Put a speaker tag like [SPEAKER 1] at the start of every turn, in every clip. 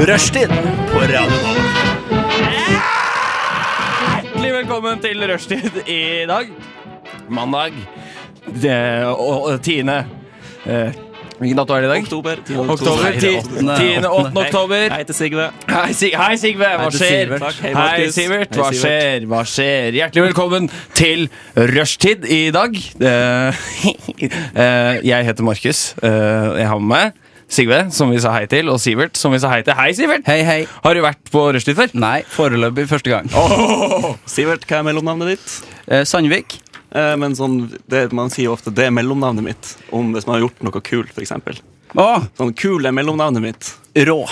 [SPEAKER 1] Rushtid på Radio Nova.
[SPEAKER 2] Hjertelig velkommen til Rushtid i dag. Mandag det, og, og, 10. Eh, hvilken dato er det i dag?
[SPEAKER 3] Oktober.
[SPEAKER 2] Oktober.
[SPEAKER 1] Nei, det
[SPEAKER 2] ti-
[SPEAKER 1] er åttende.
[SPEAKER 2] 10. og åttende
[SPEAKER 3] Hei.
[SPEAKER 2] oktober.
[SPEAKER 3] Hei, til Sigve.
[SPEAKER 2] Hei, Sig hei Sigve, hva
[SPEAKER 1] til
[SPEAKER 2] skjer?
[SPEAKER 1] Sivert.
[SPEAKER 3] Takk. Hei,
[SPEAKER 2] Hei,
[SPEAKER 3] Markus.
[SPEAKER 2] Sivert,
[SPEAKER 3] Hei,
[SPEAKER 2] hva
[SPEAKER 3] Sivert.
[SPEAKER 2] skjer? Hva skjer? Hjertelig velkommen til Rushtid i dag. Eh, eh, jeg heter Markus. eh, Jeg har med meg Sigve, som vi sa hei til, og Sivert, som vi sa hei til. Hei, Sivert!
[SPEAKER 1] Hei, hei.
[SPEAKER 2] Har du vært på Rushtid før?
[SPEAKER 1] Nei, foreløpig første gang.
[SPEAKER 3] Sivert, hva er mellomnavnet ditt?
[SPEAKER 1] Eh, Sandvik.
[SPEAKER 3] Eh, men sånn, det, Man sier jo ofte 'det er mellomnavnet mitt' om hvis man har gjort noe kult, f.eks.
[SPEAKER 1] Å,
[SPEAKER 3] Sånn 'kul er mellomnavnet mitt'.
[SPEAKER 1] rå.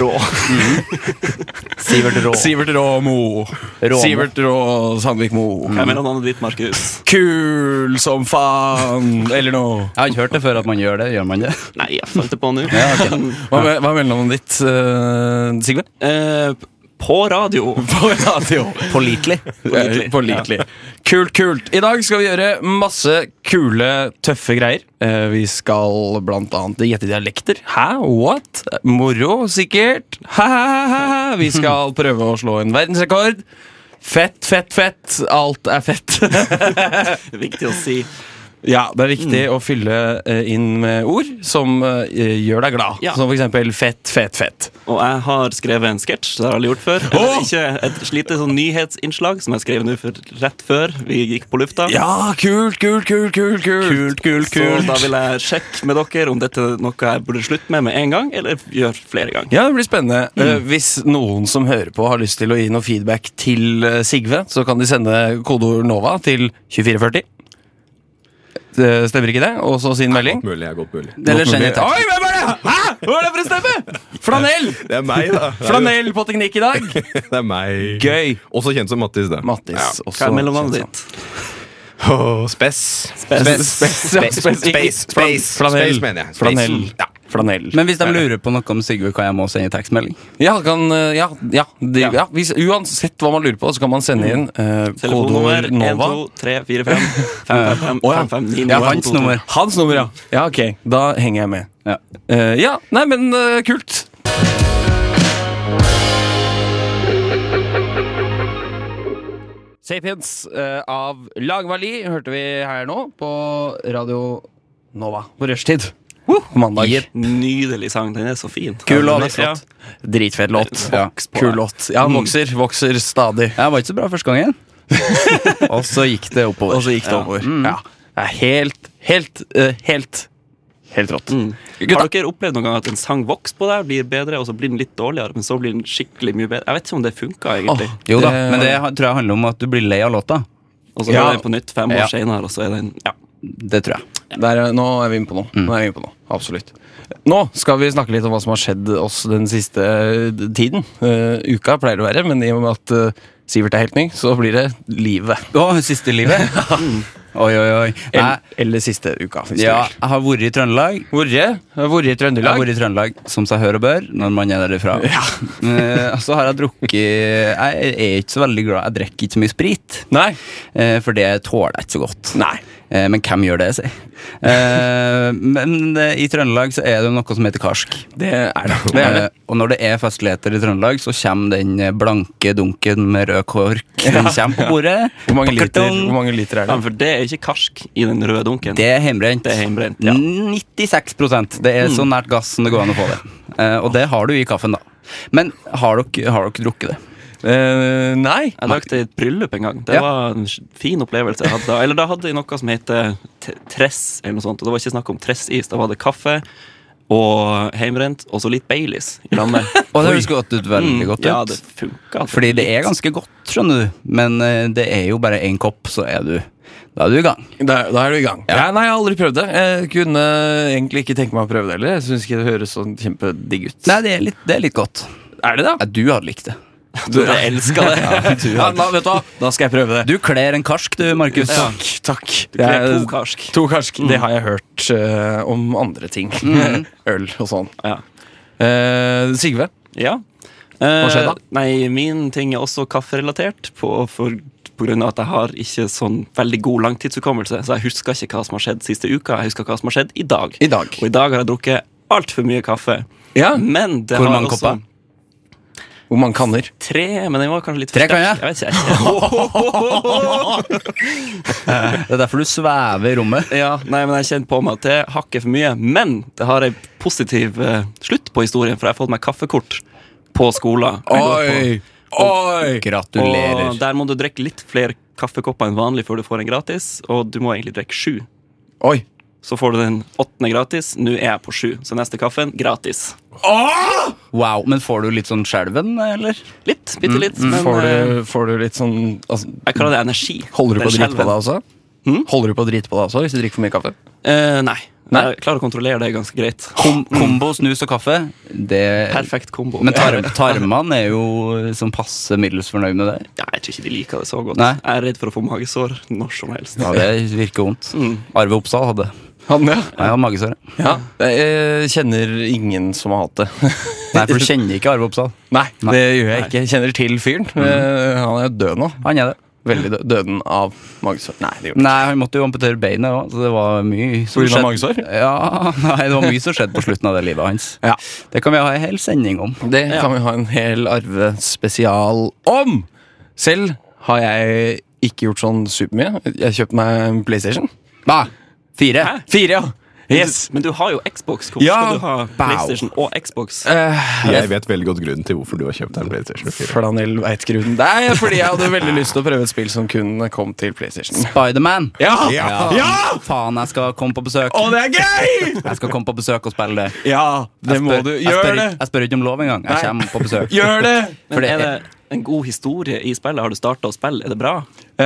[SPEAKER 3] Rå.
[SPEAKER 1] Sivert Rå.
[SPEAKER 2] Sivert Rå Mo.
[SPEAKER 1] Rå Mo.
[SPEAKER 2] Sivert Rå Sandvik Mo.
[SPEAKER 3] Hva er mellomnavnet ditt, Markus?
[SPEAKER 2] Kul som faen, eller noe.
[SPEAKER 1] Jeg har ikke hørt det før at man gjør det. Gjør man det?
[SPEAKER 3] Nei, jeg fant det på nå.
[SPEAKER 2] Hva er hva er mellomnavnet ditt, eh, Sigve?
[SPEAKER 3] Eh, på radio.
[SPEAKER 2] På radio.
[SPEAKER 1] Pålitelig.
[SPEAKER 2] Pålitelig. Kult, kult. I dag skal vi gjøre masse kule, tøffe greier. Eh, Vi skal blant annet gjette dialekter. Hæ? What? Moro, sikkert. Hæ-hæ-hæ. Vi skal prøve å slå en verdensrekord. Fett, fett, fett. Alt er fett.
[SPEAKER 3] Det er viktig å si.
[SPEAKER 2] Ja, det er viktig å fylle eh, inn med ord som eh, gjør deg glad.
[SPEAKER 3] Ja.
[SPEAKER 2] Som for eksempel fett, fett, fett.
[SPEAKER 3] Og jeg har skrevet en sketsj. Det har jeg aldri gjort før.
[SPEAKER 2] Åh!
[SPEAKER 3] Eller ikke et lite sånn nyhetsinnslag som jeg skrev nå for, rett før vi gikk på lufta.
[SPEAKER 2] Ja, kult, kult, kult, kult, kult.
[SPEAKER 1] kult,
[SPEAKER 3] Så da vil jeg sjekke med dere om dette er noe jeg burde slutte med med en gang, eller gjøre flere ganger.
[SPEAKER 2] Ja, det blir spennende. Eh, hvis noen som hører på har lyst til å gi noe feedback til eh, Sigve, så kan de sende kodeord NOVA til 2440. Eh, Stemmer ikke det? Og så sin melding.
[SPEAKER 4] Godt mulig, ja, godt mulig.
[SPEAKER 1] Eller send et
[SPEAKER 2] Oi, hvem er det?! Hæ?! Hva er det for en stemme?! Flanell!
[SPEAKER 4] Det er meg, da. Det er,
[SPEAKER 2] Flanell på teknikk i dag.
[SPEAKER 4] det er meg.
[SPEAKER 2] Gøy.
[SPEAKER 4] Også kjent som Mattis, det.
[SPEAKER 2] Mattis
[SPEAKER 3] Hva
[SPEAKER 2] også.
[SPEAKER 3] er mellomnavnet ditt?
[SPEAKER 4] Åh, spess.
[SPEAKER 2] Spes. Spes. Spes.
[SPEAKER 4] Space, space.
[SPEAKER 2] Flanell.
[SPEAKER 4] Space, mener jeg. Space.
[SPEAKER 2] Flanell.
[SPEAKER 4] Ja.
[SPEAKER 2] Flanell.
[SPEAKER 1] Men hvis de lurer på noe om Sigurd, kan jeg må sende tekstmelding?
[SPEAKER 2] Ja, kan, eh, ja, ja, de, ja. hvis, uansett hva man lurer på, så kan man sende inn eh,
[SPEAKER 3] Telefonnummer
[SPEAKER 2] kodeord NOVA.
[SPEAKER 3] 123455559.
[SPEAKER 1] Ja, hans nummer.
[SPEAKER 2] Hans nummer, ja. Ja, ok. Da henger jeg med.
[SPEAKER 1] Ja.
[SPEAKER 2] Eh, ja, nei, men eh, kult. Sapiens eh, av Lagvali hørte vi her nå på Radio Nova på rushtid. På mandag.
[SPEAKER 1] Yep.
[SPEAKER 3] Nydelig sang. Den er så fin.
[SPEAKER 1] Kul låt.
[SPEAKER 3] Den er flott.
[SPEAKER 2] Dritfett låt. Mm.
[SPEAKER 1] Ja.
[SPEAKER 2] Kul låt. Ja, han vokser. Vokser stadig.
[SPEAKER 1] Jeg var ikke så bra første gangen. Og så gikk det oppover.
[SPEAKER 2] Og så gikk det over. Ja. Det er helt, helt, eh, helt Helt rått.
[SPEAKER 3] Mm. Har
[SPEAKER 2] Gutta,
[SPEAKER 3] dere opplevd noen gang at en sang vokser på deg, blir bedre, og så blir den litt dårligere, men så blir den skikkelig mye bedre? Jeg vet ikke om det funka, egentlig.
[SPEAKER 2] Åh.
[SPEAKER 1] Jo da,
[SPEAKER 2] Det-
[SPEAKER 1] Eh, men det tror jeg handler om at du blir lei av låta.
[SPEAKER 3] Og så
[SPEAKER 2] Ja.
[SPEAKER 3] hører jeg den på nytt fem år
[SPEAKER 1] Ja.
[SPEAKER 3] senere, og så er den ja.
[SPEAKER 1] Det tror jeg.
[SPEAKER 2] der, er- nå er vi inne på noe. Nå er vi inne på noe. Absolutt. Nå skal vi snakke litt om hva som har skjedd oss den siste eh, tiden. Eh, uka pleier det å være, men i og med at eh, Sivert er helt ny, så blir det livet.
[SPEAKER 1] Å, siste livet? Oi, oi, oi. Nei,
[SPEAKER 2] Eller, eller siste uka. Hvis du
[SPEAKER 1] ja,
[SPEAKER 2] vil.
[SPEAKER 1] jeg har vært i Trøndelag.
[SPEAKER 2] Vorre. Vorre i
[SPEAKER 1] Jeg har
[SPEAKER 2] Trøndelag.
[SPEAKER 1] vært i Trøndelag, som seg hør og bør, når man er derifra. Eh, så har jeg drukket Jeg er ikke så veldig glad Jeg drikker ikke så mye sprit,
[SPEAKER 2] Nei.
[SPEAKER 1] eh, for det tåler jeg ikke så godt.
[SPEAKER 2] Nei.
[SPEAKER 1] Eh, men hvem gjør det, si? Eh, men eh, i Trøndelag så er det noe som heter karsk.
[SPEAKER 2] Det er det. det, er det.
[SPEAKER 1] Eh, og når det er festligheter i Trøndelag, så kommer den eh, blanke dunken med rød kork. Den kommer på bordet.
[SPEAKER 2] Hvor, mange liter,
[SPEAKER 1] Pakkardong.
[SPEAKER 2] hvor mange liter er
[SPEAKER 3] ja,
[SPEAKER 2] det?
[SPEAKER 3] For det er ikke karsk i den røde dunken.
[SPEAKER 1] Det er hjemmebrent.
[SPEAKER 3] Det er hjemmebrent, ja.
[SPEAKER 1] 96 Det
[SPEAKER 2] Mm.
[SPEAKER 1] er så nært gass som det går an å få det. Eh, og det har du i kaffen, da. Men har dere, har dere drukket det?
[SPEAKER 2] Eh, nei.
[SPEAKER 3] Jeg drakk det i et bryllup en gang. Det
[SPEAKER 1] Ja.
[SPEAKER 3] var en fin opplevelse. jeg hadde da. Eller da hadde jeg noe som heter t- tress, eller noe sånt. Og det var ikke snakk om tressis. Da var det kaffe og heimbrent, og så litt Baileys i lag med.
[SPEAKER 1] Og det høres godt ut,
[SPEAKER 2] Mm.
[SPEAKER 1] veldig godt ut.
[SPEAKER 3] Ja, det altså. funka.
[SPEAKER 1] Fordi det er ganske godt, skjønner du. Men eh, det er jo bare én kopp, så er du Da er du i gang.
[SPEAKER 2] Da, da er du i gang. Ja. nei, jeg har aldri prøvd det. Jeg kunne egentlig ikke tenke meg å prøve det heller. Jeg syns ikke det høres sånn kjempedigg ut.
[SPEAKER 1] Nei, det er litt, det er litt godt.
[SPEAKER 2] Er det det?
[SPEAKER 1] Ja, du hadde likt det.
[SPEAKER 3] Du, jeg elska det.
[SPEAKER 2] Ja, da, vet du hva, da skal jeg prøve det.
[SPEAKER 1] Du kler en karsk, du, Markus.
[SPEAKER 2] Takk. takk
[SPEAKER 3] Jeg er
[SPEAKER 2] Jeg-
[SPEAKER 3] to karsk.
[SPEAKER 2] to karsk. Det har jeg hørt eh, om andre ting. Øl og sånn.
[SPEAKER 3] Ja.
[SPEAKER 2] Eh, Sigve?
[SPEAKER 3] ja. Hva
[SPEAKER 2] skjedde da?
[SPEAKER 3] Nei, min ting er også kafferelatert. På, for, på grunn av at jeg har ikke sånn veldig god langtidshukommelse. Så jeg husker ikke hva som har skjedd siste uka. Jeg husker hva som har skjedd i dag.
[SPEAKER 2] I dag.
[SPEAKER 3] Og i dag har jeg drukket altfor mye kaffe.
[SPEAKER 2] Ja.
[SPEAKER 3] Men det
[SPEAKER 1] Hvor
[SPEAKER 3] har
[SPEAKER 1] mange
[SPEAKER 3] også
[SPEAKER 1] kopper?
[SPEAKER 2] Hvor mange kanner?
[SPEAKER 3] Tre, men den var kanskje litt for
[SPEAKER 1] Tre kan
[SPEAKER 3] sterk. Jeg vet ikke, jeg.
[SPEAKER 1] Det er derfor du svever i rommet.
[SPEAKER 3] Ja, nei, men jeg kjenner på meg at det hakker for mye. Men det har en positiv eh, slutt på historien, for jeg har fått meg kaffekort på skolen.
[SPEAKER 2] Oi! Oi!
[SPEAKER 3] Og
[SPEAKER 1] Gratulerer.
[SPEAKER 3] der må du drikke litt flere kaffekopper enn vanlig før du får en gratis, og du må egentlig drikke sju.
[SPEAKER 2] Oi!
[SPEAKER 3] Så får du den åttende gratis. Nå er jeg på sju, så neste kaffen gratis.
[SPEAKER 1] Wow, Men får du litt sånn skjelven, eller?
[SPEAKER 3] Litt, bitte litt, men
[SPEAKER 2] Mm. Får
[SPEAKER 3] eh,
[SPEAKER 2] du, får du litt sånn altså,
[SPEAKER 3] jeg kaller det energi.
[SPEAKER 2] Holder du på
[SPEAKER 3] Den
[SPEAKER 2] å drite på
[SPEAKER 3] skjelven.
[SPEAKER 2] deg også? Holder du på å drite på deg også hvis du drikker for mye kaffe?
[SPEAKER 3] Eh, nei.
[SPEAKER 2] Nei?
[SPEAKER 3] Jeg klarer å kontrollere det ganske greit.
[SPEAKER 1] Kom,
[SPEAKER 2] Mm.
[SPEAKER 1] kombo snus og kaffe? Det
[SPEAKER 3] Perfekt kombo.
[SPEAKER 1] Men tar, tarmene er jo sånn passe middels fornøyd med det.
[SPEAKER 3] Ja, jeg tror ikke de liker det så godt.
[SPEAKER 1] Nei.
[SPEAKER 3] Jeg er redd for å få magesår når som helst.
[SPEAKER 1] Ja, Det virker vondt.
[SPEAKER 2] Mm.
[SPEAKER 1] Arve Oppsal hadde det.
[SPEAKER 2] Han, ja.
[SPEAKER 1] Jeg har magesår. jeg.
[SPEAKER 2] ja. Jeg kjenner ingen som har hatt det.
[SPEAKER 1] Nei, for du kjenner ikke Arve Oppsal.
[SPEAKER 2] Nei, det gjør jeg ikke. Jeg kjenner til fyren. Eh, Han er død nå.
[SPEAKER 1] Han er det.
[SPEAKER 2] Veldig død. Døden av magesår. Nei, det gjør han ikke.
[SPEAKER 1] Nei, han måtte jo amputere beinet òg, så det var mye som
[SPEAKER 2] På grunn av
[SPEAKER 1] skjedde.
[SPEAKER 2] magesår?
[SPEAKER 1] Ja, nei, det var mye som skjedde på slutten av det livet hans.
[SPEAKER 2] Ja.
[SPEAKER 1] Det kan vi ha en hel sending om.
[SPEAKER 2] Det kan vi ha en hel arvespesial om! Selv har jeg ikke gjort sånn supermye. Jeg kjøpte meg en PlayStation.
[SPEAKER 1] Hva? Fire?
[SPEAKER 2] Fire, ja! Yes!
[SPEAKER 3] Men du har jo Xbox. Hvorfor
[SPEAKER 2] Ja,
[SPEAKER 3] skal du ha
[SPEAKER 2] bow.
[SPEAKER 3] PlayStation og Xbox?
[SPEAKER 2] Eh,
[SPEAKER 4] Jeg vet veldig godt grunnen til hvorfor du har kjøpt deg en PlayStation 4.
[SPEAKER 2] Flanell veit grunnen. Nei, fordi jeg hadde veldig lyst til å prøve et spill som kun kom til PlayStation.
[SPEAKER 1] Spiderman.
[SPEAKER 2] Ja!
[SPEAKER 4] Ja!
[SPEAKER 1] Faen, jeg skal komme på besøk.
[SPEAKER 2] Å, det er gøy!
[SPEAKER 1] Jeg skal komme på besøk og spille det.
[SPEAKER 2] Ja, det
[SPEAKER 1] Jeg
[SPEAKER 2] må
[SPEAKER 1] spør-
[SPEAKER 2] du.
[SPEAKER 1] jeg
[SPEAKER 2] Gjør
[SPEAKER 1] spør,
[SPEAKER 2] det!
[SPEAKER 1] ikke- Jeg spør ikke om lov engang. Jeg
[SPEAKER 2] Nei.
[SPEAKER 1] kommer på besøk.
[SPEAKER 2] Gjør det!
[SPEAKER 1] for
[SPEAKER 3] Men
[SPEAKER 1] det
[SPEAKER 3] er det en god historie i spillet? Har du starta å spille? Er det bra?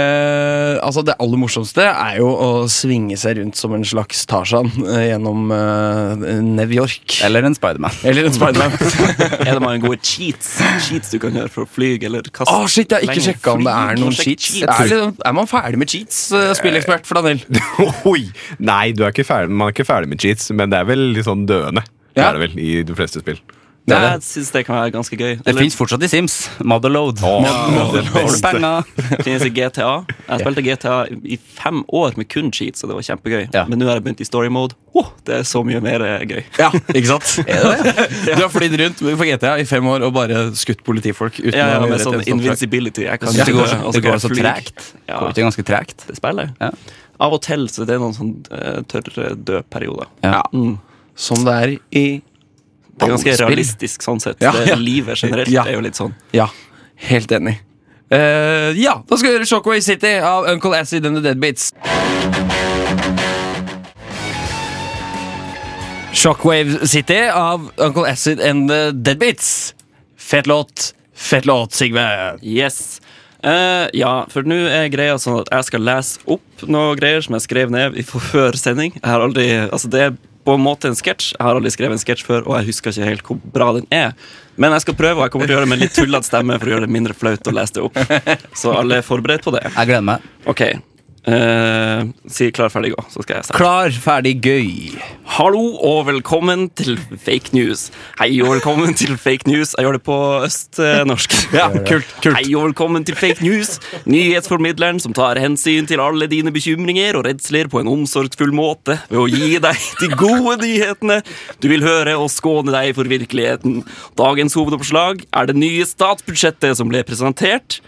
[SPEAKER 2] Eh, altså Det aller morsomste er jo å svinge seg rundt som en slags Tarzan eh, gjennom eh, New York.
[SPEAKER 1] Eller en Spiderman.
[SPEAKER 2] Eller en Spiderman.
[SPEAKER 3] Er det mange gode cheats Cheats du kan gjøre for å fly eller kaste?
[SPEAKER 2] Å, shit, jeg har ikke
[SPEAKER 3] Lenge
[SPEAKER 2] sjekka om det
[SPEAKER 3] fly.
[SPEAKER 2] er
[SPEAKER 3] Du må
[SPEAKER 2] noen
[SPEAKER 3] sjekke
[SPEAKER 2] cheats. Er, det- er man ferdig med cheats, eh, spillekspert Flanell?
[SPEAKER 4] Oi! Nei, du er ikke ferdig, man er ikke ferdig med cheats, men det er vel litt sånn døende. Det
[SPEAKER 2] Ja.
[SPEAKER 4] er det vel i de fleste spill.
[SPEAKER 3] Nei, Jeg syns det kan være ganske gøy.
[SPEAKER 1] Det
[SPEAKER 3] Eller,
[SPEAKER 1] fins fortsatt i Sims. Motherload.
[SPEAKER 4] Å, det
[SPEAKER 1] Får du
[SPEAKER 4] beste.
[SPEAKER 1] penger?
[SPEAKER 3] finnes i GTA. Jeg spilte GTA i fem år med kun cheats, og det var kjempegøy.
[SPEAKER 1] Ja.
[SPEAKER 3] Men nå har jeg begynt i story mode. Åh, det er så mye mer eh, gøy.
[SPEAKER 2] Ja, ikke sant? Du har flydd rundt på GTA i fem år og bare skutt politifolk. Uten
[SPEAKER 3] Ja, ja,
[SPEAKER 2] å gjøre
[SPEAKER 3] med
[SPEAKER 2] et
[SPEAKER 3] sånn
[SPEAKER 2] eneste oppdrag.
[SPEAKER 3] invincibility. Jeg kan
[SPEAKER 1] Jeg synes det går,
[SPEAKER 3] gjøre, og
[SPEAKER 1] det
[SPEAKER 3] kan
[SPEAKER 1] går
[SPEAKER 3] jeg
[SPEAKER 1] så
[SPEAKER 3] fly.
[SPEAKER 1] tregt.
[SPEAKER 3] Ja.
[SPEAKER 1] Går ikke det ganske tregt?
[SPEAKER 3] Det spillet.
[SPEAKER 1] Ja.
[SPEAKER 3] Av og til så det er noen sånn eh, tørre død-perioder.
[SPEAKER 2] Ja. Som det er i
[SPEAKER 3] Det er ganske
[SPEAKER 2] Alle spill.
[SPEAKER 3] realistisk sånn sett.
[SPEAKER 2] Ja, ja.
[SPEAKER 3] Det, livet generelt
[SPEAKER 2] Ja.
[SPEAKER 3] er jo litt sånn.
[SPEAKER 2] Ja, helt enig. Eh, ja, da skal vi gjøre Shockwave City av Uncle Acid and the Deadbeats. Shockwave City av Uncle Acid and the Deadbeats. Fet låt. Fet låt, Sigve.
[SPEAKER 3] Yes. Eh, ja, for nå er greia sånn at jeg skal lese opp noe greier som jeg skrev ned i for- før sending. Jeg har aldri, altså Det er på en måte en sketsj. Jeg har aldri skrevet en sketsj før, og jeg husker ikke helt hvor bra den er. Men jeg skal prøve, og jeg kommer til å gjøre det med litt tullete stemme for å gjøre det mindre flaut å lese det opp. Så alle er forberedt på det.
[SPEAKER 1] Jeg gleder meg.
[SPEAKER 3] Ok. Eh, si klar, ferdig, gå, så skal jeg starte.
[SPEAKER 1] Klar, ferdig, gøy.
[SPEAKER 3] Hallo og velkommen til Fake News. Hei og velkommen til Fake News. Jeg gjør det på østnorsk.
[SPEAKER 2] Ja, kult,
[SPEAKER 3] Hei og velkommen til Fake News, nyhetsformidleren som tar hensyn til alle dine bekymringer og redsler på en omsorgsfull måte ved å gi deg de gode nyhetene du vil høre og skåne deg for virkeligheten. Dagens hovedoppslag er det nye statsbudsjettet som ble presentert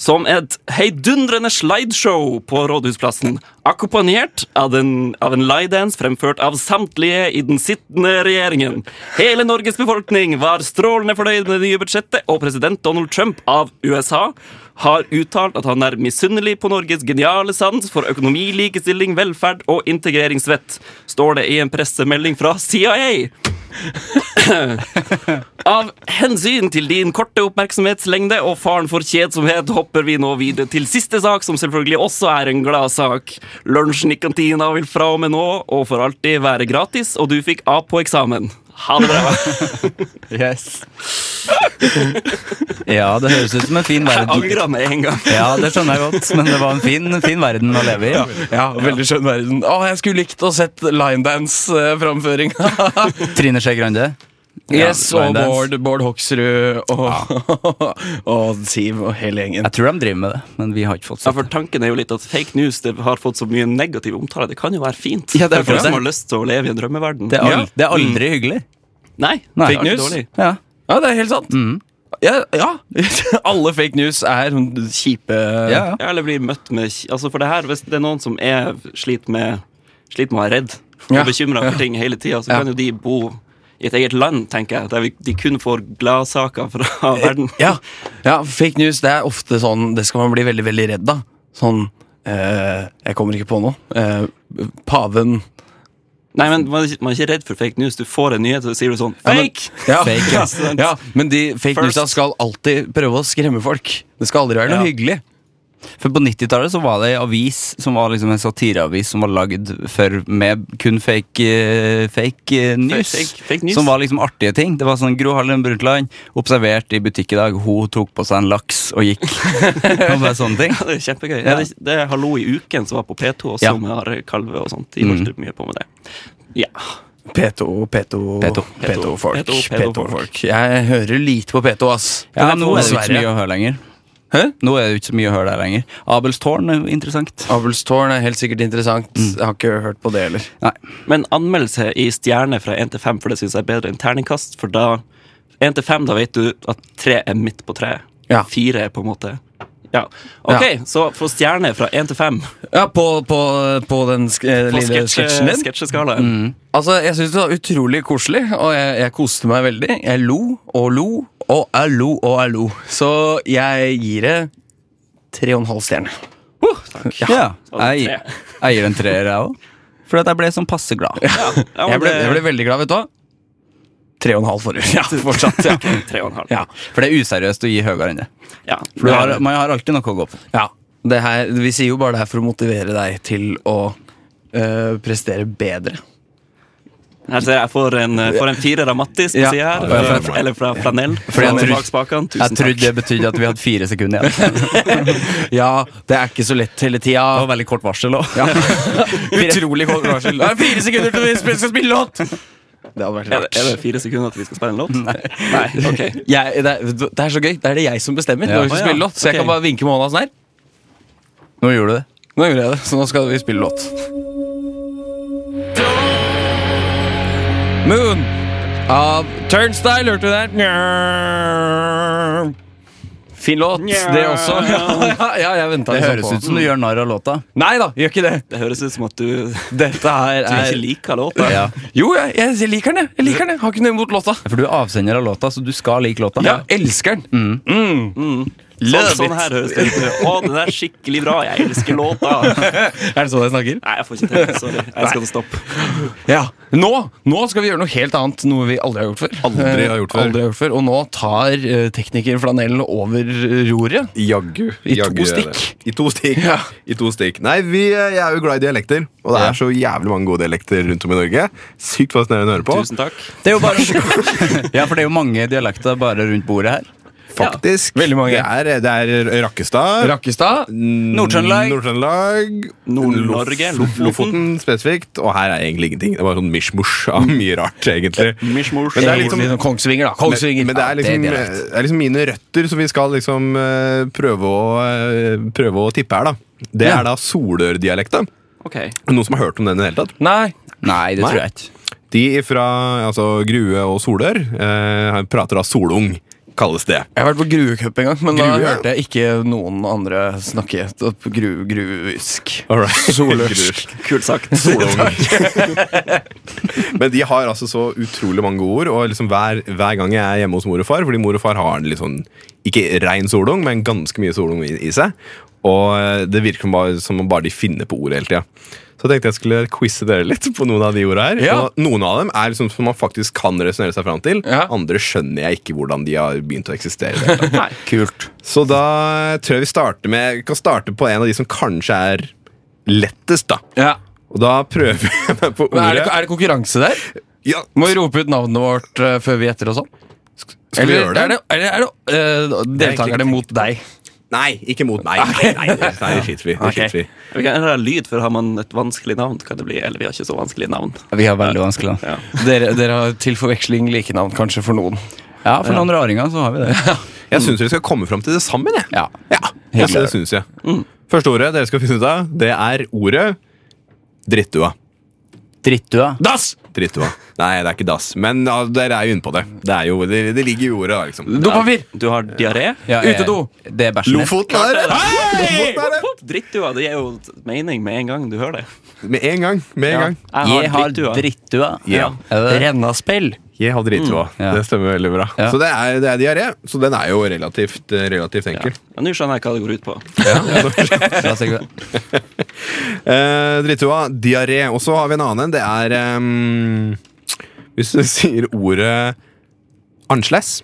[SPEAKER 3] som et heidundrende slideshow på Rådhusplassen, akkompagnert av, den, av en ligedance fremført av samtlige i den sittende regjeringen. Hele Norges befolkning var strålende fornøyd med det nye budsjettet, og president Donald Trump av USA har uttalt at han er misunnelig på Norges geniale sans for økonomi, likestilling, velferd og integreringsvett, står det i en pressemelding fra CIA. Av hensyn til din korte oppmerksomhetslengde og faren for kjedsomhet hopper vi nå videre til siste sak, som selvfølgelig også er en gladsak. Lunsjen i kantina vil fra og med nå og for alltid være gratis, og du fikk A på eksamen. Ha det bra.
[SPEAKER 1] Yes. Ja, det høres ut som en fin
[SPEAKER 3] Jeg
[SPEAKER 1] verden.
[SPEAKER 3] angra med en gang.
[SPEAKER 1] Ja, det skjønner jeg godt, men det var en fin, fin verden å leve i.
[SPEAKER 2] Ja, veldig skjønn verden. Å, jeg skulle likt å sett eh, linedance-framføring.
[SPEAKER 1] Trine Skei Grande.
[SPEAKER 2] yes,
[SPEAKER 1] Ja,
[SPEAKER 2] og
[SPEAKER 1] linedance.
[SPEAKER 2] Bård, Bård Hoksrud og, og Siv og hele gjengen.
[SPEAKER 1] Jeg tror de driver med det, men vi har ikke fått
[SPEAKER 3] Ja,
[SPEAKER 1] sett
[SPEAKER 3] for
[SPEAKER 1] det.
[SPEAKER 3] Tanken er jo litt at fake news det har fått så mye negativ omtale. Det kan jo være fint.
[SPEAKER 1] Ja, det er
[SPEAKER 3] for
[SPEAKER 1] det.
[SPEAKER 3] folk som har lyst til å leve i en drømmeverden.
[SPEAKER 1] Det er,
[SPEAKER 2] Ja. Mm.
[SPEAKER 1] aldri, det er aldri hyggelig.
[SPEAKER 3] Nei,
[SPEAKER 1] Nei.
[SPEAKER 3] fake
[SPEAKER 2] Fake
[SPEAKER 3] news.
[SPEAKER 2] news?
[SPEAKER 3] Dårlig.
[SPEAKER 1] Ja. Mhm.
[SPEAKER 2] Ja, det er helt sant. Ja, ja. Alle fake news er sånn kjipe
[SPEAKER 1] Ja, ja.
[SPEAKER 3] Ja, eller bli møtt med altså For det her, hvis det er noen som er sliter med, sliter med å være redd og
[SPEAKER 2] Ja.
[SPEAKER 3] bekymra for ting hele tida, så
[SPEAKER 2] Ja.
[SPEAKER 3] kan jo de bo i et eget land, tenker jeg, der vi, de kun får gladsaker fra verden.
[SPEAKER 2] Ja, ja, fake news det er ofte sånn Det skal man bli veldig, veldig redd av. Sånn eh, Jeg kommer ikke på noe. Eh, paven
[SPEAKER 3] Nei, men man er, ikke, man er ikke redd for fake news. Du får en nyhet, og så sier du sånn Fake!
[SPEAKER 2] Ja, men,
[SPEAKER 1] Fake,
[SPEAKER 2] ja.
[SPEAKER 1] ja.
[SPEAKER 2] ja, men de fake
[SPEAKER 3] First.
[SPEAKER 2] newsa skal alltid prøve å skremme folk. Det skal aldri være noe
[SPEAKER 1] Ja.
[SPEAKER 2] hyggelig.
[SPEAKER 1] For på 90-tallet så var det en avis som var liksom en satireavis som var lagd for med kun fake, eh, fake eh, news.
[SPEAKER 3] fake- fake news.
[SPEAKER 1] Som var liksom artige ting. Det var sånn Gro Harlem Brundtland observert i butikk i dag. Hun tok på seg en laks og gikk. det var bare sånne ting.
[SPEAKER 3] Ja, det er kjempegøy. Ja. det, det er Hallo i uken som var på P2, og
[SPEAKER 1] Ja.
[SPEAKER 3] som har kalve og sånt. De holdt mye på med det. Ja.
[SPEAKER 2] P2, P2,
[SPEAKER 1] P2.
[SPEAKER 2] P2-folk.
[SPEAKER 3] P2,
[SPEAKER 2] P2-folk. Jeg hører lite på P2, ass.
[SPEAKER 1] Ja,
[SPEAKER 2] Men
[SPEAKER 1] nå er det jo ikke så
[SPEAKER 2] dessverre.
[SPEAKER 1] mye å høre lenger.
[SPEAKER 2] Hæ?
[SPEAKER 1] Nå er det jo ikke så mye å høre der lenger. Abelstårn er jo interessant.
[SPEAKER 2] Abelstårn er helt sikkert interessant.
[SPEAKER 1] Mm.
[SPEAKER 2] Jeg har ikke hørt på det heller.
[SPEAKER 1] Nei.
[SPEAKER 3] Men anmeldelse i stjerne fra 1 til 5, for det syns jeg er bedre enn terningkast. For da 1 til 5, da vet du at 3 er midt på treet.
[SPEAKER 2] Ja.
[SPEAKER 3] 4 er på en måte Ja. OK, så få stjerne fra 1 til 5
[SPEAKER 2] Ja, på, på, på den sk eh,
[SPEAKER 3] på
[SPEAKER 2] lille
[SPEAKER 3] sketsje-
[SPEAKER 2] sketsjen din.
[SPEAKER 3] sketsjeskalaen.
[SPEAKER 2] Altså, Jeg syns det var utrolig koselig, og jeg, jeg koste meg veldig. Jeg lo og lo og jeg lo og jeg lo. Så jeg gir det tre og en halv stjerne.
[SPEAKER 1] Ja.
[SPEAKER 3] Så
[SPEAKER 1] Jeg,
[SPEAKER 3] tre.
[SPEAKER 1] jeg gir den treer, jeg òg. For at jeg ble sånn passe glad.
[SPEAKER 3] Ja, men
[SPEAKER 2] Jeg ble,
[SPEAKER 3] det-
[SPEAKER 2] jeg ble veldig glad, vet du hva. Tre og en halv forrige. Ja, fortsatt. Ja.
[SPEAKER 3] Tre og en halv.
[SPEAKER 2] ja.
[SPEAKER 1] For det er useriøst å gi høyere enn det.
[SPEAKER 3] Ja.
[SPEAKER 1] For du har, man har alltid noe å gå på.
[SPEAKER 2] ja. Det her, vi sier jo bare det her for å motivere deg til å eh, prestere bedre.
[SPEAKER 3] Her ser jeg jeg får en, eh, får en firer av Mattis på
[SPEAKER 2] Ja.
[SPEAKER 3] siden her.
[SPEAKER 1] Ja,
[SPEAKER 3] eller- Eller fra Flanell.
[SPEAKER 1] Fordi
[SPEAKER 3] Fra
[SPEAKER 1] jeg trodde-
[SPEAKER 3] bak spakene.
[SPEAKER 1] Jeg
[SPEAKER 3] Tusen
[SPEAKER 1] trodde
[SPEAKER 3] takk.
[SPEAKER 1] det betydde at vi hadde fire sekunder igjen.
[SPEAKER 2] Ja, det er ikke så lett hele tida.
[SPEAKER 1] Det var veldig kort varsel òg.
[SPEAKER 2] Utrolig kort varsel. Det er fire sekunder til vi sp- skal spille låt! Det hadde vært
[SPEAKER 3] Er det, er det fire sekunder til vi skal spille en låt? Nei. ok
[SPEAKER 2] Jeg, det, er, det er så gøy. Det er det jeg som bestemmer.
[SPEAKER 1] Ja.
[SPEAKER 2] Når vi skal
[SPEAKER 3] Å, ja.
[SPEAKER 2] spille låt Så jeg
[SPEAKER 3] Ok.
[SPEAKER 2] kan bare vinke med hånda sånn her.
[SPEAKER 1] Nå gjorde du det.
[SPEAKER 2] Nå gjorde jeg det, så nå skal vi spille låt. Moon av Turnstyle, hørte du der? Nja. Fin låt,
[SPEAKER 3] Nja.
[SPEAKER 2] det også. Ja, ja, ja jeg venta
[SPEAKER 1] Det høres ut som du gjør narr av låta.
[SPEAKER 2] Nei da, gjør ikke det.
[SPEAKER 3] Det høres ut som at du, du
[SPEAKER 2] Dette her
[SPEAKER 3] ikke
[SPEAKER 2] er
[SPEAKER 3] liker låta.
[SPEAKER 1] Ja.
[SPEAKER 2] Jo, jeg, jeg, jeg liker den, jeg. jeg. liker den, jeg Har ikke noe imot låta.
[SPEAKER 1] For du er avsender av låta, så du skal like låta.
[SPEAKER 2] Ja, Mm. elsker den.
[SPEAKER 1] Mm.
[SPEAKER 3] Sånn, sånn her høres det ut. Å, den er skikkelig bra. Jeg elsker låta.
[SPEAKER 2] Er det sånn jeg snakker?
[SPEAKER 3] Nei, jeg får ikke til det. Sorry. Jeg skal stoppe.
[SPEAKER 2] Ja, nå, nå skal vi gjøre noe helt annet, noe vi aldri har gjort før.
[SPEAKER 4] Aldri har gjort før.
[SPEAKER 2] Eh, Aldri har gjort før. Og nå tar eh, tekniker Flanell over roret.
[SPEAKER 4] Jaggu.
[SPEAKER 2] I to
[SPEAKER 4] jaggu er det.
[SPEAKER 2] stikk.
[SPEAKER 4] I to stikk.
[SPEAKER 2] Ja.
[SPEAKER 4] I to stikk. Nei, vi, eh, jeg er jo glad i dialekter, og det
[SPEAKER 2] Ja.
[SPEAKER 4] er så jævlig mange gode dialekter rundt om i Norge. Sykt fascinerende å høre på.
[SPEAKER 3] Tusen takk.
[SPEAKER 1] Det er jo bare Ja, for det er jo mange dialekter bare rundt bordet her.
[SPEAKER 4] Faktisk.
[SPEAKER 2] Veldig mange.
[SPEAKER 4] Det er, det er Rakkestad.
[SPEAKER 2] Rakkestad.
[SPEAKER 1] Mm, Nord-Trøndelag.
[SPEAKER 4] Nord-Trøndelag.
[SPEAKER 3] Nord-Norge,
[SPEAKER 4] Lof-
[SPEAKER 3] Lofoten.
[SPEAKER 4] Lofoten spesifikt. Og her er egentlig ingenting. Det var sånn mishmosh av mye rart, egentlig.
[SPEAKER 3] Mishmosh.
[SPEAKER 4] Men det er
[SPEAKER 2] Egentlig
[SPEAKER 4] liksom-
[SPEAKER 2] Kongsvinger, da.
[SPEAKER 4] Men,
[SPEAKER 2] Kongsvinger.
[SPEAKER 4] men det, er liksom,
[SPEAKER 2] Ja, det er dialekt.
[SPEAKER 4] det er liksom mine røtter som vi skal liksom eh, prøve å, eh, prøve å tippe her, da. Det
[SPEAKER 2] Ja.
[SPEAKER 4] er da solørdialekta.
[SPEAKER 3] Ok.
[SPEAKER 4] Noen som har hørt om den i det hele tatt?
[SPEAKER 2] Nei.
[SPEAKER 1] Nei, det
[SPEAKER 4] Nei.
[SPEAKER 1] tror jeg ikke.
[SPEAKER 4] De fra altså, Grue og Solør eh, prater da solung, kalles det.
[SPEAKER 2] Jeg har vært på Gruecup en gang, men da
[SPEAKER 4] Grue?
[SPEAKER 2] hørte jeg ikke noen andre snakke opp gru, gruisk.
[SPEAKER 4] Solørsk.
[SPEAKER 3] Kult sagt.
[SPEAKER 4] Men de har altså så utrolig mange ord, og liksom hver, hver gang jeg er hjemme hos mor og far Fordi mor og far har en litt sånn, ikke rein solung, men ganske mye solung i, i seg. Og eh, det virker som bare, som om bare de finner på ord hele tida. Så jeg tenkte jeg skulle quize dere litt på noen av de orda her.
[SPEAKER 2] Ja.
[SPEAKER 4] Og noen av dem er liksom som man faktisk kan resonnere seg fram til.
[SPEAKER 2] Ja.
[SPEAKER 4] Andre skjønner jeg ikke hvordan de har begynt å eksistere. i det hele tatt.
[SPEAKER 3] Nei.
[SPEAKER 1] Kult.
[SPEAKER 4] Så da tror jeg vi starter med Vi kan starte på en av de som kanskje er lettest, da.
[SPEAKER 2] Ja.
[SPEAKER 4] Og da prøver jeg meg på
[SPEAKER 2] Men er, det,
[SPEAKER 4] ordet.
[SPEAKER 2] er det konkurranse der?
[SPEAKER 4] Ja,
[SPEAKER 2] Må vi rope ut navnet vårt eh, før vi gjetter og sånn?
[SPEAKER 4] skal vi
[SPEAKER 2] Eller
[SPEAKER 4] gjøre det?
[SPEAKER 2] Er det, er det, er det eh, deltakerne mot deg?
[SPEAKER 4] Nei, ikke mot meg. Nei, nei, nei, nei det skiter vi det skiter vi.
[SPEAKER 3] Vi kan ha lyd, for har man et vanskelig navn, kan det bli Eller vi har ikke så vanskelig navn.
[SPEAKER 1] Vi har veldig vanskelig da.
[SPEAKER 3] Ja.
[SPEAKER 2] Dere, dere har til forveksling like navn, kanskje, for noen.
[SPEAKER 1] Ja, for noen raringer så har vi det.
[SPEAKER 4] Jeg syns dere skal komme fram til det sammen. Jeg.
[SPEAKER 1] Ja.
[SPEAKER 4] Ja,
[SPEAKER 1] Helt
[SPEAKER 4] det synes jeg. Første ordet dere skal finne ut av, det er ordet drittua.
[SPEAKER 1] Drittua.
[SPEAKER 2] Dass!
[SPEAKER 4] Drittua. Nei, det er ikke dass. Men ja, dere er jo inne på det. Det, er jo, det, det ligger jo i ordet, da, liksom.
[SPEAKER 2] Dopapir!
[SPEAKER 3] Du har diaré?
[SPEAKER 1] Ja, jeg-
[SPEAKER 2] Utedo.
[SPEAKER 1] Det er bæsjen. din.
[SPEAKER 4] Lofoten er det!
[SPEAKER 2] Hei!
[SPEAKER 4] Lofoten er det!
[SPEAKER 3] Drittua, det gir jo mening med en gang du hører det.
[SPEAKER 4] Med en gang. Med en gang.
[SPEAKER 1] Jeg har drittua.
[SPEAKER 4] Ja.
[SPEAKER 1] Er det det?
[SPEAKER 2] Rennaspill.
[SPEAKER 4] Jeg har drittua.
[SPEAKER 1] Mm. ja.
[SPEAKER 4] Det stemmer veldig bra.
[SPEAKER 1] Ja.
[SPEAKER 4] Så det er, det er diaré. Så den er jo relativt, eh, relativt enkel.
[SPEAKER 3] Ja, Nå skjønner jeg hva det går ut på.
[SPEAKER 1] Bra, Sigve.
[SPEAKER 4] Eh, drittua, diaré. Og så har vi en annen en. Det er ehm, Hvis du sier ordet annerledes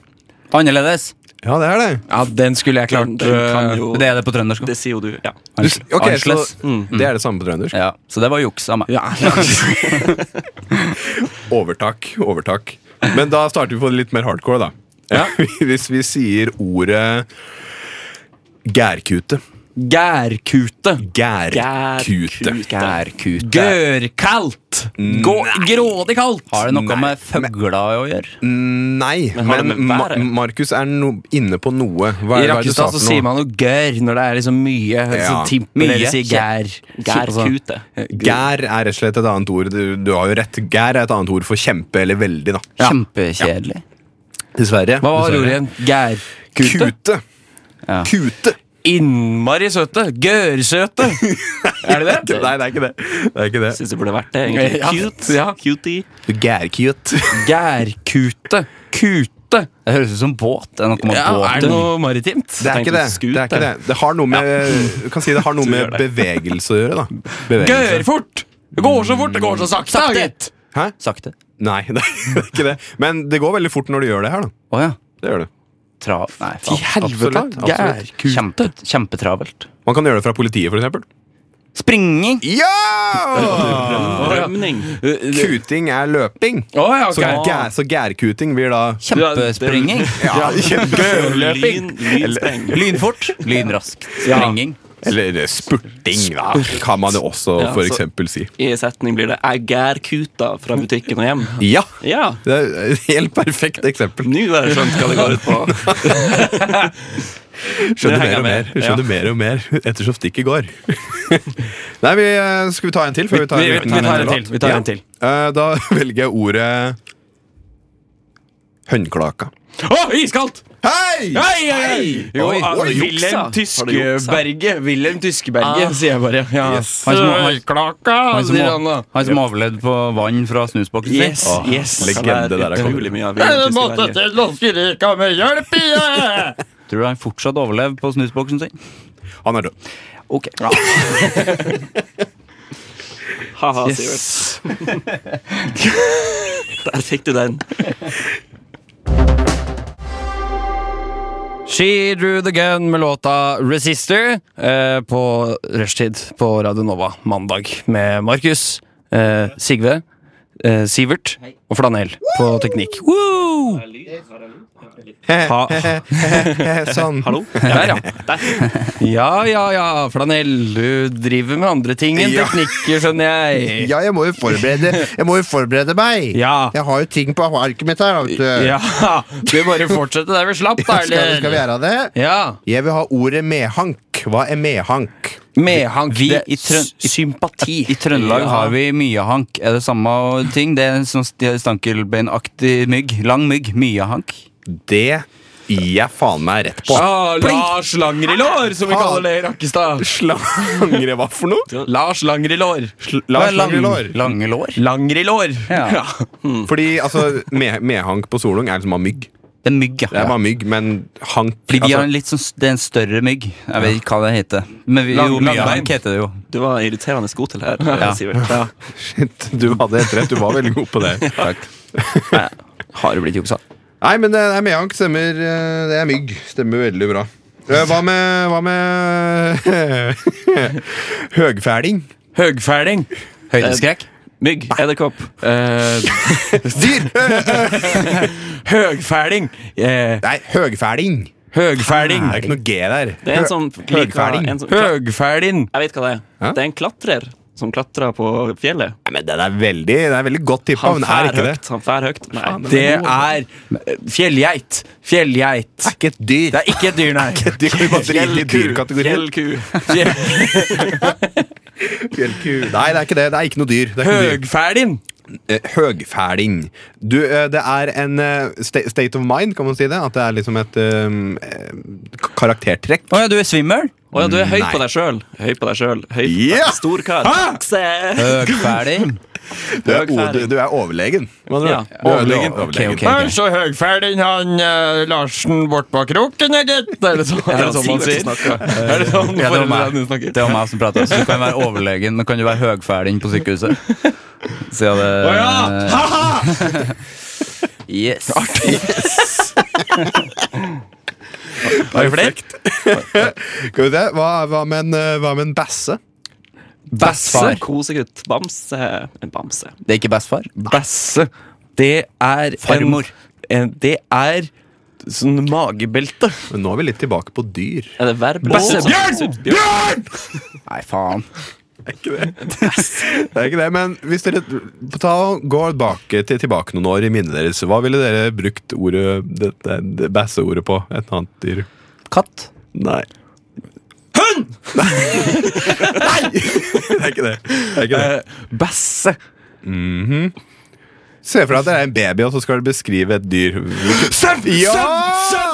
[SPEAKER 1] Annerledes.
[SPEAKER 4] Ja, det er det.
[SPEAKER 2] Ja, den skulle jeg klart. eh,
[SPEAKER 3] Den kan jo,
[SPEAKER 1] Det er det på trøndersk.
[SPEAKER 3] det sier jo du. Ja.
[SPEAKER 4] Du, s- ok, så, Mm.
[SPEAKER 1] Annerledes. Mm.
[SPEAKER 4] det er det samme på trøndersk.
[SPEAKER 1] Ja, så det var juks av meg.
[SPEAKER 2] Ja.
[SPEAKER 4] Overtak. Overtak. Men da starter vi på det litt mer hardcore, da. Hvis vi sier ordet gærkute.
[SPEAKER 2] Gærkute.
[SPEAKER 4] Gærkute.
[SPEAKER 3] Gærkute.
[SPEAKER 1] Gærkute.
[SPEAKER 2] Gørrkaldt. Gå- Grådig kaldt.
[SPEAKER 1] Har det noe med føgla å gjøre?
[SPEAKER 4] Nei,
[SPEAKER 3] har det
[SPEAKER 4] men,
[SPEAKER 3] med
[SPEAKER 4] Ma
[SPEAKER 3] været?
[SPEAKER 4] Markus er no inne på noe. Hva
[SPEAKER 2] I
[SPEAKER 4] er, hva er det du sa
[SPEAKER 2] Rakkestad så
[SPEAKER 4] for
[SPEAKER 2] sier
[SPEAKER 4] noe?
[SPEAKER 2] man jo gørr når det er liksom mye.
[SPEAKER 4] Ja.
[SPEAKER 2] Ja. Timp,
[SPEAKER 1] Mye.
[SPEAKER 2] Eller sier gær.
[SPEAKER 3] Gærkute.
[SPEAKER 4] Gær er rett og slett et annet ord. Du, du har jo rett. Gær er et annet ord for kjempe eller veldig, da.
[SPEAKER 1] Kjempekjedelig.
[SPEAKER 4] Dessverre.
[SPEAKER 2] Hva var ordet
[SPEAKER 4] Dessverre.
[SPEAKER 2] igjen? Gærkute?
[SPEAKER 4] Kute.
[SPEAKER 1] Ja.
[SPEAKER 4] Kute.
[SPEAKER 2] Innmari søte. Gørrsøte. er det det?
[SPEAKER 4] Nei, det er ikke det. det, er ikke det.
[SPEAKER 3] Syns det burde vært det, egentlig.
[SPEAKER 2] Ja.
[SPEAKER 3] Cute.
[SPEAKER 2] Ja.
[SPEAKER 3] Cutie.
[SPEAKER 4] Du gærkute.
[SPEAKER 2] Gærkute. Kute.
[SPEAKER 1] Det høres ut som båt. Det er noe med
[SPEAKER 2] Ja, er
[SPEAKER 1] båt.
[SPEAKER 2] det noe maritimt?
[SPEAKER 4] Det er
[SPEAKER 3] tenkte
[SPEAKER 4] ikke det.
[SPEAKER 3] skute.
[SPEAKER 4] Det, er ikke det. det har noe med, du kan si det har noe med
[SPEAKER 3] gjør
[SPEAKER 4] bevegelse å gjøre, da. Bevegelse.
[SPEAKER 2] Gørrfort! Det går så fort, det går så sakte.
[SPEAKER 1] Sakte.
[SPEAKER 2] gitt.
[SPEAKER 4] Hæ?
[SPEAKER 1] Sakte.
[SPEAKER 4] Nei, det er ikke det. Men det går veldig fort når du gjør det her, da.
[SPEAKER 1] Å ja.
[SPEAKER 4] Det gjør det.
[SPEAKER 1] Tra... Nei,
[SPEAKER 2] I
[SPEAKER 1] faen.
[SPEAKER 2] helvete.
[SPEAKER 4] absolutt, absolutt.
[SPEAKER 2] Gærkute.
[SPEAKER 1] Kjempe, kjempetravelt.
[SPEAKER 4] Man kan gjøre det fra politiet, for eksempel.
[SPEAKER 1] Springing!
[SPEAKER 4] Ja!
[SPEAKER 3] Rømning.
[SPEAKER 4] Kuting er løping.
[SPEAKER 2] Å ja,
[SPEAKER 4] Så,
[SPEAKER 2] ok.
[SPEAKER 4] gær, så gærkuting blir da
[SPEAKER 1] Kjempespringing.
[SPEAKER 4] ja,
[SPEAKER 3] Lyn, lynspreng.
[SPEAKER 1] Lynfort. Lynraskt. Springing.
[SPEAKER 4] Eller eh, spurting, da, kan man jo også
[SPEAKER 3] Ja,
[SPEAKER 4] for
[SPEAKER 3] så-
[SPEAKER 4] eksempel si.
[SPEAKER 3] I setning blir det 'jeg gærkuta fra butikken og hjem'.
[SPEAKER 4] Ja!
[SPEAKER 3] Ja,
[SPEAKER 4] Det er et helt perfekt eksempel.
[SPEAKER 3] nå har jeg skjønt hva det går ut på.
[SPEAKER 4] Skjønner
[SPEAKER 3] Det
[SPEAKER 4] mer og
[SPEAKER 3] henger jeg
[SPEAKER 4] mer,
[SPEAKER 3] med.
[SPEAKER 4] skjønner mer og mer ettersom stikket går. Nei, vi, eh, Skal vi ta en til? Før vi tar
[SPEAKER 2] Vi, vi,
[SPEAKER 4] liten-
[SPEAKER 2] vi tar en til. Vi tar en til.
[SPEAKER 4] Eh, Da velger jeg ordet hønklaka.
[SPEAKER 2] Å, iskaldt!
[SPEAKER 4] Hei!
[SPEAKER 2] Hei, hei, hei! Jo,
[SPEAKER 4] Oi,
[SPEAKER 2] ah,
[SPEAKER 4] oi, juksa.
[SPEAKER 2] Wilhelm
[SPEAKER 3] Har du juksa?
[SPEAKER 2] Tyskeberget. Wilhelm Tyskeberget, sier jeg bare. Ja.
[SPEAKER 4] Yes.
[SPEAKER 1] Han som- han-
[SPEAKER 2] Klaka,
[SPEAKER 1] Han som,
[SPEAKER 2] sier han da.
[SPEAKER 1] han som overlevde på vann fra snusboksen sin.
[SPEAKER 2] Yes,
[SPEAKER 1] Åh.
[SPEAKER 2] yes.
[SPEAKER 4] legg- Legende der er kommet.
[SPEAKER 3] Utrolig mye av Wilhelm Tyskeberget.
[SPEAKER 2] til Loskerika med hjelp i
[SPEAKER 1] Tror du han fortsatt overlevde på snusboksen sin?
[SPEAKER 4] Han er død.
[SPEAKER 1] Ok.
[SPEAKER 3] Haha, Sivert.
[SPEAKER 2] Yes.
[SPEAKER 3] Der fikk du den.
[SPEAKER 2] She Drew The Gun med låta Resister eh, på rushtid på Radio Nova mandag med Markus, eh, Sigve, eh, Sivert og Flanell på teknikk. Woo! Ha-
[SPEAKER 4] Sånn.
[SPEAKER 3] Hallo?
[SPEAKER 2] Der, ja. Ja, ja, ja. Flanell, du driver med andre ting enn
[SPEAKER 4] Ja.
[SPEAKER 2] teknikk, skjønner
[SPEAKER 4] Eh.
[SPEAKER 2] jeg.
[SPEAKER 5] Ja, jeg må jo forberede, jeg må jo forberede meg.
[SPEAKER 2] Ja.
[SPEAKER 5] Jeg har jo ting på arket mitt her. da, Vet du.
[SPEAKER 2] Ja, du bare fortsette der vi slapp, da,
[SPEAKER 5] Skal, vi- skal vi
[SPEAKER 2] eller?
[SPEAKER 5] gjøre det?
[SPEAKER 2] Ja.
[SPEAKER 5] Jeg vil ha ordet medhank. Hva er medhank?
[SPEAKER 2] Medhank.
[SPEAKER 1] Vi
[SPEAKER 2] det-
[SPEAKER 1] i Trøn- i-
[SPEAKER 2] sympati.
[SPEAKER 1] I Trøndelag
[SPEAKER 2] Ja.
[SPEAKER 1] har vi myehank. Er det samme ting? Det er en sånn st- stankelbeinaktig mygg. Lang mygg. Myehank.
[SPEAKER 4] Det gir jeg faen meg rett på.
[SPEAKER 2] Ah, Lars Langrilår, som vi
[SPEAKER 4] Faen.
[SPEAKER 2] kaller det i Rakkestad.
[SPEAKER 4] Slangre, hva for noe?
[SPEAKER 2] Lars Langrilår.
[SPEAKER 4] Lars
[SPEAKER 1] Lang-
[SPEAKER 4] Langelår.
[SPEAKER 1] Lange lår.
[SPEAKER 2] Langrilår.
[SPEAKER 1] Ja.
[SPEAKER 2] Ja.
[SPEAKER 1] Mm.
[SPEAKER 4] Fordi altså, med- medhank på solung er liksom bare mygg.
[SPEAKER 1] Det er mygg,
[SPEAKER 4] Det er
[SPEAKER 1] ja.
[SPEAKER 4] bare mygg, men hank
[SPEAKER 1] Fordi de har en
[SPEAKER 4] altså,
[SPEAKER 1] litt sånn, s- det er en større mygg. Jeg vet ikke hva det heter. Men vi, jo,
[SPEAKER 2] Lang- langbein.
[SPEAKER 1] myehank heter det jo.
[SPEAKER 3] Du var irriterende god til det her, Sivert.
[SPEAKER 4] Shit, du hadde helt rett. Du var veldig god på det.
[SPEAKER 2] Har det blitt juksa?
[SPEAKER 4] Nei, men det er medhank. Stemmer. eh, Det er mygg. Stemmer veldig bra. Eh, Hva med, hva med Høgfæling.
[SPEAKER 2] Høgfæling.
[SPEAKER 1] Høydeskrekk.
[SPEAKER 3] Mygg, edderkopp.
[SPEAKER 2] Eh,
[SPEAKER 4] Dyr!
[SPEAKER 2] høgfæling. Eh,
[SPEAKER 4] Nei, høgfæling.
[SPEAKER 2] høgfæling.
[SPEAKER 4] Det er ikke noe G der.
[SPEAKER 3] Det er en sånn lika,
[SPEAKER 4] Høgfæling.
[SPEAKER 3] en sånn, kla-
[SPEAKER 2] Høgfæling.
[SPEAKER 3] Jeg vet hva det er.
[SPEAKER 4] Hæ?
[SPEAKER 3] Det er en klatrer som klatrer på fjellet.
[SPEAKER 4] Nei, men den er veldig, den er veldig godt tippa,
[SPEAKER 3] Han
[SPEAKER 4] men er
[SPEAKER 3] fær
[SPEAKER 4] ikke det.
[SPEAKER 3] høyt. Han fær høyt. Nei.
[SPEAKER 2] Det er eh, fjellgeit. Fjellgeit.
[SPEAKER 4] Det er ikke et dyr.
[SPEAKER 2] Det er ikke et dyr, nei.
[SPEAKER 4] Du kan jo bare drite i dyrkategorien.
[SPEAKER 3] Fjellku.
[SPEAKER 2] Fjell-
[SPEAKER 4] Fjellku.
[SPEAKER 5] Nei, det er ikke det. Det er ikke noe dyr. Det er ikke noe dyr.
[SPEAKER 2] Høgferdin!
[SPEAKER 4] Eh, Høgfæling. Du, eh, det er en eh, sta- state of mind, kan man si det. At det er liksom et eh, eh, karaktertrekk.
[SPEAKER 1] Å ja, du er svimmel?
[SPEAKER 3] Å ja, du er høy
[SPEAKER 4] Nei.
[SPEAKER 3] på deg sjøl. Høy på deg sjøl. Høy
[SPEAKER 4] Ja!
[SPEAKER 3] Stor kar. Akse.
[SPEAKER 1] Høgfæling?
[SPEAKER 4] Du er,
[SPEAKER 3] Høgfæling.
[SPEAKER 4] o- du, du er overlegen. med andre
[SPEAKER 3] Ja.
[SPEAKER 4] ord. Du er- du er
[SPEAKER 1] Overlegen. Ok, ok.
[SPEAKER 2] Okay. Så høgferdig han eh, Larsen bort bak roken, er gitt! Er det sånn, er det sånn man
[SPEAKER 3] Sivert
[SPEAKER 2] sier?
[SPEAKER 3] snakker.
[SPEAKER 2] Er det sånn
[SPEAKER 1] Ja, det var meg.
[SPEAKER 2] foreldrene dine snakker?
[SPEAKER 1] Det var meg som pratet Så du kan være overlegen, men kan du være høgfæling på sykehuset? Siden det
[SPEAKER 2] Å ja! Ha-ha!
[SPEAKER 1] Yes.
[SPEAKER 2] Har du flere?
[SPEAKER 4] Skal vi se, hva, hva, med en, eh, hva med en basse?
[SPEAKER 1] Bassfar.
[SPEAKER 3] Kosegutt. Bamse. En bamse.
[SPEAKER 1] Det er ikke bestefar?
[SPEAKER 2] Basse. Det er en-
[SPEAKER 1] Farmor.
[SPEAKER 2] En, det er sånn magebelte.
[SPEAKER 4] Men nå er vi litt tilbake på dyr.
[SPEAKER 3] Er det verb?
[SPEAKER 2] Basse.
[SPEAKER 3] Bjørn!
[SPEAKER 1] Nei, faen.
[SPEAKER 4] Det er ikke det, men hvis dere ta, går tilbake, til, tilbake noen år i minnet deres, hva ville dere brukt ordet, det, det, det basseordet på? Et annet dyr?
[SPEAKER 1] Katt?
[SPEAKER 4] Nei. Hund! Nei! Nei! Det er ikke det. det, er ikke det.
[SPEAKER 2] Eh, basse.
[SPEAKER 4] Se for deg at det er en baby, og så skal du beskrive et dyr.
[SPEAKER 2] Sau!
[SPEAKER 4] Ja!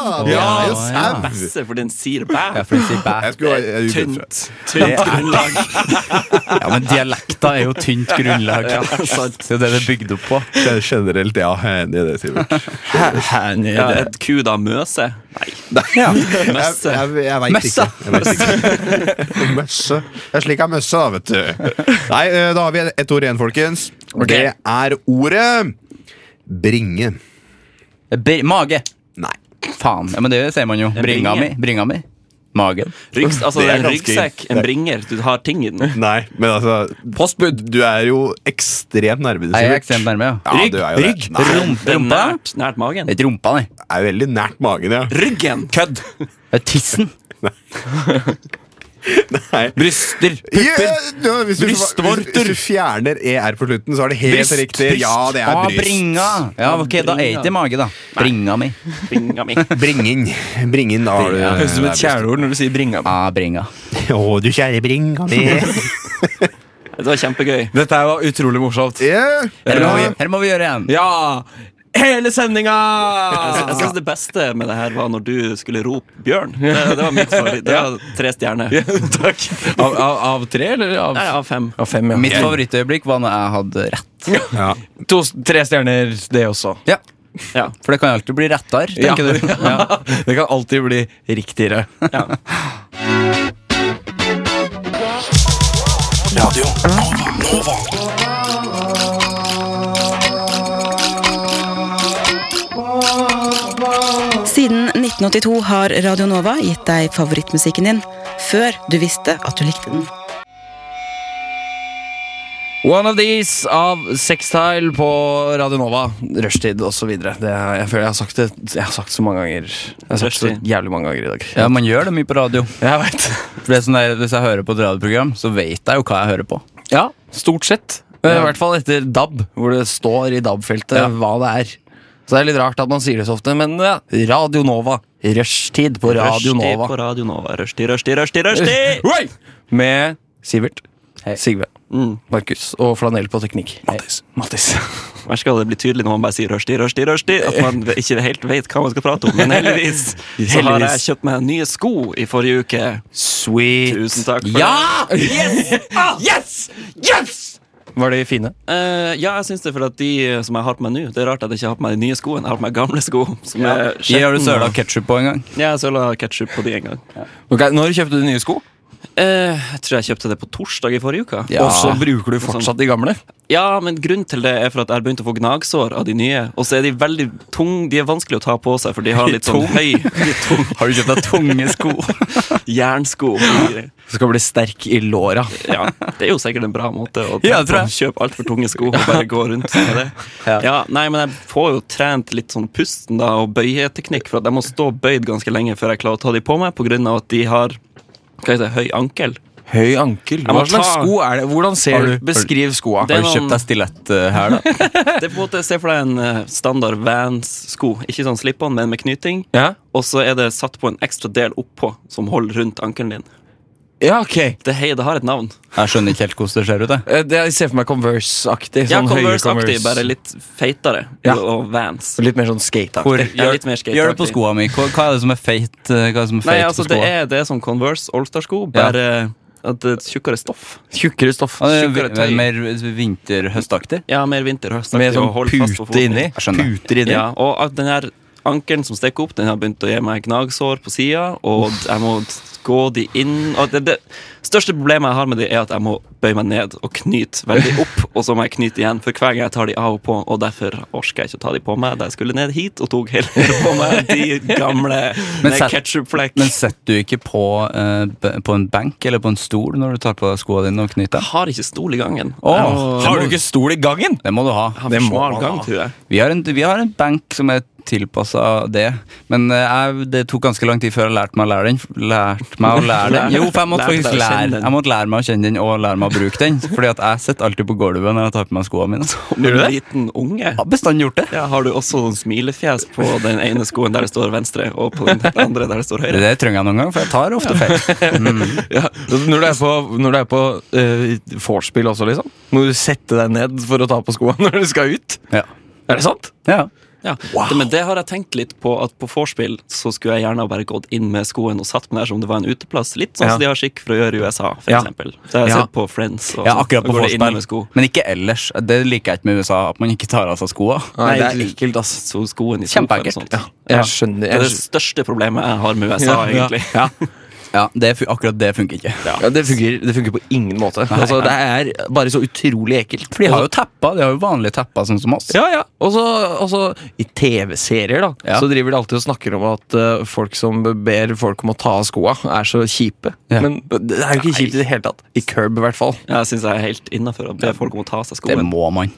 [SPEAKER 4] Det
[SPEAKER 1] Ja,
[SPEAKER 4] er jo
[SPEAKER 1] ja.
[SPEAKER 4] sau!
[SPEAKER 3] Basse, for den sier bæ.
[SPEAKER 1] Ja, for det sier bæ.
[SPEAKER 4] Jeg skulle jeg- jeg-
[SPEAKER 3] Tynt. Tynt grunnlag.
[SPEAKER 1] Ja, men dialekta er jo tynt grunnlag.
[SPEAKER 3] Ja, sant.
[SPEAKER 1] Det er det det er bygd opp på.
[SPEAKER 4] Generelt, ja. Jeg er enig i det, Sivert.
[SPEAKER 3] Ja, et ku da møse? Nei.
[SPEAKER 4] Jeg,
[SPEAKER 3] Møsse.
[SPEAKER 4] jeg, jeg veit ikke. Jeg vet ikke. Møsse. Jeg slik er møsse, da, vet du. Nei, eh, da har vi et ord igjen, folkens. Det er ordet bringe.
[SPEAKER 1] Br mage.
[SPEAKER 4] Nei.
[SPEAKER 1] Faen. Ja, men det sier man jo. Bringa mi.
[SPEAKER 3] bringe.
[SPEAKER 1] Bringa mi. Magen.
[SPEAKER 3] Ryggs, altså,
[SPEAKER 4] Det er
[SPEAKER 3] en
[SPEAKER 4] ganske-
[SPEAKER 3] ryggsekk, en bringer. Du har ting i den.
[SPEAKER 4] Nei, men altså Postbud. Du er jo ekstremt nærme.
[SPEAKER 1] Jeg er
[SPEAKER 4] Sivert.
[SPEAKER 1] ekstremt nærme, ja.
[SPEAKER 4] Ja, du er jo
[SPEAKER 2] Rygg,
[SPEAKER 4] det. Nei,
[SPEAKER 1] Rump-
[SPEAKER 3] Det er
[SPEAKER 1] Rumpa?
[SPEAKER 3] nært, nært magen.
[SPEAKER 1] Det er ikke rumpa, nei.
[SPEAKER 4] det er veldig nært magen, ja.
[SPEAKER 3] Ryggen! Kødd!
[SPEAKER 1] Det er tissen.
[SPEAKER 4] Nei.
[SPEAKER 2] Bryster.
[SPEAKER 4] Ja, ja, hvis, du, hvis,
[SPEAKER 2] Brystvorter.
[SPEAKER 4] hvis du fjerner ER på slutten, så er det helt
[SPEAKER 2] Bryst,
[SPEAKER 4] riktig.
[SPEAKER 2] bryst.
[SPEAKER 4] Ja, det er
[SPEAKER 1] Ah,
[SPEAKER 4] bryst.
[SPEAKER 1] bringa. Ja, ok, da er det ikke mage, da. Bringa mi.
[SPEAKER 3] Bringa mi.
[SPEAKER 4] Bringen. Bringen, da har du
[SPEAKER 2] Høres ut som
[SPEAKER 4] det
[SPEAKER 2] et kjæleord når du sier bringa.
[SPEAKER 1] Ah, bringa.
[SPEAKER 4] er bryst. Å, du kjære bringa mi.
[SPEAKER 3] Det var kjempegøy.
[SPEAKER 2] Dette her var utrolig morsomt.
[SPEAKER 4] Ja.
[SPEAKER 1] Her må vi,
[SPEAKER 4] Ja.
[SPEAKER 1] her må vi gjøre en.
[SPEAKER 2] Ja! Hele sendinga!
[SPEAKER 3] Jeg sy- Jeg syns det beste med det her var når du skulle rope 'bjørn'. Det, det var mitt favoritt. Det var tre stjerner.
[SPEAKER 2] Takk. Av, av, av tre, eller? Av,
[SPEAKER 3] Nei, av fem.
[SPEAKER 2] av fem, ja.
[SPEAKER 1] Mitt favorittøyeblikk var når jeg hadde rett.
[SPEAKER 4] Ja.
[SPEAKER 2] to, tre stjerner, det også.
[SPEAKER 1] Ja,
[SPEAKER 3] Ja.
[SPEAKER 1] For det kan alltid bli rettere,
[SPEAKER 2] Ja.
[SPEAKER 1] tenker du. Ja.
[SPEAKER 2] Det kan alltid bli riktigere.
[SPEAKER 6] Siden 1982 har Radio Nova gitt deg favorittmusikken din før du visste at du likte den.
[SPEAKER 2] One of these av Sextile på Radio Nova. Rushtid osv. Jeg føler jeg har sagt det Jeg har sagt så mange ganger. Jeg har sagt det
[SPEAKER 3] Rushtid.
[SPEAKER 2] jævlig mange ganger i dag.
[SPEAKER 1] ja, man gjør det mye på radio.
[SPEAKER 2] Jeg vet.
[SPEAKER 1] For det er sånn der, Hvis jeg hører på et radioprogram, så vet jeg jo hva jeg hører på.
[SPEAKER 2] Ja, stort sett. Men I hvert fall etter DAB, hvor det står i DAB-feltet
[SPEAKER 1] Ja.
[SPEAKER 2] hva det er. Så det er litt rart at man sier det så ofte, men ja. Radio Nova. Rushtid på Radio
[SPEAKER 3] Rushtid
[SPEAKER 2] Nova.
[SPEAKER 3] på Radio Nova. Rushtid, rushtid, rushtid, rushtid!
[SPEAKER 2] Oi! Med Sivert,
[SPEAKER 1] Hei.
[SPEAKER 2] Sigve, Markus og Flanell på teknikk. Mattis. Mattis.
[SPEAKER 3] Her skal det bli tydelig når man bare sier 'rushtid, rushtid, rushtid', at man ikke helt vet hva man skal prate om. Men heldigvis så har jeg
[SPEAKER 2] Heldigvis.
[SPEAKER 3] kjøpt meg nye sko i forrige uke.
[SPEAKER 2] Sweet.
[SPEAKER 3] Tusen takk for det.
[SPEAKER 2] Ja! Yes! Ah! yes! Yes! Var de fine?
[SPEAKER 3] Eh, ja, jeg syns det, for at de som jeg har på meg nå Det er rart at jeg ikke har på meg de nye skoene. Jeg har på meg gamle sko. Som er
[SPEAKER 1] Gi har du
[SPEAKER 3] skitten.
[SPEAKER 1] søla ketsjup på en gang?
[SPEAKER 3] Ja, jeg søla ketsjup på de en gang.
[SPEAKER 2] Ok, Når kjøpte du nye sko?
[SPEAKER 3] Eh, jeg tror jeg kjøpte det på torsdag i forrige uke. Sånn-
[SPEAKER 1] Ja.
[SPEAKER 2] Og så bruker du fortsatt de gamle?
[SPEAKER 3] Ja, men grunnen til det er for at jeg har begynt å få gnagsår av de nye. Og så er de veldig tung, de er vanskelig å ta på seg, for de har litt sånn høy de er tung
[SPEAKER 1] Har du kjøpt deg tunge sko?
[SPEAKER 3] jernsko.
[SPEAKER 2] Skal bli sterk i låra.
[SPEAKER 3] Ja, det er jo sikkert en bra måte å
[SPEAKER 1] Ja,
[SPEAKER 3] ja,
[SPEAKER 1] jeg tror jeg.
[SPEAKER 3] kjøpe altfor tunge sko og bare gå rundt med det.
[SPEAKER 1] Ja.
[SPEAKER 3] Ja, nei, men jeg får jo trent litt sånn pusten da, og bøyeteknikk, for at jeg må stå bøyd ganske lenge før jeg klarer å ta de på meg, på grunn av at de har hva heter det, høy ankel.
[SPEAKER 2] Høy ankel.
[SPEAKER 3] må
[SPEAKER 2] Hva slags
[SPEAKER 3] ta-
[SPEAKER 2] sko er det? Hvordan
[SPEAKER 1] Har
[SPEAKER 2] ser
[SPEAKER 1] du-
[SPEAKER 2] du? Beskriv skoa.
[SPEAKER 3] Det er
[SPEAKER 1] Har
[SPEAKER 3] noen-
[SPEAKER 1] du kjøpt deg stilett eh, her, da?
[SPEAKER 3] Det er på en måte, Se for deg en eh, standard Vans-sko. Ikke sånn slip-on, men med knyting.
[SPEAKER 2] Ja?
[SPEAKER 3] Og så er det satt på en ekstra del oppå som holder rundt ankelen din.
[SPEAKER 2] Ja, ok.
[SPEAKER 3] Det, hei, det har et navn.
[SPEAKER 1] Jeg skjønner ikke helt hvordan det ser ut. Jeg.
[SPEAKER 2] Eh, Det, jeg ser for meg Converse-aktig.
[SPEAKER 3] Ja,
[SPEAKER 2] Sånn
[SPEAKER 3] Converse-aktig,
[SPEAKER 2] høye
[SPEAKER 3] bare litt feitere.
[SPEAKER 2] Ja.
[SPEAKER 3] Og Vans.
[SPEAKER 2] Litt mer sånn skate-aktig.
[SPEAKER 1] Hvor,
[SPEAKER 3] Ja, litt mer skateaktig.
[SPEAKER 1] gjør det på skoene mine. Hva, hva er det som er feit? eh, Hva er det som er feit
[SPEAKER 3] Nei, altså,
[SPEAKER 1] på
[SPEAKER 3] det
[SPEAKER 1] skoene?
[SPEAKER 3] er det som Converse Allstar-sko, bare at det er tjukkere stoff.
[SPEAKER 2] Tjukkere stoff.
[SPEAKER 1] Ja, det er
[SPEAKER 2] Tjukkere
[SPEAKER 1] vi-
[SPEAKER 2] tøy.
[SPEAKER 1] mer vinter-høstaktig.
[SPEAKER 3] Ja, mer vinterhøst.
[SPEAKER 2] Med sånn pute inni.
[SPEAKER 1] Jeg skjønner.
[SPEAKER 2] Puter inni.
[SPEAKER 3] Ja, og at den her ankelen som stikker opp, den har begynt å gi meg gnagsår på sida, og jeg må gå de inn og det, det største problemet jeg har med de, er at jeg må bøye meg ned og knyte veldig opp, og så må jeg knyte igjen, for hver gang jeg tar de av og på, og derfor orker jeg ikke å ta de på meg. Da jeg skulle ned hit og tok heller på meg de gamle
[SPEAKER 1] Men
[SPEAKER 3] med
[SPEAKER 1] sett-
[SPEAKER 3] ketchupflekk.
[SPEAKER 1] Men setter du ikke på, eh, b- på en benk eller på en stol når du tar på skoene dine og
[SPEAKER 3] Jeg
[SPEAKER 1] knyter dem?
[SPEAKER 3] har ikke stol i gangen.
[SPEAKER 1] Åh,
[SPEAKER 2] Har du ikke stol i gangen?
[SPEAKER 1] Det må du ha.
[SPEAKER 3] Jeg har
[SPEAKER 2] må
[SPEAKER 3] for smal
[SPEAKER 2] man
[SPEAKER 3] gang,
[SPEAKER 2] ha.
[SPEAKER 3] tror jeg.
[SPEAKER 1] Vi har en, vi har en benk som er tilpassa det, men eh, jeg, det tok ganske lang tid før jeg lærte meg å lære den. Lært meg å lære den. Jo, for jeg måtte
[SPEAKER 3] Lærte deg
[SPEAKER 1] faktisk
[SPEAKER 3] å kjenne
[SPEAKER 1] lære
[SPEAKER 3] den.
[SPEAKER 1] Jeg måtte lære meg å kjenne den og lære meg å bruke den. Fordi at jeg sitter alltid på gulvet når jeg tar på meg skoene mine. Jeg
[SPEAKER 3] Om en liten unge.
[SPEAKER 1] har bestandig gjort det.
[SPEAKER 3] Ja, har du også sånn smilefjes på den ene skoen der det står venstre, og på den andre der det står høyre?
[SPEAKER 1] Det trenger jeg noen gang, for jeg tar ofte feil.
[SPEAKER 2] Ja. Når du er på, når du er på eh, vorspiel også, liksom? Må du sette deg ned for å ta på skoene når du skal ut?
[SPEAKER 1] Ja.
[SPEAKER 2] Er det sant?
[SPEAKER 1] ja.
[SPEAKER 3] Ja, det, men det har jeg tenkt litt på, at på vorspiel så skulle jeg gjerne ha bare gått inn med skoen og satt meg der som det var en uteplass. Litt sånn
[SPEAKER 2] Ja.
[SPEAKER 3] som de har skikk for å gjøre i USA, for
[SPEAKER 2] Ja.
[SPEAKER 3] eksempel. Det har jeg
[SPEAKER 2] Ja.
[SPEAKER 3] sett på Friends. Og
[SPEAKER 1] Ja,
[SPEAKER 3] sånn.
[SPEAKER 1] akkurat
[SPEAKER 3] Da
[SPEAKER 1] på
[SPEAKER 3] går det inn med
[SPEAKER 1] vorspiel.
[SPEAKER 3] sko.
[SPEAKER 1] Men ikke ellers. Det liker jeg ikke med USA, at man ikke tar av seg skoa.
[SPEAKER 2] Nei, det er
[SPEAKER 3] du-
[SPEAKER 2] ekkelt, ass.
[SPEAKER 3] Så skoen i sofaen og
[SPEAKER 1] Kjempeekkelt.
[SPEAKER 3] sånt.
[SPEAKER 2] Ja,
[SPEAKER 3] Ja.
[SPEAKER 2] jeg skjønner.
[SPEAKER 3] Det er
[SPEAKER 2] Jeg
[SPEAKER 3] det største problemet jeg har med USA,
[SPEAKER 2] Ja,
[SPEAKER 3] egentlig.
[SPEAKER 2] Ja, ja.
[SPEAKER 1] Ja, det, fu- akkurat det funker ikke.
[SPEAKER 2] Ja, det, fungerer, det fungerer på ingen måte. altså, Det er bare så utrolig ekkelt.
[SPEAKER 1] For de har jo teppa, de har jo vanlige teppa, sånn som oss.
[SPEAKER 2] Ja, ja. Og så og så i TV-serier da
[SPEAKER 1] Ja.
[SPEAKER 2] Så driver de alltid og snakker om at eh, folk som ber folk om å ta av skoa, er så kjipe.
[SPEAKER 1] Ja.
[SPEAKER 2] Men det er jo ikke kjipt i det hele tatt. I Curb, i hvert fall.
[SPEAKER 3] Ja, Jeg syns jeg er helt innafor å be folk om å ta av seg
[SPEAKER 1] Det
[SPEAKER 3] skoen.
[SPEAKER 1] må man.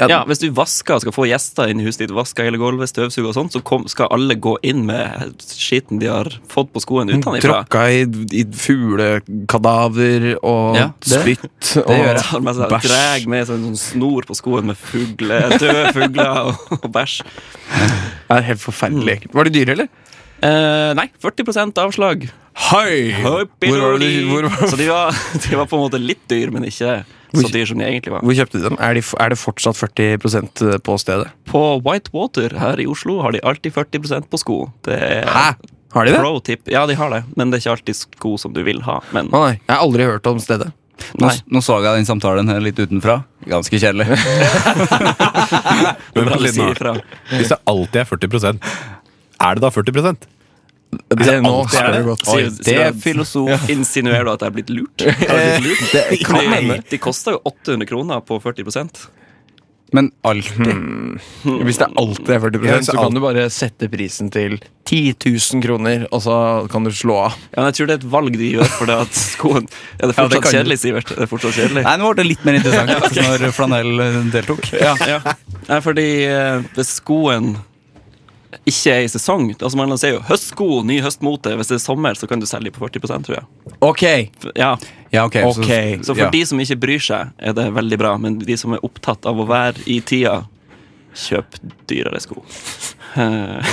[SPEAKER 3] Ja, Hvis du vasker og skal få gjester inn i huset ditt, vasker hele gulvet, støvsuger og sånt, så kom, skal alle gå inn med skitten de har fått på skoen utenfra.
[SPEAKER 2] Tråkka i, i fuglekadaver og
[SPEAKER 1] Ja, det-
[SPEAKER 2] spytt og
[SPEAKER 1] gjør jeg.
[SPEAKER 3] Tar med seg
[SPEAKER 2] Bæsj.
[SPEAKER 3] dreg med seg en sånn snor på skoen med fugle, døde fugler og, og bæsj.
[SPEAKER 2] Det er helt forferdelig ekkelt. Mm. Var det dyre, eller?
[SPEAKER 3] Eh, nei, 40 avslag.
[SPEAKER 2] Hei! Hvor, var det, du- hvor,
[SPEAKER 3] Så de var, de var på en måte litt dyr, men ikke så dyr som de egentlig var.
[SPEAKER 2] hvor kjøpte du dem? Er, de, er det fortsatt 40 på stedet?
[SPEAKER 3] På Whitewater her i Oslo har de alltid 40 på sko. Det er
[SPEAKER 2] Har de det?
[SPEAKER 3] pro tip. Ja, de har det, men det er ikke alltid sko som du vil ha. Men
[SPEAKER 2] Å nei, Jeg har aldri hørt om stedet.
[SPEAKER 1] Nå,
[SPEAKER 3] Nei.
[SPEAKER 1] nå så jeg den samtalen her litt utenfra. Ganske kjedelig.
[SPEAKER 4] Men
[SPEAKER 3] bare
[SPEAKER 4] på siden
[SPEAKER 3] si
[SPEAKER 4] av,
[SPEAKER 3] ifra.
[SPEAKER 4] hvis det alltid er 40 er det da 40
[SPEAKER 2] Det nå
[SPEAKER 4] alltid er
[SPEAKER 2] spør
[SPEAKER 4] det.
[SPEAKER 2] du godt.
[SPEAKER 1] Oi,
[SPEAKER 3] Sier-
[SPEAKER 1] det
[SPEAKER 3] sier
[SPEAKER 1] er
[SPEAKER 3] du-
[SPEAKER 1] filosof.
[SPEAKER 3] Insinuerer du at jeg er blitt lurt? Jeg er blitt lurt. De- De koster jo 800 kroner på 40
[SPEAKER 1] Men alltid.
[SPEAKER 2] Hvis det alltid er 40
[SPEAKER 4] Ja, så
[SPEAKER 2] så kan
[SPEAKER 4] alt-
[SPEAKER 2] du bare sette prisen til 10 000 kroner, og så kan du slå av.
[SPEAKER 3] Ja, men jeg tror det er et valg de gjør for det at skoen Er det
[SPEAKER 1] Ja, det
[SPEAKER 3] fortsatt
[SPEAKER 1] kan jo-
[SPEAKER 3] kjedelig, Sivert? Er det fortsatt kjedelig?
[SPEAKER 1] Nei, nå ble det litt mer interessant når Flanell eh, deltok.
[SPEAKER 3] Ja, ja. Nei, fordi eh, hvis skoen ikke er i sesong altså Man sier jo 'høstsko, ny høstmote'. Hvis det er sommer, så kan du selge på 40 tror jeg.
[SPEAKER 2] Ok,
[SPEAKER 3] F- Ja,
[SPEAKER 1] Ja, ok. så-
[SPEAKER 2] Ok,
[SPEAKER 3] Så for
[SPEAKER 1] ja.
[SPEAKER 3] de som ikke bryr seg, er det veldig bra. Men de som er opptatt av å være i tida, kjøp dyrere sko. Eh,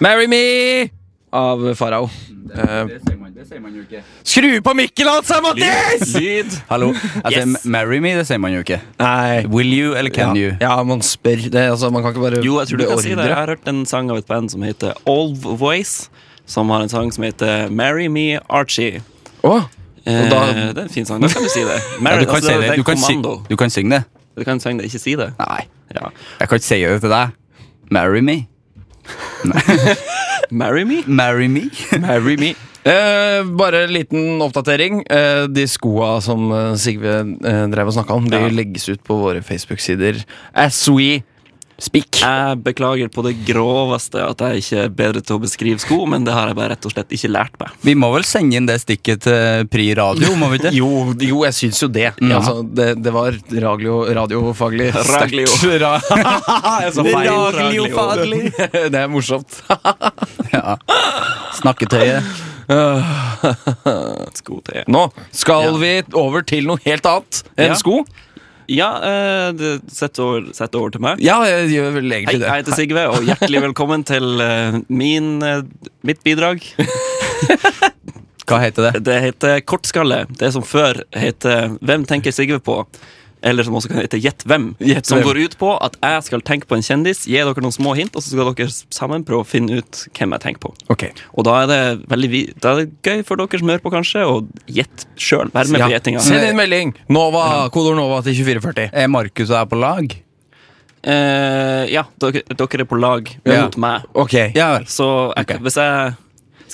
[SPEAKER 2] Marry me! Av Farao. Eh,
[SPEAKER 1] Det sier man jo ikke.
[SPEAKER 2] skru på mikken hans, her, Mattis!
[SPEAKER 3] Lyd!
[SPEAKER 1] Hallo. Jeg sier
[SPEAKER 3] Yes.
[SPEAKER 1] 'marry me', det sier man jo ikke.
[SPEAKER 2] Nei.
[SPEAKER 1] Will you eller can you?
[SPEAKER 2] Ja, man spør. Det, altså, man kan ikke bare
[SPEAKER 3] Jo, jeg tror du kan si det. Jeg
[SPEAKER 2] beordre.
[SPEAKER 3] har hørt en sang av et band som heter All Voice. Som har en sang som heter Marry Me Archie.
[SPEAKER 2] Å,
[SPEAKER 3] Eh,
[SPEAKER 2] da-
[SPEAKER 3] det er en fin sang. Da kan du si det. Marry,
[SPEAKER 1] Ja, du kan
[SPEAKER 3] altså,
[SPEAKER 1] si det.
[SPEAKER 3] er
[SPEAKER 1] Du kan, sy
[SPEAKER 3] kommando.
[SPEAKER 1] du kan synge det.
[SPEAKER 3] Du kan synge det, ikke si det.
[SPEAKER 1] Nei.
[SPEAKER 3] Ja.
[SPEAKER 1] Jeg kan ikke si det til deg. Marry me.
[SPEAKER 3] Marry me?
[SPEAKER 1] Marry me.
[SPEAKER 2] Marry me. Eh, bare en liten oppdatering. Eh, de skoa som eh, Sigve eh, drev og snakka om, de
[SPEAKER 3] Ja.
[SPEAKER 2] legges ut på våre Facebook-sider Eh, as we speak.
[SPEAKER 3] Jeg beklager på det groveste at jeg ikke er bedre til å beskrive sko, men det har jeg bare rett og slett ikke lært meg.
[SPEAKER 1] Vi må vel sende inn det stikket til Pri Radio, må vi ikke?
[SPEAKER 2] Jo, jo, jeg syns jo det. Altså, det, det var radio, radiofaglig
[SPEAKER 3] Raglio.
[SPEAKER 2] sterkt. Ra jeg sa feil.
[SPEAKER 1] Ragliofaglig.
[SPEAKER 2] Det er morsomt.
[SPEAKER 1] Ja. Snakketøyet.
[SPEAKER 3] Sko til
[SPEAKER 2] Nå skal vi over til noe helt annet enn
[SPEAKER 3] Ja.
[SPEAKER 2] sko.
[SPEAKER 3] Ja, eh, det- sett over, sett over til meg.
[SPEAKER 2] Ja, jeg gjør vel
[SPEAKER 3] Hei,
[SPEAKER 2] egentlig det.
[SPEAKER 3] jeg heter Sigve, og hjertelig velkommen til eh, min, eh, mitt bidrag.
[SPEAKER 1] Hva heter det?
[SPEAKER 3] Det heter Kortskalle. Det som før heter Hvem tenker Sigve på? Eller som også kan hete Gjett hvem.
[SPEAKER 2] Gjett
[SPEAKER 3] som
[SPEAKER 2] hvem.
[SPEAKER 3] går ut på at jeg skal tenke på en kjendis, gi dere noen små hint, og så skal dere sammen prøve å finne ut hvem jeg tenker på.
[SPEAKER 2] Ok.
[SPEAKER 3] Og da er det veldig vi- da er det gøy for dere som hører på, kanskje, å gjette sjøl. Vær med på
[SPEAKER 2] Ja.
[SPEAKER 3] gjettinga.
[SPEAKER 2] Send inn melding. Nova, Kodord Nova til 2440.
[SPEAKER 1] Eh, Er Markus og jeg på lag?
[SPEAKER 3] Eh, ja, dere, dere er på lag
[SPEAKER 1] Ja.
[SPEAKER 3] mot meg.
[SPEAKER 2] Ok.
[SPEAKER 1] Ja vel.
[SPEAKER 3] Så jeg,
[SPEAKER 1] Ok.
[SPEAKER 3] hvis jeg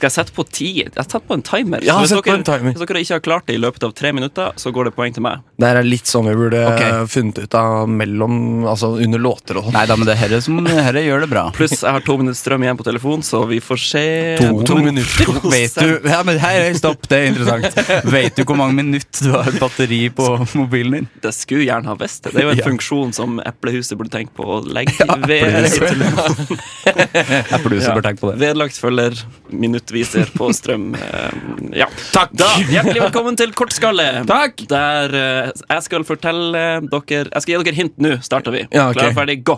[SPEAKER 3] skal jeg sette på tid? Jeg setter på en timer.
[SPEAKER 2] Ja,
[SPEAKER 3] Så hvis,
[SPEAKER 2] sett på
[SPEAKER 3] dere,
[SPEAKER 2] en timer.
[SPEAKER 3] hvis dere ikke har klart det i løpet av tre minutter, så går det poeng til meg.
[SPEAKER 2] Det her er litt sånn vi burde
[SPEAKER 1] Ok.
[SPEAKER 2] eh, funnet ut av mellom Altså under låter og sånn.
[SPEAKER 1] Nei da, men det her er som det her gjør det bra.
[SPEAKER 3] Pluss jeg har to minutter strøm igjen på telefon, så vi får se.
[SPEAKER 2] minutter.
[SPEAKER 1] Vet du Ja, men hei, hei, stopp, det er interessant. Vet du hvor mange minutter du har batteri på mobilen din?
[SPEAKER 3] Det skulle jeg gjerne ha visst. Det Det er jo en
[SPEAKER 1] Ja.
[SPEAKER 3] funksjon som Eplehuset burde tenke på å legge i ved.
[SPEAKER 1] Eplehuset bør tenke på det.
[SPEAKER 3] Vedlagt følger minuttviser på strøm. Eh, Ja. Takk! Da, hjertelig velkommen til Kortskalle.
[SPEAKER 2] Takk!
[SPEAKER 3] Der eh, jeg skal fortelle dere Jeg skal gi dere hint nå. Starter vi.
[SPEAKER 2] Ja, ok.
[SPEAKER 3] Klar, ferdig, gå.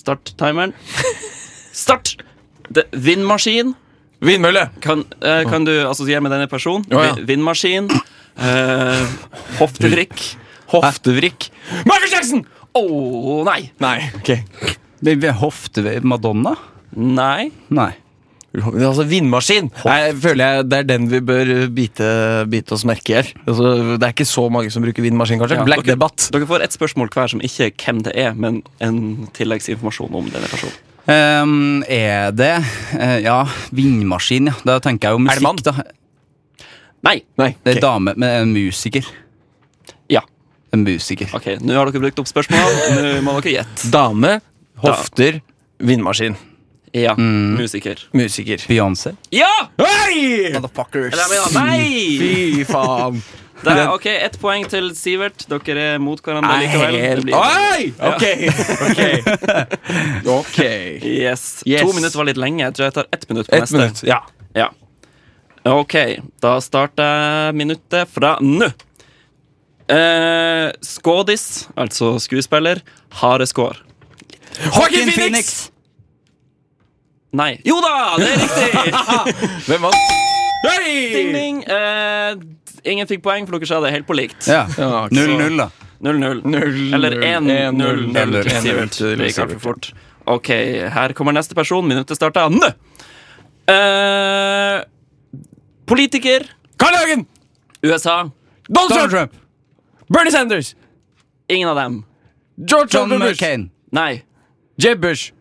[SPEAKER 3] Start timeren. Start! Det, vindmaskin.
[SPEAKER 2] Vindmølle!
[SPEAKER 3] Kan, eh, kan du assosiere med denne personen?
[SPEAKER 2] Ja, ja.
[SPEAKER 3] Vi- Vindmaskin. eh, hoftevrikk.
[SPEAKER 2] Hoftevrikk. Michael Jackson!
[SPEAKER 3] Å nei!
[SPEAKER 2] Nei, ok.
[SPEAKER 1] Ved hofte ved Madonna?
[SPEAKER 3] Nei.
[SPEAKER 1] Nei.
[SPEAKER 2] Altså Vindmaskin. Nei, jeg føler jeg, Det er den vi bør bite, bite oss merke i her. Altså, det er ikke så mange som bruker vindmaskin, kanskje.
[SPEAKER 3] Ja,
[SPEAKER 2] Black
[SPEAKER 3] dere-
[SPEAKER 2] Debatt.
[SPEAKER 3] Dere får ett spørsmål hver som ikke er hvem det er, men en tilleggsinformasjon om denne personen.
[SPEAKER 1] Ehm, er det eh, Ja, vindmaskin, ja. Da tenker jeg jo
[SPEAKER 2] Er det mann?
[SPEAKER 1] musikk, da.
[SPEAKER 3] Nei.
[SPEAKER 2] Nei,
[SPEAKER 1] Det er
[SPEAKER 2] ok.
[SPEAKER 1] dame, men en musiker.
[SPEAKER 3] Ja.
[SPEAKER 1] En musiker.
[SPEAKER 3] Ok, Nå har dere brukt opp spørsmål. Nå må dere gjette.
[SPEAKER 2] Dame, hofter, vindmaskin.
[SPEAKER 3] Ja.
[SPEAKER 2] Mm.
[SPEAKER 3] Musiker.
[SPEAKER 2] Musiker.
[SPEAKER 1] Beyoncé.
[SPEAKER 3] Ja!
[SPEAKER 2] Hei!
[SPEAKER 1] Motherfuckers.
[SPEAKER 3] Eller, jeg mener, nei!
[SPEAKER 2] Fy faen.
[SPEAKER 3] Det er, ok, Ett poeng til Sivert. Dere er mot hverandre likevel. Det blir-
[SPEAKER 2] Oi! Ok. Ok. okay.
[SPEAKER 3] Yes.
[SPEAKER 2] Yes.
[SPEAKER 3] To minutter var litt lenge. Jeg tror jeg tar ett minutt på
[SPEAKER 2] Ett
[SPEAKER 3] neste.
[SPEAKER 2] minutt. Ja.
[SPEAKER 3] Ja. Ok, da starter jeg minuttet fra nå. Eh, skådis, altså skuespiller, hareskår.
[SPEAKER 2] Joaquin
[SPEAKER 1] Phoenix.
[SPEAKER 3] Nei. Jo da, det er riktig!
[SPEAKER 2] Hvem vant? Hei!
[SPEAKER 3] ding, ding. Eh, ingen fikk poeng, for dere sa det helt på likt.
[SPEAKER 1] Ja.
[SPEAKER 2] Ja, ikke
[SPEAKER 1] 0-0, da.
[SPEAKER 3] 0-0.
[SPEAKER 2] Null,
[SPEAKER 3] Eller
[SPEAKER 2] null,
[SPEAKER 3] 1-0.
[SPEAKER 2] en, null,
[SPEAKER 3] til
[SPEAKER 2] en, null
[SPEAKER 3] Sivert.
[SPEAKER 2] til
[SPEAKER 3] Det gikk
[SPEAKER 2] Sivert.
[SPEAKER 3] altfor fort. Ok, her kommer neste person. Minuttet starter nå! Eh, politiker.
[SPEAKER 2] Carl I. Hagen!
[SPEAKER 3] USA.
[SPEAKER 2] Donald Trump!
[SPEAKER 1] Donald Trump.
[SPEAKER 2] Bernie Sanders!
[SPEAKER 3] Ingen av dem.
[SPEAKER 2] George
[SPEAKER 1] John
[SPEAKER 2] Trump Bush!
[SPEAKER 1] McCain.
[SPEAKER 3] Nei.
[SPEAKER 2] Jeb Bush.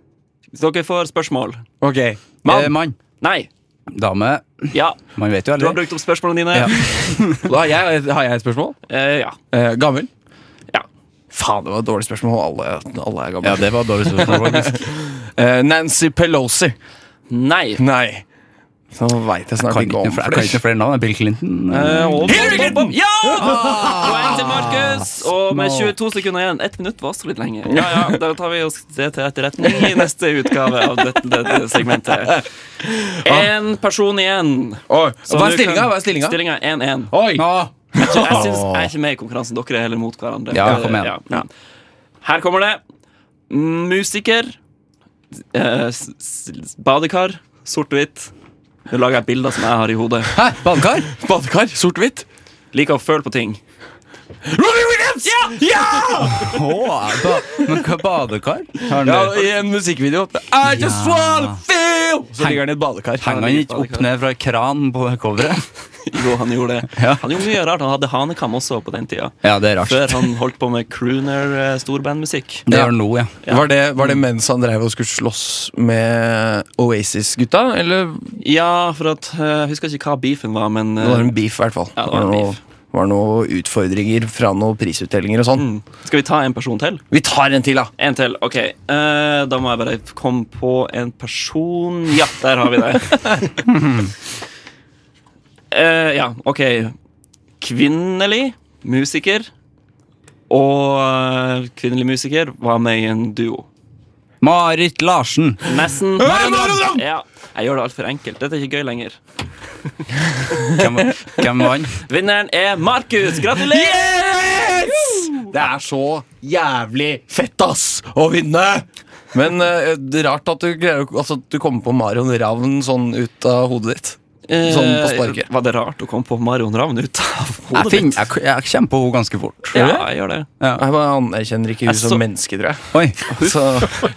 [SPEAKER 3] Dere får spørsmål.
[SPEAKER 2] Ok.
[SPEAKER 1] Mann. Eh,
[SPEAKER 2] Mann.
[SPEAKER 1] mann.
[SPEAKER 3] Nei.
[SPEAKER 1] Dame.
[SPEAKER 3] Ja.
[SPEAKER 1] Man vet jo
[SPEAKER 3] Du har
[SPEAKER 1] aldri.
[SPEAKER 3] brukt opp spørsmålene dine.
[SPEAKER 1] Ja.
[SPEAKER 2] Da har, jeg, har jeg et spørsmål?
[SPEAKER 3] Eh, ja.
[SPEAKER 2] Eh, gammel?
[SPEAKER 3] Ja.
[SPEAKER 2] Faen, det var et dårlig spørsmål. Alle, alle er gamle.
[SPEAKER 1] Ja, det var dårlig spørsmål, faktisk.
[SPEAKER 2] Eh, Nancy Pelosi.
[SPEAKER 3] Nei.
[SPEAKER 2] Nei. Så veit jeg snart
[SPEAKER 1] Kan ikke
[SPEAKER 2] ikke
[SPEAKER 1] noe
[SPEAKER 2] om
[SPEAKER 1] flere- kan ikke noe flere navn. Bill Clinton. eh,
[SPEAKER 3] Eh, og-
[SPEAKER 2] Hillary Clinton!
[SPEAKER 3] Ja! Poeng til Markus. Og med 22 sekunder igjen. Ett minutt var så litt lenge. Ja, ja, Da tar vi oss det til etterretning i neste utgave av dette, dette segmentet. Én person igjen.
[SPEAKER 2] Oi,
[SPEAKER 3] Så
[SPEAKER 2] Hva
[SPEAKER 3] du
[SPEAKER 2] er stillinga?
[SPEAKER 3] kan-
[SPEAKER 2] Hva er stillinga?
[SPEAKER 3] Stillinga er 1-1.
[SPEAKER 2] Oi!
[SPEAKER 3] Så Jeg, synes, jeg er ikke med i konkurransen. Dere er heller mot hverandre.
[SPEAKER 1] Ja, kom igjen.
[SPEAKER 3] Her kommer det. Musiker. Eh, s- s- badekar. Sort-hvitt. Nå lager jeg bilder som jeg har i hodet.
[SPEAKER 1] Hæ? Badekar?
[SPEAKER 2] Badekar? Sort-hvitt?
[SPEAKER 3] Liker å føle på ting.
[SPEAKER 2] Robbie Williams! Ja!
[SPEAKER 1] Å, ba men hva badekar? Har han det?
[SPEAKER 2] I en musikkvideo. I just wanna feel! Så ligger han i et badekar.
[SPEAKER 1] Henger han ikke opp ned fra en kran på coveret?
[SPEAKER 3] Jo, han gjorde det.
[SPEAKER 1] Ja.
[SPEAKER 3] Han gjorde mye rart. Han hadde hanekam også på den tida.
[SPEAKER 1] Ja, det er rart.
[SPEAKER 3] Før han holdt på med eh, crooner-storbandmusikk.
[SPEAKER 1] Det gjør han nå, ja.
[SPEAKER 2] Var, det, var det mens han drev og skulle slåss med Oasis-gutta? Eller det
[SPEAKER 3] Ja, for at eh, Jeg husker ikke hva beefen var, men eh,
[SPEAKER 2] var en beef, i hvert fall.
[SPEAKER 3] Ja, det var en
[SPEAKER 2] noe-
[SPEAKER 3] beef.
[SPEAKER 2] var noen utfordringer fra noen prisutdelinger og sånn.
[SPEAKER 3] mm. Skal vi ta en person til?
[SPEAKER 2] Vi tar en til, da!
[SPEAKER 3] En til. Ok. Eh, da må jeg bare komme på en person Ja, der har vi det. Eh, ja, ok. Kvinnelig musiker. Og eh, kvinnelig musiker var med i en duo.
[SPEAKER 1] Marit Larsen.
[SPEAKER 3] Nesten.
[SPEAKER 2] Maradona!
[SPEAKER 3] Ja, jeg gjør det altfor enkelt. Dette er ikke gøy lenger.
[SPEAKER 1] Hvem hvem vant?
[SPEAKER 3] Vinneren er Markus. Gratulerer!
[SPEAKER 2] Det er så jævlig fett, ass! Å vinne! Men eh, det er rart at du, greier, å- altså, at du kommer på Marion Ravn sånn ut av hodet ditt. Sånn på sparket.
[SPEAKER 3] Eh, Var det rart å komme på Marion Ravn ut av
[SPEAKER 1] Jeg,
[SPEAKER 3] hodet
[SPEAKER 1] finner, jeg, jeg kommer på henne ganske fort.
[SPEAKER 3] Ja, jeg gjør det.
[SPEAKER 2] Jeg bare anerkjenner ikke hun
[SPEAKER 3] Jeg så-
[SPEAKER 2] som menneske, tror jeg.
[SPEAKER 1] Oi,
[SPEAKER 2] Så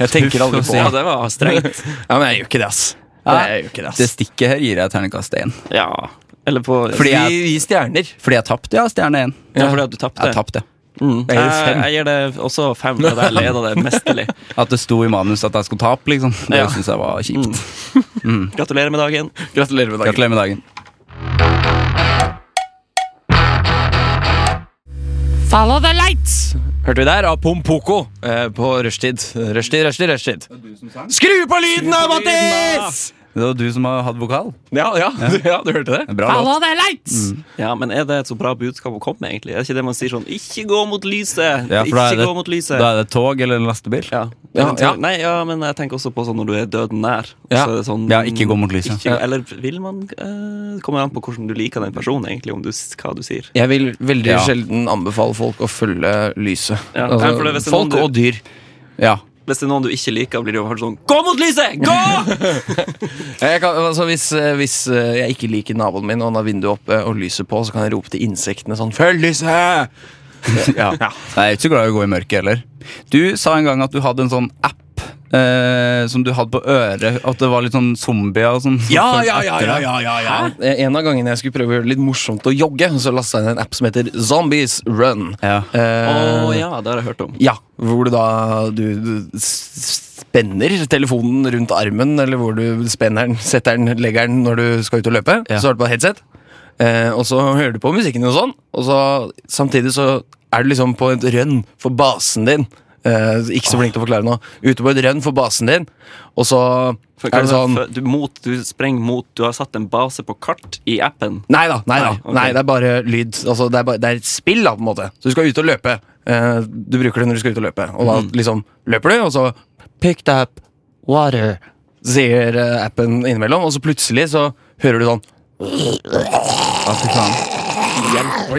[SPEAKER 2] jeg tenker aldri på
[SPEAKER 3] Ja,
[SPEAKER 2] det.
[SPEAKER 3] det var strengt.
[SPEAKER 2] Ja, men jeg gjør ikke det, ass.
[SPEAKER 1] Ja,
[SPEAKER 2] Jeg gjør ikke det,
[SPEAKER 1] Det
[SPEAKER 2] ass.
[SPEAKER 1] stikket her gir jeg terningkast én.
[SPEAKER 3] Ja, eller på
[SPEAKER 1] Fordi
[SPEAKER 2] Vi,
[SPEAKER 1] jeg,
[SPEAKER 2] vi stjerner.
[SPEAKER 1] fordi jeg tapte, ja. Stjerne én.
[SPEAKER 3] Ja, fordi at du tapte.
[SPEAKER 1] Jeg tapte. Mm.
[SPEAKER 2] Jeg gir
[SPEAKER 1] Eh,
[SPEAKER 3] Jeg,
[SPEAKER 2] fem.
[SPEAKER 3] jeg gir det også fem, for jeg leder det mesterlig.
[SPEAKER 1] At det sto i manus at jeg skulle tape, liksom. Det
[SPEAKER 3] Ja.
[SPEAKER 1] synes syns jeg var kjipt.
[SPEAKER 3] Gratulerer med dagen.
[SPEAKER 2] Gratulerer med dagen.
[SPEAKER 1] Gratulerer med dagen.
[SPEAKER 2] Follow the lights! Hørte vi der av Pompoko eh, på rushtid. Rushtid, rushtid, rushtid. Skru på lyden da, Mattis!
[SPEAKER 1] Det var du som hadde vokal.
[SPEAKER 2] Ja, ja, ja, du hørte det?
[SPEAKER 1] Bra låt.
[SPEAKER 2] the lights!
[SPEAKER 3] Ja, men Er det et så bra budskap å komme med? egentlig? Er det ikke det man sier sånn 'ikke gå mot lyset'?
[SPEAKER 1] Ja, for da er
[SPEAKER 3] ikke
[SPEAKER 1] det-
[SPEAKER 3] gå mot lyset.
[SPEAKER 1] Da er det tog eller en lastebil.
[SPEAKER 3] Ja.
[SPEAKER 2] Ja,
[SPEAKER 3] Men-
[SPEAKER 2] ja.
[SPEAKER 3] Nei, ja, men jeg tenker også på sånn når du er døden nær.
[SPEAKER 2] Ja.
[SPEAKER 3] Så er det sånn,
[SPEAKER 1] Ja, ikke gå mot lyset.
[SPEAKER 3] Ikke, eller vil man eh, Kommer an på hvordan du liker den personen, egentlig, om du, s- hva du sier.
[SPEAKER 2] Jeg vil veldig
[SPEAKER 1] Ja.
[SPEAKER 2] sjelden anbefale folk å følge lyset.
[SPEAKER 3] Ja,
[SPEAKER 2] Altså,
[SPEAKER 3] for det er hvis det er noen
[SPEAKER 2] folk
[SPEAKER 3] du-
[SPEAKER 2] og dyr.
[SPEAKER 1] Ja.
[SPEAKER 3] Hvis det er noen du ikke liker, blir det jo sånn 'gå mot lyset'! Gå!
[SPEAKER 2] Jeg kan, altså, hvis, eh, hvis eh, jeg ikke liker naboen min, og han har vinduet oppe og lyset på, så kan jeg rope til insektene sånn 'følg lyset'!
[SPEAKER 1] ja. Nei, Jeg er ikke så glad i å gå i mørket heller. Du sa en gang at du hadde en sånn app eh, som du hadde på øret. At det var litt sånn zombier og sånn. som fulgte etter deg.
[SPEAKER 2] Eh, En av gangene jeg skulle prøve å gjøre det litt morsomt å jogge, så lasta jeg inn en app som heter Zombies Run.
[SPEAKER 1] Ja.
[SPEAKER 3] Å
[SPEAKER 2] Eh,
[SPEAKER 3] ja, det har jeg hørt om.
[SPEAKER 2] Ja, hvor du da du, du s- spenner telefonen rundt armen, eller hvor du spenner den, setter den, legger den når du skal ut og løpe.
[SPEAKER 1] Ja.
[SPEAKER 2] Så har du på headset, eh, og så hører du på musikken og sånn. Og så samtidig så er du liksom på et rønn for basen din. Eh, ikke så flink til å forklare nå. Ute på et rønn for basen din, og så
[SPEAKER 3] For,
[SPEAKER 2] er det sånn
[SPEAKER 3] for- du, mot, du sprenger mot Du har satt en base på kart i appen.
[SPEAKER 2] Nei da, nei da.
[SPEAKER 3] Nei, ok.
[SPEAKER 2] Nei, det er bare lyd. Altså, det, er bare, det er et spill, da, på en måte. Så du skal ut og løpe. Eh, du bruker det når du skal ut og løpe. Og da
[SPEAKER 3] Mhm.
[SPEAKER 2] liksom løper du, og så Picked up water, sier eh, appen innimellom, og så plutselig så hører du sånn
[SPEAKER 1] Ja, fy faen.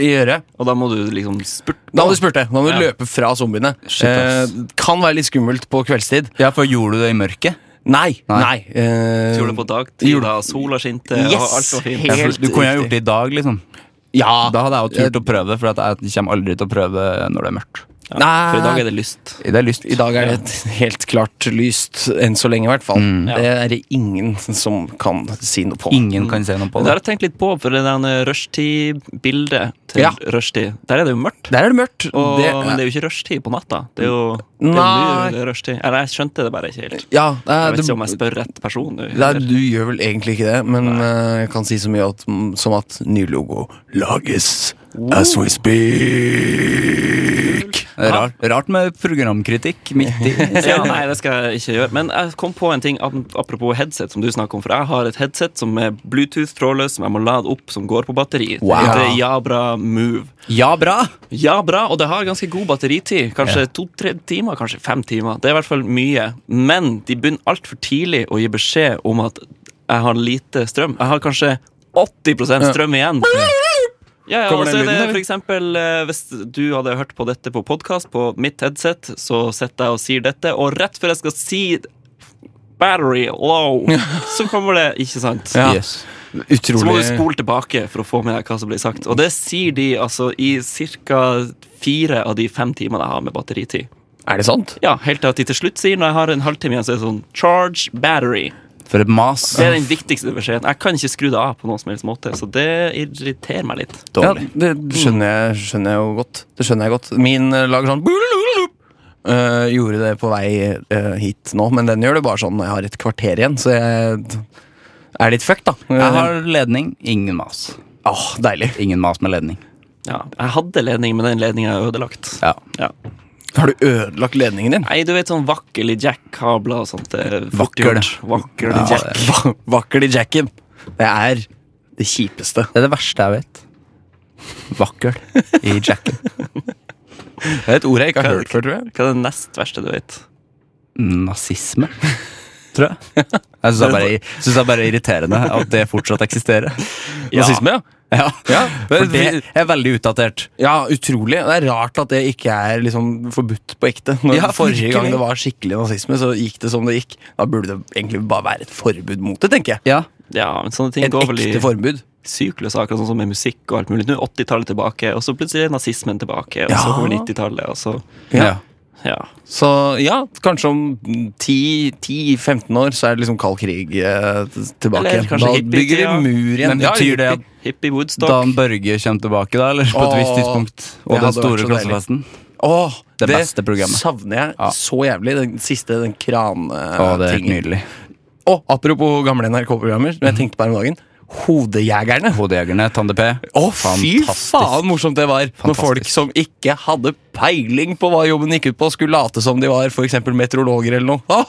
[SPEAKER 2] i øret.
[SPEAKER 3] Og da må du liksom spurte.
[SPEAKER 2] Da må du spurte. Da må du
[SPEAKER 3] Ja.
[SPEAKER 2] løpe fra zombiene.
[SPEAKER 1] Shit, ass.
[SPEAKER 2] Eh, kan være litt skummelt på kveldstid.
[SPEAKER 1] ja, for gjorde du det i mørket?
[SPEAKER 2] Nei.
[SPEAKER 1] Nei.
[SPEAKER 2] Nei. eh,
[SPEAKER 3] Gjorde det på dagtid, da sola skinte, og
[SPEAKER 2] Yes,
[SPEAKER 3] alt var fint.
[SPEAKER 1] Ja, for
[SPEAKER 2] helt
[SPEAKER 1] du kunne ha
[SPEAKER 2] riktig.
[SPEAKER 1] gjort det i dag, liksom.
[SPEAKER 2] ja.
[SPEAKER 1] Da hadde jeg jo turt å prøve det, for at jeg kommer aldri til å prøve det når det er mørkt.
[SPEAKER 3] Ja,
[SPEAKER 2] Nei.
[SPEAKER 3] For i dag er det lyst.
[SPEAKER 1] Det er lyst.
[SPEAKER 2] I dag er det et helt klart lyst, enn så lenge i hvert fall.
[SPEAKER 3] Mm.
[SPEAKER 2] Det er det ingen som kan si noe på.
[SPEAKER 1] Ingen kan se noe på
[SPEAKER 3] Det har
[SPEAKER 1] det.
[SPEAKER 3] jeg tenkt litt på, for det der rushtid-bildet til
[SPEAKER 2] Ja.
[SPEAKER 3] rushtid, der er det jo mørkt.
[SPEAKER 2] Der er det mørkt.
[SPEAKER 3] Og,
[SPEAKER 2] det,
[SPEAKER 3] men det er jo ikke rushtid på natta. Det er jo det er jo
[SPEAKER 2] Nei.
[SPEAKER 3] nå det er rushtid. Eller jeg skjønte det bare ikke helt.
[SPEAKER 2] ja, det
[SPEAKER 3] Jeg
[SPEAKER 2] er,
[SPEAKER 3] vet ikke om jeg
[SPEAKER 2] du,
[SPEAKER 3] spør rett person nå.
[SPEAKER 2] det er,
[SPEAKER 3] eller-
[SPEAKER 2] du gjør vel egentlig ikke det, men eh, jeg kan si så mye at, som at ny logo lages as we speak.
[SPEAKER 1] Det er Rart, rart med programkritikk midt i.
[SPEAKER 3] Ja, nei, det skal jeg ikke gjøre. Men jeg kom på en ting ap- apropos headset, som du snakker om. For jeg har et headset som er Bluetooth-trådløst, som jeg må lade opp, som går på batteri.
[SPEAKER 1] Wow.
[SPEAKER 3] Det heter Jabra Move.
[SPEAKER 1] Ja, bra!
[SPEAKER 3] Ja, bra, og det har ganske god batteritid. Kanskje to-tre timer, kanskje fem timer. Det er i hvert fall mye. Men de begynner altfor tidlig å gi beskjed om at jeg har lite strøm. Jeg har kanskje 80 strøm igjen. Ja, ja, og
[SPEAKER 2] Kommer
[SPEAKER 3] så
[SPEAKER 2] den
[SPEAKER 3] er det
[SPEAKER 2] lyden, eller?
[SPEAKER 3] for eksempel eh, Hvis du hadde hørt på dette på podkast, på mitt headset, så sitter jeg og sier dette, og rett før jeg skal si battery low, så kommer det Ikke sant?
[SPEAKER 2] Ja.
[SPEAKER 1] Yes.
[SPEAKER 2] Utrolig.
[SPEAKER 3] Så må du spole tilbake for å få med deg hva som blir sagt. Og det sier de altså i ca. fire av de fem timene jeg har med batteritid.
[SPEAKER 2] Er det sant?
[SPEAKER 3] Ja, Helt til at de til slutt sier når jeg har en halvtime igjen, så er det sånn charge battery.
[SPEAKER 1] For et mas.
[SPEAKER 3] Det er den viktigste beskjeden. Jeg kan ikke skru det av på noen som helst måte, så det irriterer meg litt.
[SPEAKER 2] Ja,
[SPEAKER 1] Dårlig.
[SPEAKER 2] det skjønner jeg, skjønner jeg jo godt. Det skjønner jeg godt. Min eh, lager sånn Eh, Gjorde det på vei eh, hit nå, men den gjør det bare sånn når jeg har et kvarter igjen, så jeg er litt fucked, da.
[SPEAKER 1] Jeg har ledning, ingen mas.
[SPEAKER 2] Åh, deilig.
[SPEAKER 1] Ingen mas med ledning.
[SPEAKER 3] Ja, jeg hadde ledning, men den ledninga er ødelagt.
[SPEAKER 1] Ja.
[SPEAKER 3] Ja.
[SPEAKER 2] Har du ødelagt ledningen din?
[SPEAKER 3] Nei, du vet sånn vakkel i jack-kabler og sånt. det er fort
[SPEAKER 1] Vakkel.
[SPEAKER 3] gjort. Vakkel i
[SPEAKER 1] Ja,
[SPEAKER 3] jack.
[SPEAKER 1] det-
[SPEAKER 2] Va vakkel i jacken. Det er det kjipeste.
[SPEAKER 1] Det er det verste jeg vet. Vakkel i jacken.
[SPEAKER 2] Det er et ord jeg ikke
[SPEAKER 3] har
[SPEAKER 2] har
[SPEAKER 3] hørt
[SPEAKER 2] hørt før, tror jeg.
[SPEAKER 3] Hva er det nest verste du vet?
[SPEAKER 1] Nazisme, tror jeg. Jeg syns det er bare, synes det er bare irriterende at det fortsatt eksisterer.
[SPEAKER 2] Nazisme, ja.
[SPEAKER 1] Ja.
[SPEAKER 2] for
[SPEAKER 1] Vi
[SPEAKER 2] det-
[SPEAKER 1] er veldig utdatert.
[SPEAKER 2] Ja, utrolig. Det er rart at det ikke er liksom forbudt på ekte. Når
[SPEAKER 1] Ja,
[SPEAKER 2] forrige gang
[SPEAKER 1] virkelig.
[SPEAKER 2] det var skikkelig nazisme, så gikk det som det gikk. Da burde det egentlig bare være et forbud mot det, tenker jeg.
[SPEAKER 1] Ja.
[SPEAKER 3] Ja, men sånne ting
[SPEAKER 2] Et
[SPEAKER 3] går vel i
[SPEAKER 2] ekte forbud.
[SPEAKER 3] syklus, akkurat sånn som med musikk og alt mulig. Nå er 80-tallet tilbake, og så plutselig er nazismen tilbake, og så
[SPEAKER 2] Ja.
[SPEAKER 3] kommer 90-tallet, og så
[SPEAKER 2] Ja.
[SPEAKER 1] Ja.
[SPEAKER 3] Ja.
[SPEAKER 2] Så ja, kanskje om 10-15 år så er det liksom kald krig eh, t- tilbake.
[SPEAKER 3] Eller kanskje
[SPEAKER 2] da
[SPEAKER 3] hippie-tida.
[SPEAKER 2] bygger de mur igjen.
[SPEAKER 1] Men betyr det at
[SPEAKER 3] Hippie Woodstock.
[SPEAKER 1] Dan Børge kommer tilbake, da? Eller på et
[SPEAKER 2] Åh,
[SPEAKER 1] visst tidspunkt?
[SPEAKER 2] det
[SPEAKER 1] Og den
[SPEAKER 2] hadde vært
[SPEAKER 1] store
[SPEAKER 2] så deilig.
[SPEAKER 1] klassefesten?
[SPEAKER 2] Åh,
[SPEAKER 1] Det beste programmet.
[SPEAKER 2] savner jeg
[SPEAKER 1] Ja.
[SPEAKER 2] så jævlig. Den siste, den
[SPEAKER 1] Å, det er helt
[SPEAKER 2] krantingen.
[SPEAKER 1] nydelig. Mhm.
[SPEAKER 2] Å, apropos gamle NRK-programmer, som jeg tenkte på her om dagen. Hodejegerne.
[SPEAKER 1] Hodejegerne, Tande P.
[SPEAKER 2] Å, fy faen morsomt det var! Når folk som ikke hadde peiling på hva jobben gikk ut på, skulle late som de var for eksempel meteorologer eller noe. Åh,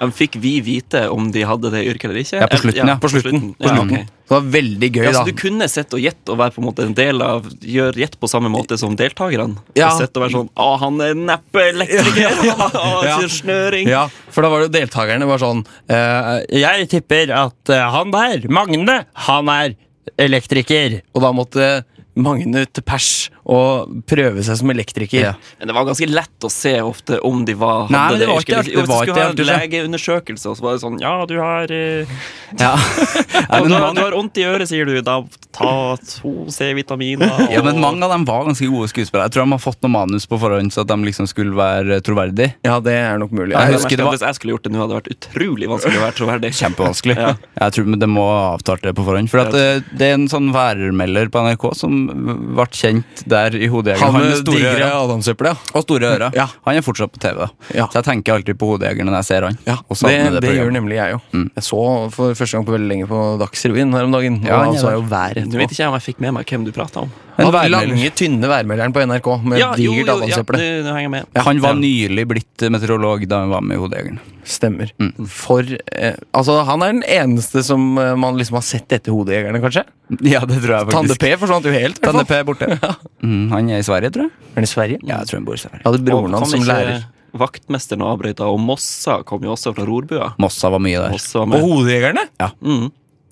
[SPEAKER 3] Men Fikk vi vite om de hadde det yrket eller ikke?
[SPEAKER 1] Ja, på slutten, ja.
[SPEAKER 2] på slutten. På slutten.
[SPEAKER 3] Ja, ok.
[SPEAKER 2] Det var veldig gøy,
[SPEAKER 3] Ja,
[SPEAKER 2] da.
[SPEAKER 3] så du kunne sett og gjett og være på en måte en del av Gjør gjett på samme måte som deltakerne?
[SPEAKER 2] Ja.
[SPEAKER 3] Og Sett og være sånn Å, han er neppe elektriker! Å, snøring!
[SPEAKER 2] Ja, for da var det jo deltakerne var sånn eh, Jeg tipper at eh, han der, Magne, han er elektriker. Og da måtte Magne til pers og prøve seg som elektriker.
[SPEAKER 1] Ja.
[SPEAKER 3] Men det var ganske lett å se ofte om de var hadde
[SPEAKER 1] Nei, men det var
[SPEAKER 3] yrket
[SPEAKER 1] ikke
[SPEAKER 3] eller
[SPEAKER 1] alltid-
[SPEAKER 3] Jo,
[SPEAKER 1] det var
[SPEAKER 3] Hvis du skulle ha
[SPEAKER 1] ikke
[SPEAKER 3] en
[SPEAKER 1] alltid
[SPEAKER 3] legeundersøkelse, og så var det sånn Ja, du har eh,
[SPEAKER 1] Ja.
[SPEAKER 3] du,
[SPEAKER 1] Nei, men,
[SPEAKER 3] har- du
[SPEAKER 1] mange,
[SPEAKER 3] har vondt i øret, sier du. Da ta to C-vitaminer. og-
[SPEAKER 1] ja, men mange av dem var ganske gode skuespillere. Jeg tror de har fått noe manus på forhånd, så at de liksom skulle være eh, troverdige.
[SPEAKER 2] Ja, det er nok mulig.
[SPEAKER 1] Nei,
[SPEAKER 3] Jeg
[SPEAKER 1] Jeg husker
[SPEAKER 3] merker at
[SPEAKER 1] det var-
[SPEAKER 3] Hvis jeg skulle gjort det nå, hadde det vært utrolig vanskelig å være troverdig.
[SPEAKER 1] Kjempevanskelig.
[SPEAKER 3] Ja.
[SPEAKER 1] Jeg tror men Det må avtale det på forhånd. For at, eh, det er en sånn værmelder på NRK som ble kjent der i hodejegeren.
[SPEAKER 2] Han med
[SPEAKER 1] store
[SPEAKER 2] digre
[SPEAKER 1] ører.
[SPEAKER 2] adamsøple, ja.
[SPEAKER 1] Og store ører.
[SPEAKER 2] Ja.
[SPEAKER 1] Han er fortsatt på TV. da
[SPEAKER 2] Ja.
[SPEAKER 1] Så jeg tenker alltid på hodejegeren når jeg ser han.
[SPEAKER 2] Ja,
[SPEAKER 1] Og
[SPEAKER 2] det,
[SPEAKER 1] savner
[SPEAKER 2] det, gjør
[SPEAKER 1] programmet.
[SPEAKER 2] nemlig jeg òg. Jeg så for første gang på veldig lenge på Dagsrevyen her om dagen.
[SPEAKER 1] Ja,
[SPEAKER 2] og
[SPEAKER 1] ja,
[SPEAKER 2] da så
[SPEAKER 1] ja.
[SPEAKER 2] jeg jo været
[SPEAKER 3] Nå vet
[SPEAKER 2] etterpå.
[SPEAKER 3] ikke jeg om jeg fikk med meg hvem du prata om.
[SPEAKER 1] En
[SPEAKER 2] Han
[SPEAKER 1] værmelder.
[SPEAKER 2] lange, tynne værmelderen på NRK med
[SPEAKER 3] jo, jo,
[SPEAKER 2] digert
[SPEAKER 3] ja,
[SPEAKER 2] adamsøple.
[SPEAKER 3] nå- nå henger jeg med.
[SPEAKER 1] Han var nylig blitt eh, meteorolog da han var med i Hodejegeren.
[SPEAKER 2] Stemmer. For eh, Altså, han er den eneste som eh, man liksom har sett etter hodejegerne, kanskje.
[SPEAKER 1] Ja, det tror jeg
[SPEAKER 2] Tande
[SPEAKER 1] faktisk.
[SPEAKER 2] P forsvant jo helt. i hvert fall.
[SPEAKER 1] Tande P er borte. Mm, han er i Sverige, tror jeg.
[SPEAKER 2] Er han i Sverige?
[SPEAKER 1] Ja, jeg tror han bor i Sverige.
[SPEAKER 2] Jeg hadde broren
[SPEAKER 3] Og
[SPEAKER 2] hans
[SPEAKER 3] kom
[SPEAKER 2] som
[SPEAKER 3] ikke
[SPEAKER 2] lærer.
[SPEAKER 3] Vaktmesteren og avbrøyta, og Mossa kom jo også fra Rorbua.
[SPEAKER 1] Mossa var mye der.
[SPEAKER 3] Mossa var
[SPEAKER 2] Og
[SPEAKER 3] med. Mm.
[SPEAKER 2] hodejegerne?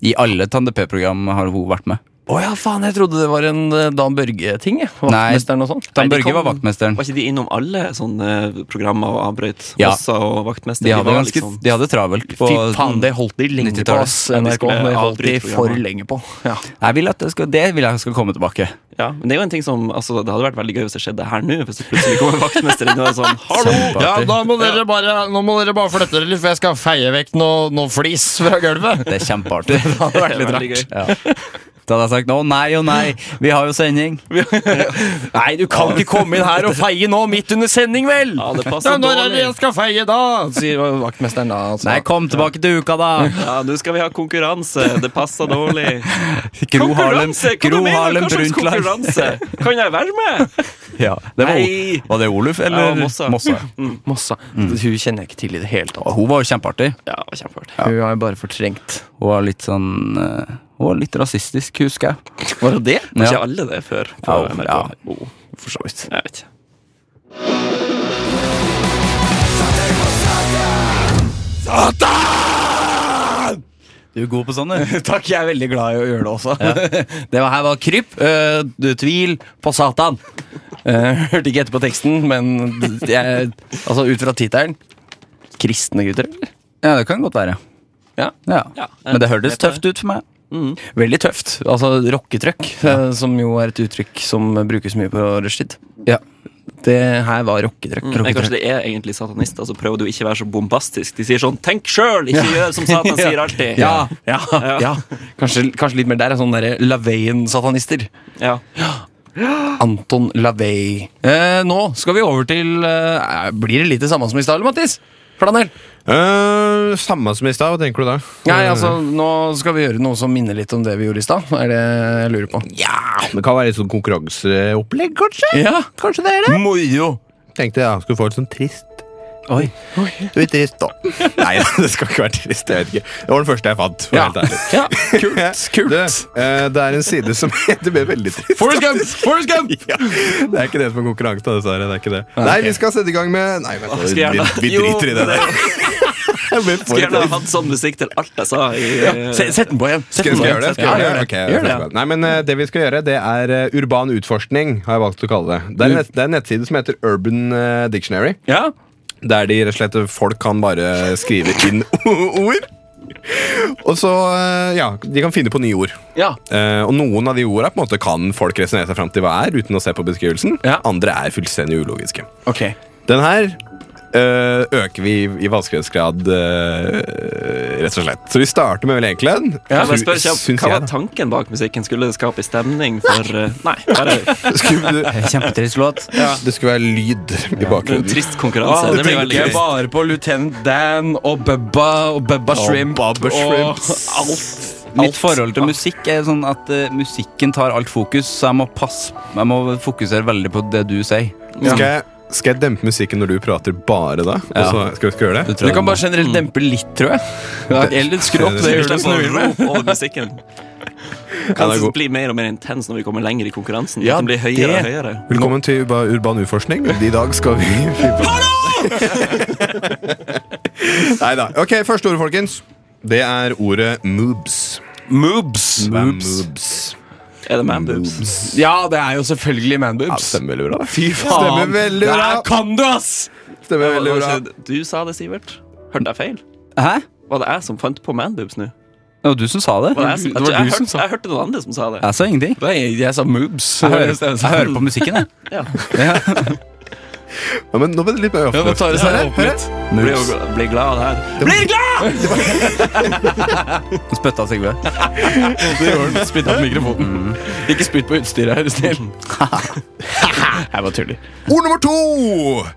[SPEAKER 1] I alle Tande P-program har hun vært med.
[SPEAKER 2] Å ja, faen, jeg trodde det var en eh, Dan Børge-ting. jeg.
[SPEAKER 1] Nei.
[SPEAKER 2] Vaktmesteren og sånn.
[SPEAKER 3] Nei,
[SPEAKER 1] Dan
[SPEAKER 3] de
[SPEAKER 1] Børge var
[SPEAKER 3] kom-
[SPEAKER 1] vaktmesteren.
[SPEAKER 3] Var ikke de innom alle sånne programmer og avbrøyt?
[SPEAKER 1] Ja.
[SPEAKER 3] Mossa og vaktmester?
[SPEAKER 1] De hadde,
[SPEAKER 3] var
[SPEAKER 1] ganske,
[SPEAKER 3] liksom-
[SPEAKER 1] de hadde travelt.
[SPEAKER 2] Fy
[SPEAKER 1] på- sånn-
[SPEAKER 2] faen, det holdt de lenge på,
[SPEAKER 1] 90-tallet.
[SPEAKER 2] ass,
[SPEAKER 3] Ja, de
[SPEAKER 2] NRK.
[SPEAKER 3] skulle
[SPEAKER 2] Det holdt de
[SPEAKER 3] avbryte
[SPEAKER 2] for
[SPEAKER 3] programmet.
[SPEAKER 2] lenge på. Ja.
[SPEAKER 1] Jeg vil at det, skal, det vil jeg skal komme tilbake.
[SPEAKER 3] ja, men det er jo en ting som altså, Det hadde vært veldig gøy hvis det skjedde her nå. Hvis det plutselig kom en vaktmester inn og er sånn Hallo!
[SPEAKER 1] Kjempeartig.
[SPEAKER 2] må dere bare, nå må dere bare flytte dere litt, for jeg skal feie vekk noe, flis fra gulvet.
[SPEAKER 1] Det er kjempeartig.
[SPEAKER 2] Det hadde vært litt
[SPEAKER 3] veldig
[SPEAKER 2] rart.
[SPEAKER 3] gøy.
[SPEAKER 1] Ja. Da hadde jeg sagt å nei og nei, vi har jo sending.
[SPEAKER 2] Nei, du kan ikke komme inn her og feie nå, midt under sending, vel!
[SPEAKER 3] Ja, det passer dårlig.
[SPEAKER 2] skal feie, da? Sier vaktmesteren da. Altså.
[SPEAKER 1] Nei, kom tilbake til uka, da!
[SPEAKER 3] Ja, nå skal vi ha konkurranse. Det passer dårlig.
[SPEAKER 1] Gro Harlem,
[SPEAKER 3] Hva du
[SPEAKER 1] Gro
[SPEAKER 3] mener?
[SPEAKER 1] Harlem
[SPEAKER 3] Hva slags
[SPEAKER 1] Brundtland.
[SPEAKER 3] konkurranse? Kan jeg være med?
[SPEAKER 1] Ja, det var,
[SPEAKER 3] Nei.
[SPEAKER 1] var det Oluf eller
[SPEAKER 3] Ja, Mossa.
[SPEAKER 2] Mossa. Hun kjjenner jeg ikke til i det hele tatt.
[SPEAKER 1] Og hun var jo kjempeartig.
[SPEAKER 3] Ja, kjempeartig.
[SPEAKER 2] Hun har jo bare fortrengt.
[SPEAKER 1] Hun var litt sånn eh, Hun var litt rasistisk, husker jeg.
[SPEAKER 2] Var det det? Altså,
[SPEAKER 3] Var
[SPEAKER 1] Ja.
[SPEAKER 3] ikke alle det før? På
[SPEAKER 1] Ja,
[SPEAKER 3] NRK?
[SPEAKER 1] ja.
[SPEAKER 3] Oh,
[SPEAKER 2] For så vidt.
[SPEAKER 3] jeg vet ikke.
[SPEAKER 1] Du er god på sånn, du.
[SPEAKER 2] Takk, jeg er veldig glad i å gjøre det også. det var, her var krypp, eh, du, tvil på Satan. Eh, hørte ikke etter på teksten, men jeg, altså ut fra tittelen Kristne gutter? eller?
[SPEAKER 1] Ja, det kan godt være.
[SPEAKER 2] Ja.
[SPEAKER 1] Ja.
[SPEAKER 3] Ja,
[SPEAKER 1] Men det hørtes
[SPEAKER 3] vet jeg.
[SPEAKER 1] tøft ut for meg.
[SPEAKER 2] Veldig tøft. Altså rocketrøkk, eh, som jo er et uttrykk som brukes mye på rushtid.
[SPEAKER 1] Ja.
[SPEAKER 2] Det her var rocketrøkk.
[SPEAKER 3] Men kanskje det er egentlig satanister, så prøver du ikke å være så bombastisk. De sier sånn 'tenk sjøl', ikke gjør som Satan sier alltid.
[SPEAKER 2] Ja, ja, ja. Kanskje, kanskje litt mer der. er Sånn derre Laveien-satanister.
[SPEAKER 3] Ja.
[SPEAKER 2] Anton Lavey. Eh, nå skal vi over til eh, Blir det litt det samme som i stad, eller, Mattis? Flanell?
[SPEAKER 4] Eh, samme som i stad, hva tenker du da?
[SPEAKER 2] Nei, altså, nå skal vi gjøre noe som minner litt om det vi gjorde i stad. Er det jeg lurer på?
[SPEAKER 4] Ja, Det kan være litt sånn konkurranseopplegg, kanskje?
[SPEAKER 2] Ja,
[SPEAKER 4] Kanskje det er det?
[SPEAKER 2] Moro!
[SPEAKER 4] Tenkte jeg skulle få litt sånn trist.
[SPEAKER 1] Oi.
[SPEAKER 4] Du er trist, da. Nei, det skal ikke være trist. jeg vet ikke Det var den første jeg fant. for
[SPEAKER 2] Ja.
[SPEAKER 4] å være helt ærlig.
[SPEAKER 2] ja. Kult. kult.
[SPEAKER 4] Det, eh, det er en side som heter Det ble veldig trist.
[SPEAKER 2] Forrest Gump! Forrest Gump!
[SPEAKER 4] Ja, det er ikke det som er
[SPEAKER 2] Ah,
[SPEAKER 4] konkurranse, da, dessverre. Det er ikke det. Nei, vi skal sette i gang med Nei, vent,
[SPEAKER 3] skal
[SPEAKER 4] vi,
[SPEAKER 3] jeg gjerne-
[SPEAKER 4] vi, vi driter i det der.
[SPEAKER 3] Skulle gjerne ha hatt sånn musikk til alt jeg sa. I, eh,
[SPEAKER 2] Se- Sett den på igjen. Sett
[SPEAKER 4] Skal, skal
[SPEAKER 2] den
[SPEAKER 4] jeg
[SPEAKER 2] på igjen.
[SPEAKER 4] gjøre det? Skal jeg
[SPEAKER 2] Ja,
[SPEAKER 4] gjøre det? Ok, jeg
[SPEAKER 2] Gjør det.
[SPEAKER 4] skal gjøre det. Nei, men eh, det vi skal gjøre, det er eh, urban utforskning, har jeg valgt å kalle det. Det er en, nett, det er en nettside som heter Urban eh, Dictionary.
[SPEAKER 2] Ja.
[SPEAKER 4] Der de rett og slett folk kan bare skrive inn ord. Og så, eh, ja, De kan finne på nye ord.
[SPEAKER 2] Ja.
[SPEAKER 4] Eh, og Noen av de ordene på en måte kan folk resonnere seg fram til hva er, uten å se på beskrivelsen.
[SPEAKER 2] Ja.
[SPEAKER 4] Andre er fullstendig ulogiske.
[SPEAKER 2] Ok.
[SPEAKER 4] Den her eh, øker vi i- i vanskelighetsgrad, eh, rett og slett. Så vi starter med veldig enkle.
[SPEAKER 3] jeg
[SPEAKER 4] Sy-
[SPEAKER 3] bare spør kjapt,
[SPEAKER 4] syns
[SPEAKER 3] Hva
[SPEAKER 4] jeg,
[SPEAKER 3] var
[SPEAKER 4] da.
[SPEAKER 3] tanken bak musikken? Skulle det skape stemning for eh, Nei, bare
[SPEAKER 4] Skulle du-
[SPEAKER 1] Kjempetrist låt.
[SPEAKER 4] Det skulle være lyd i
[SPEAKER 3] en
[SPEAKER 4] bakgrunnen.
[SPEAKER 3] trist konkurranse. det blir veldig
[SPEAKER 2] Ah, tenker jeg
[SPEAKER 3] gøy.
[SPEAKER 2] bare på Lieutenant Dan og Bubba og Bubba Shrimp
[SPEAKER 4] Bubba
[SPEAKER 2] og
[SPEAKER 4] Shrimps.
[SPEAKER 2] alt.
[SPEAKER 1] Mitt forhold til musikk er sånn at eh, musikken tar alt fokus, så jeg må passe Jeg må fokusere veldig på det du sier.
[SPEAKER 4] Skal jeg, skal jeg dempe musikken når du prater bare da? Og så skal, skal vi gjøre det?
[SPEAKER 2] Du kan bare
[SPEAKER 1] Mm.
[SPEAKER 2] generelt dempe litt, tror jeg. Eller skru opp det
[SPEAKER 4] Vi
[SPEAKER 3] Vi
[SPEAKER 2] hjulet som du
[SPEAKER 3] slipper å
[SPEAKER 2] vil med.
[SPEAKER 3] rope over
[SPEAKER 4] Ja,
[SPEAKER 3] musikken.
[SPEAKER 4] det er
[SPEAKER 3] Kanskje
[SPEAKER 4] god.
[SPEAKER 3] det blir mer og mer intens når vi kommer lenger i konkurransen.
[SPEAKER 2] Ja,
[SPEAKER 3] at den blir høyere
[SPEAKER 2] det-
[SPEAKER 3] og høyere.
[SPEAKER 4] Velkommen til Uba- Urban Urforskning. I dag skal vi Nei da. Ok, første ordet, folkens. Det er ordet moobs.
[SPEAKER 2] Moobs.
[SPEAKER 4] Hva er Moobs.
[SPEAKER 3] Er det man boobs?
[SPEAKER 2] Ja, det er jo selvfølgelig
[SPEAKER 4] Ja,
[SPEAKER 2] manboobs.
[SPEAKER 4] stemmer veldig bra.
[SPEAKER 2] Fy faen.
[SPEAKER 4] Stemmer veldig bra.
[SPEAKER 2] Der kan du, ass!
[SPEAKER 4] Stemmer
[SPEAKER 3] Var-
[SPEAKER 4] veldig
[SPEAKER 3] var
[SPEAKER 4] bra.
[SPEAKER 3] ikke det- Du sa det, Sivert. Hørte jeg feil?
[SPEAKER 1] Hæ?
[SPEAKER 3] Var det jeg som fant på man boobs nå?
[SPEAKER 1] Det var du som sa det.
[SPEAKER 3] Var det jeg, som,
[SPEAKER 2] Det
[SPEAKER 3] jeg,
[SPEAKER 2] var
[SPEAKER 3] tror jeg,
[SPEAKER 2] du som sa
[SPEAKER 3] hørte, jeg hørte noen andre som sa det.
[SPEAKER 1] Jeg sa ingenting.
[SPEAKER 2] Nei, jeg sa moobs.
[SPEAKER 1] Jeg hører, jeg hører på musikken, jeg.
[SPEAKER 3] Ja.
[SPEAKER 4] Ja, men nå ble det litt mer
[SPEAKER 2] Ja, nå tar det seg opp litt.
[SPEAKER 3] Blir, jo- blir glad av det her.
[SPEAKER 1] Spytta Sigve.
[SPEAKER 2] Det gjorde den. Spytt opp mikrofonen.
[SPEAKER 3] Mm.
[SPEAKER 2] Ikke spytt på utstyret, er du snill. Jeg bare tuller.
[SPEAKER 4] Ord nummer to!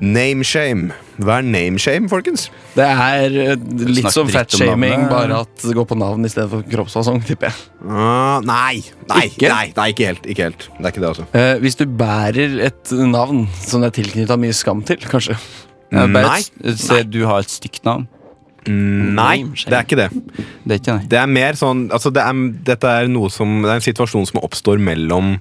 [SPEAKER 4] Nameshame. Hva er nameshame, folkens?
[SPEAKER 2] Det er eh, litt
[SPEAKER 1] Snakk
[SPEAKER 2] som
[SPEAKER 1] dritt om
[SPEAKER 2] fatshaming,
[SPEAKER 1] navnet.
[SPEAKER 2] bare at det går på navn i stedet for kroppsfasong, tipper jeg.
[SPEAKER 4] Ah, nei. Nei,
[SPEAKER 2] Ikke?
[SPEAKER 4] nei, nei, ikke helt. Ikke helt. Det er ikke det, altså.
[SPEAKER 2] Eh, hvis du bærer et navn som det er tilknytta mye skam til, kanskje. Eh,
[SPEAKER 1] Jeg
[SPEAKER 4] Nei.
[SPEAKER 1] Bare s- Mm. se, du har et stygt navn.
[SPEAKER 4] Nei, det er ikke det.
[SPEAKER 1] Det er ikke det.
[SPEAKER 4] Det er mer sånn altså det er, Dette er noe som Det er en situasjon som oppstår mellom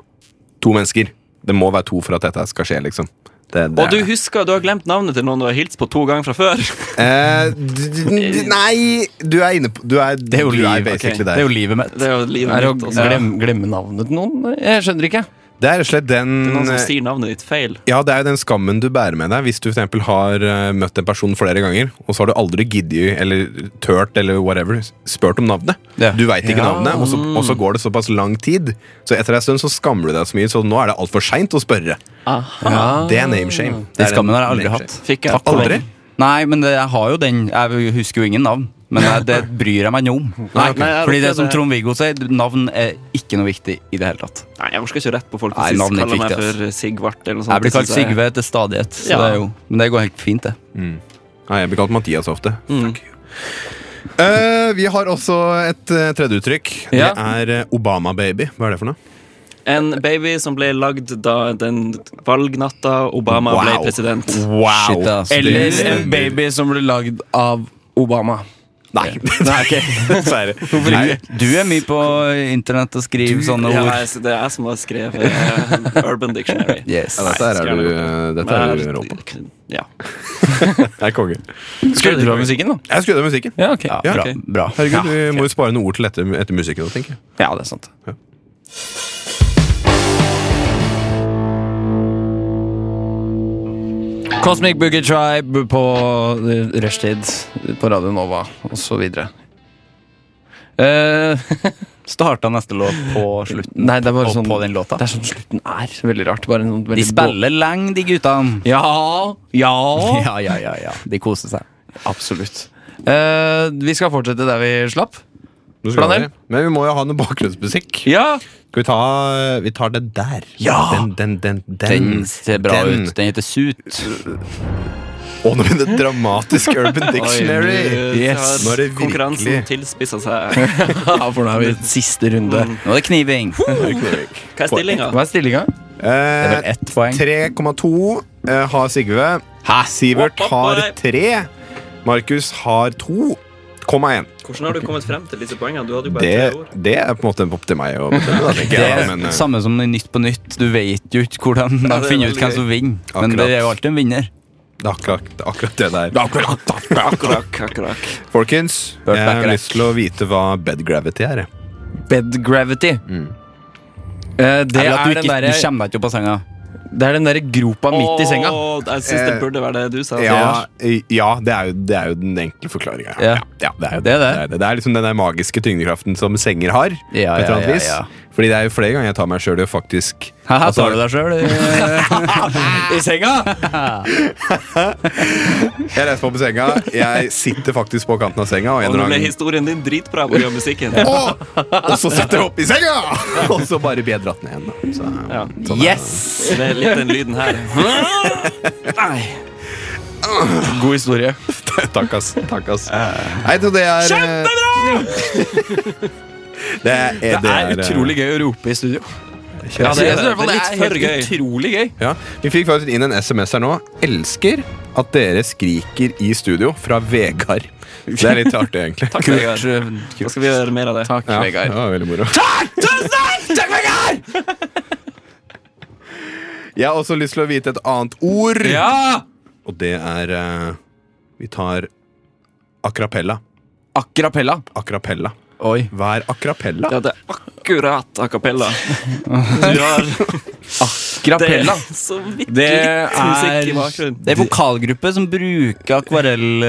[SPEAKER 4] to mennesker. Det må være to for at dette skal skje, liksom. Det, det
[SPEAKER 3] Og du
[SPEAKER 4] er det.
[SPEAKER 3] husker, du har glemt navnet til noen du har hilst på to ganger fra før.
[SPEAKER 4] Eh, d- d- d- Nei, du er inne på Du er, det
[SPEAKER 1] jo
[SPEAKER 4] du er
[SPEAKER 1] liv,
[SPEAKER 4] basically
[SPEAKER 1] Det
[SPEAKER 4] der.
[SPEAKER 1] er jo livet mitt.
[SPEAKER 3] Det er jo livet
[SPEAKER 2] Er det å
[SPEAKER 3] mitt også.
[SPEAKER 2] glemme, glemme navnet til noen? Jeg skjønner ikke.
[SPEAKER 4] Det er rett og slett den
[SPEAKER 3] Noen som sier navnet ditt feil.
[SPEAKER 4] Ja, det er jo den skammen du bærer med deg hvis du for eksempel har eh, møtt en person flere ganger, og så har du aldri giddet eller tørt eller whatever spurt om navnet.
[SPEAKER 1] Ja.
[SPEAKER 4] Du veit ikke
[SPEAKER 2] Ja.
[SPEAKER 4] navnet, og så, og så går det såpass lang tid. Så etter en stund så skammer du deg så mye, så nå er det altfor seint å spørre. Det er nameshame.
[SPEAKER 1] Den skammen har jeg aldri hatt.
[SPEAKER 3] Fikk jeg
[SPEAKER 1] Takk
[SPEAKER 4] for
[SPEAKER 1] for
[SPEAKER 4] aldri?
[SPEAKER 1] den. Nei, men det, jeg har jo den. Jeg husker jo ingen navn. Men jeg, det bryr jeg meg ikke om.
[SPEAKER 3] Nei, ok.
[SPEAKER 1] Fordi det som Trond-Viggo sier, navn er ikke noe viktig i det hele tatt.
[SPEAKER 3] Nei, jeg orker ikke rett på folk
[SPEAKER 1] Nei,
[SPEAKER 3] som
[SPEAKER 1] navnet er
[SPEAKER 3] kaller
[SPEAKER 1] ikke
[SPEAKER 3] meg
[SPEAKER 1] viktig,
[SPEAKER 3] for Sigvart eller noe sånt.
[SPEAKER 1] Jeg blir
[SPEAKER 3] Det
[SPEAKER 1] kalt
[SPEAKER 3] synes jeg-
[SPEAKER 1] Sigve til stadighet, så
[SPEAKER 3] Ja.
[SPEAKER 1] det er jo, men det går helt fint, det.
[SPEAKER 4] Nei, jeg blir kalt Mathias ofte.
[SPEAKER 3] Mm.
[SPEAKER 4] Eh, vi har også et eh, tredje uttrykk.
[SPEAKER 2] Ja.
[SPEAKER 4] Det er eh, Obama-baby. Hva er det for noe?
[SPEAKER 3] En baby som ble lagd da den valgnatta Obama ble
[SPEAKER 4] Wow.
[SPEAKER 3] president.
[SPEAKER 4] Wow!
[SPEAKER 1] Shit, ass.
[SPEAKER 2] Eller
[SPEAKER 1] Det-
[SPEAKER 2] en baby som ble lagd av Obama.
[SPEAKER 4] Nei, dessverre. Nei.
[SPEAKER 1] Du er mye på internett og skriver sånne
[SPEAKER 3] Ja,
[SPEAKER 1] ord.
[SPEAKER 3] jeg, det er jeg som har skrevet eh, Urban Dictionary.
[SPEAKER 1] Yes.
[SPEAKER 4] Ja, Dette her er du, eh, dette er du rå på.
[SPEAKER 3] Ja.
[SPEAKER 4] Jeg er konge.
[SPEAKER 2] Skrudde du av musikken, da?
[SPEAKER 4] Jeg skrudde av musikken.
[SPEAKER 2] Ja, ok.
[SPEAKER 1] Ja, bra.
[SPEAKER 3] ok.
[SPEAKER 1] bra.
[SPEAKER 4] Herregud, vi må jo spare noen ord til etter, etter musikken. tenker jeg
[SPEAKER 2] Ja, det er sant. Cosmic Boogie Tribe på eh, rushtid på Radio Nova og så videre. Eh,
[SPEAKER 1] Starta neste låt på slutten.
[SPEAKER 2] nei, det er bare
[SPEAKER 1] Og
[SPEAKER 2] sånn
[SPEAKER 1] på den låta.
[SPEAKER 2] Det er sånn slutten er. Veldig rart. Bare en sånn veldig
[SPEAKER 1] De spiller lenge, de guttene.
[SPEAKER 2] bå- Ja, ja,
[SPEAKER 1] Ja, ja, ja, ja. De koser seg.
[SPEAKER 2] Absolutt. Eh, vi skal fortsette der vi slapp.
[SPEAKER 4] Nå skal
[SPEAKER 2] Planer?
[SPEAKER 4] vi- Men vi må jo ha noe bakgrunnsmusikk.
[SPEAKER 2] Ja!
[SPEAKER 4] Skal vi ta Vi tar den der.
[SPEAKER 2] Ja!
[SPEAKER 4] Den, den, den, den.
[SPEAKER 1] Den ser bra
[SPEAKER 4] Mm. den.
[SPEAKER 1] ut. Den heter Suit.
[SPEAKER 4] Å, nå blir det dramatisk Urban Dictionary!
[SPEAKER 2] Yes.
[SPEAKER 4] Nå er det
[SPEAKER 3] Konkurransen
[SPEAKER 4] virkelig
[SPEAKER 3] tilspissa seg.
[SPEAKER 2] ja, for nå er vi i siste runde.
[SPEAKER 1] Mm. Nå er det kniving. Det
[SPEAKER 3] Hva er stillinga?
[SPEAKER 2] Hva er stillinga?
[SPEAKER 1] er
[SPEAKER 4] Eh,
[SPEAKER 1] vel ett poeng.
[SPEAKER 4] 3,2 eh, har Sigve. Sivert
[SPEAKER 3] Hopp, hopp,
[SPEAKER 4] har
[SPEAKER 3] hopp.
[SPEAKER 4] 3. Markus har 2,1.
[SPEAKER 3] Hvordan har du kommet frem til disse poengene? Du hadde jo bare
[SPEAKER 4] Det,
[SPEAKER 3] tre ord.
[SPEAKER 4] det er på en måte opp til meg å bestemme. da, tenker
[SPEAKER 1] Det
[SPEAKER 4] jeg,
[SPEAKER 1] er
[SPEAKER 4] da, men, eh,
[SPEAKER 1] samme som i Nytt på nytt. Du vet jo ikke hvordan
[SPEAKER 3] Ja,
[SPEAKER 1] de
[SPEAKER 3] det er
[SPEAKER 1] finner ut
[SPEAKER 3] veldig
[SPEAKER 1] hvem som vinner. Men
[SPEAKER 4] Akkurat.
[SPEAKER 1] det er jo alltid en vinner.
[SPEAKER 4] Det er akkurat det, er akkurat det der.
[SPEAKER 3] Akkurat, akkurat.
[SPEAKER 4] Folkens,
[SPEAKER 1] Burt
[SPEAKER 4] jeg har
[SPEAKER 1] Bacharach.
[SPEAKER 4] lyst til å vite hva bed gravity er. jeg.
[SPEAKER 2] Bed gravity. Eh, det,
[SPEAKER 1] Eller at
[SPEAKER 2] er
[SPEAKER 1] du,
[SPEAKER 2] den
[SPEAKER 1] ikke,
[SPEAKER 2] derre-
[SPEAKER 1] du kommer deg ikke opp av senga.
[SPEAKER 2] det er den derre gropa midt i senga.
[SPEAKER 3] Åh, Jeg syns det
[SPEAKER 4] Eh,
[SPEAKER 3] burde være det du sa.
[SPEAKER 4] Ja, i- ja det, er jo, det er jo den enkle forklaringa.
[SPEAKER 1] Ja.
[SPEAKER 4] det, er jo
[SPEAKER 1] Det er det.
[SPEAKER 4] Det, er det. det er liksom den der magiske tyngdekraften som senger har.
[SPEAKER 1] Ja,
[SPEAKER 4] på et eller
[SPEAKER 1] ja, ja,
[SPEAKER 4] annet vis.
[SPEAKER 1] ja.
[SPEAKER 4] Fordi det er jo flere ganger jeg tar meg sjøl i å faktisk
[SPEAKER 1] Her
[SPEAKER 4] altså,
[SPEAKER 1] tar du deg sjøl.
[SPEAKER 2] eh, I senga!
[SPEAKER 4] Jeg reiser meg opp i senga, jeg sitter faktisk på kanten av senga, og, en
[SPEAKER 3] Og nå
[SPEAKER 4] eller
[SPEAKER 3] ble
[SPEAKER 4] annen,
[SPEAKER 3] historien din dritbra pga. musikken.
[SPEAKER 4] og så setter jeg opp i senga! og så bare blir jeg dratt ned igjen. da. Så,
[SPEAKER 3] Ja.
[SPEAKER 1] Yes!
[SPEAKER 3] Det er litt den lyden her. Nei.
[SPEAKER 2] God historie.
[SPEAKER 4] Takk, ass. Takk, ass.
[SPEAKER 2] Eh.
[SPEAKER 4] Nei, så det er Kjempebra! det, er, eh,
[SPEAKER 2] Det er utrolig gøy å rope i studio. Ja, det,
[SPEAKER 3] det.
[SPEAKER 2] er, det, er
[SPEAKER 3] Det er
[SPEAKER 2] helt
[SPEAKER 3] litt for
[SPEAKER 2] utrolig gøy.
[SPEAKER 4] Ja, Vi fikk faktisk inn en SMS her nå. Elsker at dere skriker i studio fra Vegard. Det er litt artig, egentlig.
[SPEAKER 3] Takk, Vegard. Da skal vi gjøre mer av det.
[SPEAKER 1] Takk,
[SPEAKER 4] Ja, det
[SPEAKER 1] Vegard.
[SPEAKER 4] var veldig moro.
[SPEAKER 2] Tusen takk! Takk, Vegard!
[SPEAKER 4] Jeg har også lyst til å vite et annet ord,
[SPEAKER 2] Ja!
[SPEAKER 4] og det er eh, Vi tar akrapella.
[SPEAKER 2] Akrapella.
[SPEAKER 4] Akrapella.
[SPEAKER 1] Oi.
[SPEAKER 4] Hva er akrapella?
[SPEAKER 3] Ja, det er akkurat a cappella. Du har det er
[SPEAKER 2] Grapella.
[SPEAKER 3] så vidt
[SPEAKER 2] Det
[SPEAKER 3] litt musikk i
[SPEAKER 2] er
[SPEAKER 3] bakgrunnen.
[SPEAKER 1] Det er vokalgruppe som bruker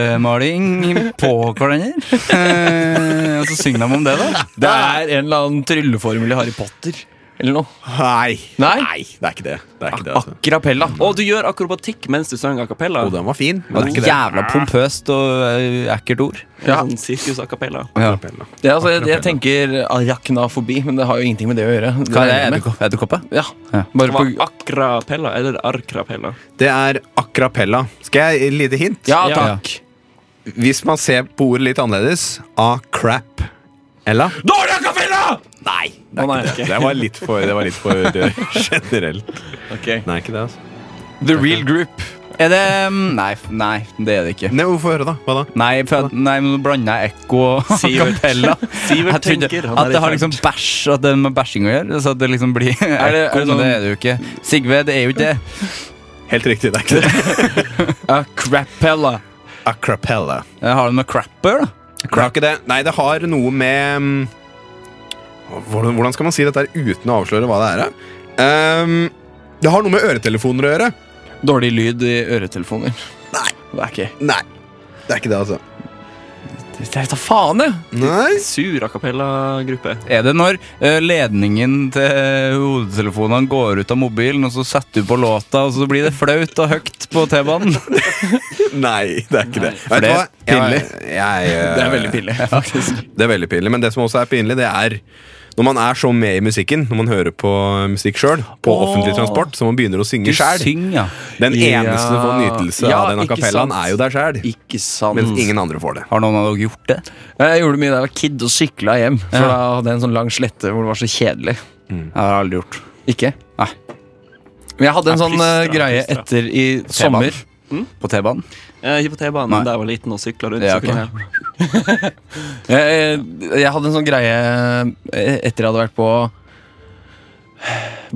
[SPEAKER 1] akvarellmaling på hverandre. Eh, og så synger de om det, da.
[SPEAKER 2] Det er en eller annen trylleformel i Harry Potter eller noe.
[SPEAKER 4] Nei.
[SPEAKER 2] Nei.
[SPEAKER 4] det er ikke det. det, er ikke det
[SPEAKER 2] Ah,
[SPEAKER 4] altså.
[SPEAKER 2] Akrapella.
[SPEAKER 3] Og du gjør akrobatikk mens du sang a
[SPEAKER 2] ah.
[SPEAKER 3] cappella.
[SPEAKER 2] Oh,
[SPEAKER 4] Og den var fin, men det er
[SPEAKER 1] Det er
[SPEAKER 4] ikke det.
[SPEAKER 1] Jævla pompøst og eh, ekkelt ord.
[SPEAKER 2] Ja.
[SPEAKER 3] Sånn sirkus a cappella.
[SPEAKER 1] Ja.
[SPEAKER 4] Acapella.
[SPEAKER 2] Det, er altså, jeg, jeg tenker arachnafobi, men det har jo ingenting med det å gjøre.
[SPEAKER 1] Hva er det?
[SPEAKER 2] er med.
[SPEAKER 1] Edderko- Edderkoppe?
[SPEAKER 2] Ja.
[SPEAKER 1] Ja.
[SPEAKER 2] Bare på,
[SPEAKER 3] Akrapella eller arkrapella.
[SPEAKER 4] Det er akrapella. Skal jeg gi et lite hint?
[SPEAKER 2] ja,
[SPEAKER 3] Ja.
[SPEAKER 2] takk.
[SPEAKER 4] Hvis man ser på ordet litt annerledes A-crap Ella
[SPEAKER 2] Dårlig akapella!
[SPEAKER 4] Nei, det,
[SPEAKER 2] Å,
[SPEAKER 4] er
[SPEAKER 2] nei,
[SPEAKER 4] ikke det. det var litt for, det var litt for eh, generelt Nei, ikke det altså
[SPEAKER 2] The real group.
[SPEAKER 1] Er det mm, Nei, f- nei, det er det ikke.
[SPEAKER 4] Nei, hvorfor høre da? Hva da?
[SPEAKER 1] Nei, for, nei men nå blander jeg ekko og
[SPEAKER 3] Sivert.
[SPEAKER 1] kapella.
[SPEAKER 3] Sivert
[SPEAKER 1] Jeg trodde
[SPEAKER 3] tenker, han er
[SPEAKER 1] at det
[SPEAKER 3] i
[SPEAKER 1] har
[SPEAKER 3] ferd.
[SPEAKER 1] liksom bæsj At det er med bæsjing å gjøre. Så at det liksom blir ekko,
[SPEAKER 2] det- er det
[SPEAKER 1] men det
[SPEAKER 2] sånn-
[SPEAKER 1] er det jo ikke. Sigve, det er jo ikke det.
[SPEAKER 4] Helt riktig, det er ikke det
[SPEAKER 2] Acrapella.
[SPEAKER 4] Acapella
[SPEAKER 1] Eh, Har du noe crapper, da?
[SPEAKER 4] Det har ikke det Nei, det har noe med mm, hvordan, hvordan skal man si dette her uten å avsløre hva det er? da? Ehm, det har noe med øretelefoner å gjøre
[SPEAKER 2] Dårlig lyd i øretelefoner. Nei. Det er ikke
[SPEAKER 4] Nei, det er ikke det altså
[SPEAKER 2] Det er da faen, jeg!
[SPEAKER 4] Nei
[SPEAKER 3] Sur a cappella-gruppe.
[SPEAKER 1] Er det når eh, ledningen til hodetelefonene går ut av mobilen, og så setter du på låta, og så blir det flaut og høyt på T-banen?
[SPEAKER 4] Nei, det er ikke det.
[SPEAKER 1] for
[SPEAKER 4] Vet du
[SPEAKER 1] det er
[SPEAKER 4] hva? Jeg- jeg, eh,
[SPEAKER 2] Det er veldig pinlig. faktisk.
[SPEAKER 4] Det er veldig pinlig, men det som også er pinlig, det er når man er så med i musikken, når man hører på eh, musikk sjøl, på offentlig transport, så man begynner å synge sjæl.
[SPEAKER 1] Syng, ja.
[SPEAKER 4] Den
[SPEAKER 2] Ja.
[SPEAKER 4] eneste som får nytelse
[SPEAKER 2] Ja,
[SPEAKER 4] av den
[SPEAKER 2] ikke
[SPEAKER 4] akapellaen,
[SPEAKER 2] sant.
[SPEAKER 4] er jo deg sjæl.
[SPEAKER 2] Ikke sant.
[SPEAKER 4] Mens ingen andre får det.
[SPEAKER 1] Har noen av dere gjort det?
[SPEAKER 2] Jeg gjorde det mye da jeg var kid og sykla hjem. For
[SPEAKER 1] Ja.
[SPEAKER 2] da hadde jeg en sånn lang slette hvor det var så kjedelig.
[SPEAKER 1] Jeg har aldri gjort.
[SPEAKER 2] Ikke?
[SPEAKER 1] Nei.
[SPEAKER 2] Men jeg hadde en
[SPEAKER 3] Jeg
[SPEAKER 2] sånn eh,
[SPEAKER 3] plystra,
[SPEAKER 2] greie
[SPEAKER 3] plystra.
[SPEAKER 2] etter i sommer.
[SPEAKER 1] På T-banen?
[SPEAKER 3] Eh, Ikke på
[SPEAKER 1] Nei.
[SPEAKER 3] T-banen da jeg var liten og sykla rundt.
[SPEAKER 1] Ja,
[SPEAKER 3] så kunne jeg-
[SPEAKER 2] Jeg, jeg hadde en sånn greie eh, etter jeg hadde vært på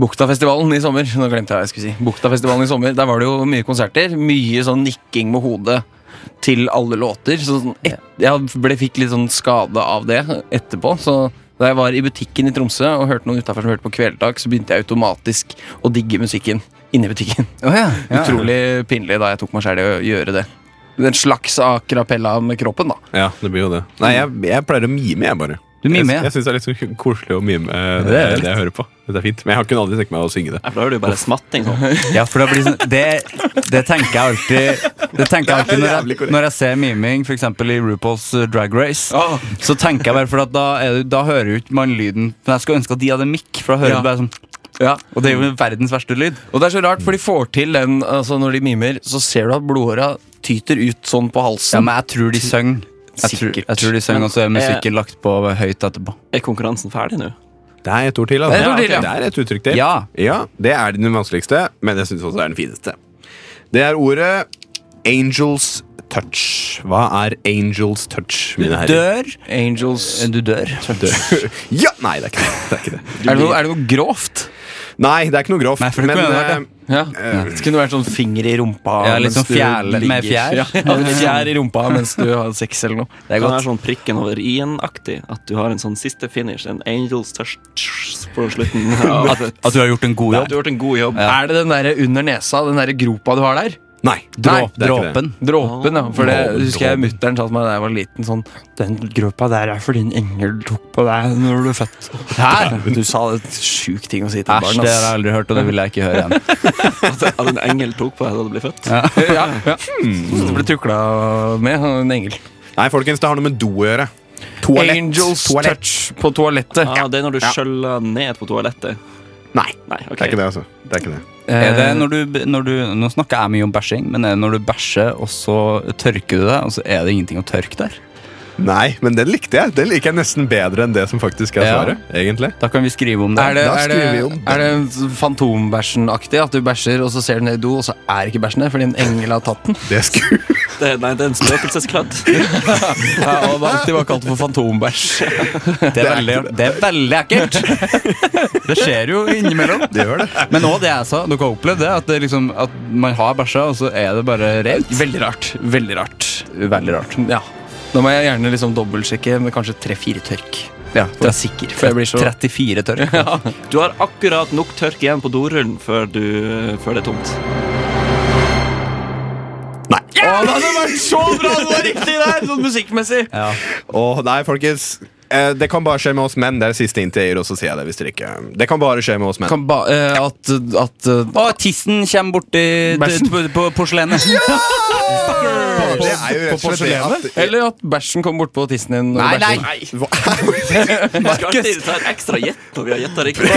[SPEAKER 2] Buktafestivalen i sommer. Nå glemte jeg hva jeg skulle si. Buktafestivalen i sommer, Der var det jo mye konserter. Mye sånn nikking med hodet til alle låter. Så sånn, et, jeg ble, fikk litt sånn skade av det etterpå. Så da jeg var i butikken i Tromsø og hørte noen utafor som hørte på Kvelertak, så begynte jeg automatisk å digge musikken inni butikken.
[SPEAKER 1] Å ja. ja.
[SPEAKER 2] Utrolig pinlig da jeg tok meg selv i å gjøre det. En slags akrapella med kroppen, da.
[SPEAKER 4] Ja, det blir jo det. Nei, jeg, jeg pleier å mime, jeg bare.
[SPEAKER 1] Du mimer,
[SPEAKER 4] Jeg,
[SPEAKER 1] ja.
[SPEAKER 4] jeg syns det er litt sånn koselig å mime eh, det,
[SPEAKER 1] Det er
[SPEAKER 4] det, jeg hører på. Det er fint. Men jeg kunne aldri tenkt meg å synge det.
[SPEAKER 3] Ja, for Da hører du bare smatting sånn.
[SPEAKER 1] ja for det, blir sånn, det, det tenker jeg alltid Det tenker jeg alltid når
[SPEAKER 4] jævlig
[SPEAKER 1] jeg,
[SPEAKER 4] korrekt.
[SPEAKER 1] når jeg ser miming, f.eks. i RuPaul's Drag Race.
[SPEAKER 3] Ah,
[SPEAKER 1] Så tenker jeg bare, for at da, er det, da hører jo ikke man lyden Men jeg skulle ønske at de hadde mikk, for da hører
[SPEAKER 2] Ja.
[SPEAKER 1] du bare sånn
[SPEAKER 2] Ja.
[SPEAKER 1] Og det er jo verdens verste lyd.
[SPEAKER 2] Og det er så rart, for de får til den altså Når de mimer, så ser du at blodåra tyter ut sånn på
[SPEAKER 1] Ja,
[SPEAKER 2] halsen.
[SPEAKER 1] men jeg tror de søng. Jeg tror,
[SPEAKER 2] Sikkert.
[SPEAKER 1] jeg tror de søng,
[SPEAKER 3] Men,
[SPEAKER 1] og så er musikken
[SPEAKER 3] eh,
[SPEAKER 1] lagt på høyt etterpå.
[SPEAKER 3] Er konkurransen ferdig nå?
[SPEAKER 4] Det er et ord til, altså.
[SPEAKER 2] Det er et ord til, ja.
[SPEAKER 4] det er et uttrykk til.
[SPEAKER 1] Ja.
[SPEAKER 4] Det er den vanskeligste, men jeg syns også det er den fineste. Det er ordet angels touch. Hva er angels touch, mine herrer?
[SPEAKER 1] Dør.
[SPEAKER 2] Angels
[SPEAKER 1] Du dør.
[SPEAKER 4] ja! Nei, det er ikke det. det, er ikke det.
[SPEAKER 2] er det, noe, er det noe grovt?
[SPEAKER 4] Nei, det er ikke noe grovt.
[SPEAKER 1] Nei, for det kunne
[SPEAKER 4] men
[SPEAKER 1] vært
[SPEAKER 4] eh,
[SPEAKER 2] Ja. Det kunne vært sånn finger i rumpa
[SPEAKER 1] Ja, litt
[SPEAKER 2] mens
[SPEAKER 1] sånn
[SPEAKER 2] du
[SPEAKER 1] fjæle- med fjær.
[SPEAKER 2] Ja, ja, fjær i rumpa mens du har sex eller noe.
[SPEAKER 1] Det er
[SPEAKER 3] Kan være
[SPEAKER 1] godt.
[SPEAKER 3] sånn prikken over i-en-aktig. At du har en sånn siste finish. En angels touch på slutten. Ja,
[SPEAKER 1] At, at du har gjort en god
[SPEAKER 3] du
[SPEAKER 1] jobb.
[SPEAKER 3] har gjort en god jobb.
[SPEAKER 2] Er det den der under nesa, den der gropa du har der?
[SPEAKER 4] Nei,
[SPEAKER 1] Nei,
[SPEAKER 4] dråp, det er ikke det.
[SPEAKER 1] dråpen.
[SPEAKER 2] Dråpen, ja. For det
[SPEAKER 4] Dråpen,
[SPEAKER 2] husker jeg mutter'n sa til meg da jeg var liten. sånn Den gropa der er fordi en engel tok på deg når du ble født. Her? Du sa det sjuk ting å si til
[SPEAKER 1] Æsj,
[SPEAKER 2] barn.
[SPEAKER 1] det har jeg
[SPEAKER 2] ass.
[SPEAKER 1] aldri hørt, og det vil jeg ikke høre igjen.
[SPEAKER 3] At at en engel tok på deg da du ble født.
[SPEAKER 2] Ja, ja. Du ble tukla med av en engel.
[SPEAKER 4] Nei, folkens, det har noe med do å gjøre.
[SPEAKER 5] Toalett.
[SPEAKER 2] Angels
[SPEAKER 5] Toalett.
[SPEAKER 2] touch på toalettet.
[SPEAKER 3] Ah, det er når du skjøller ned på toalettet.
[SPEAKER 4] Nei,
[SPEAKER 3] Nei, ok.
[SPEAKER 4] det er ikke det, altså. Det er ikke det.
[SPEAKER 2] Eh,
[SPEAKER 1] Er det når du, når du, nå snakker jeg mye om bæsjing, men er det når du bæsjer, og så tørker du deg, og så er det ingenting å tørke der?
[SPEAKER 4] Nei, men den likte jeg. Den liker jeg nesten bedre enn det som faktisk er
[SPEAKER 1] Ja.
[SPEAKER 4] svaret. egentlig
[SPEAKER 1] Da kan vi skrive om det.
[SPEAKER 2] Er det,
[SPEAKER 4] Da
[SPEAKER 2] er det,
[SPEAKER 4] skriver vi om den.
[SPEAKER 2] er det fantombæsjen-aktig? At du bæsjer, og så ser du ned i do, og så er ikke bæsjen der fordi en engel har tatt den?
[SPEAKER 4] Det skulle
[SPEAKER 3] Det, nei, det er en spøkelseskladd.
[SPEAKER 2] Ja, og det har alltid vært kalt for fantombæsj.
[SPEAKER 1] Det er veldig, det er veldig ekkelt! Det skjer jo innimellom.
[SPEAKER 4] det gjør det.
[SPEAKER 1] Men òg det jeg sa, dere har opplevd det, at, det liksom, at man har bæsja, og så er det bare rent.
[SPEAKER 2] Veldig rart. Veldig rart.
[SPEAKER 1] Veldig rart.
[SPEAKER 2] Ja. Da må jeg gjerne liksom dobbeltsjekke med kanskje tre-fire tørk.
[SPEAKER 1] Ja,
[SPEAKER 2] For jeg er sikker. For jeg blir så
[SPEAKER 1] 34 tørk.
[SPEAKER 3] Du har akkurat nok tørk igjen på dorullen før, du, før det er tomt.
[SPEAKER 2] det hadde vært så bra! Det var riktig der! Sånn musikkmessig.
[SPEAKER 1] Ja.
[SPEAKER 4] Åh, nei, folkens. Eh, Det kan bare skje med oss menn. Det er det siste inntil jeg gir oss å si det. Hvis dere ikke Det kan bare skje med oss menn.
[SPEAKER 2] Kan ba, eh, at, at eh,
[SPEAKER 1] Og tissen kommer borti
[SPEAKER 2] Bæsjen.
[SPEAKER 1] på, på porselenet.
[SPEAKER 4] Det er jo rett og slett det at
[SPEAKER 2] Eller at bæsjen kommer bortpå tissen din. når
[SPEAKER 1] Nei,
[SPEAKER 2] du
[SPEAKER 1] nei!
[SPEAKER 2] bæsjer.
[SPEAKER 4] sånn-
[SPEAKER 3] Vi skal alltid ta en ekstra gjett når vi har gjetta riktig.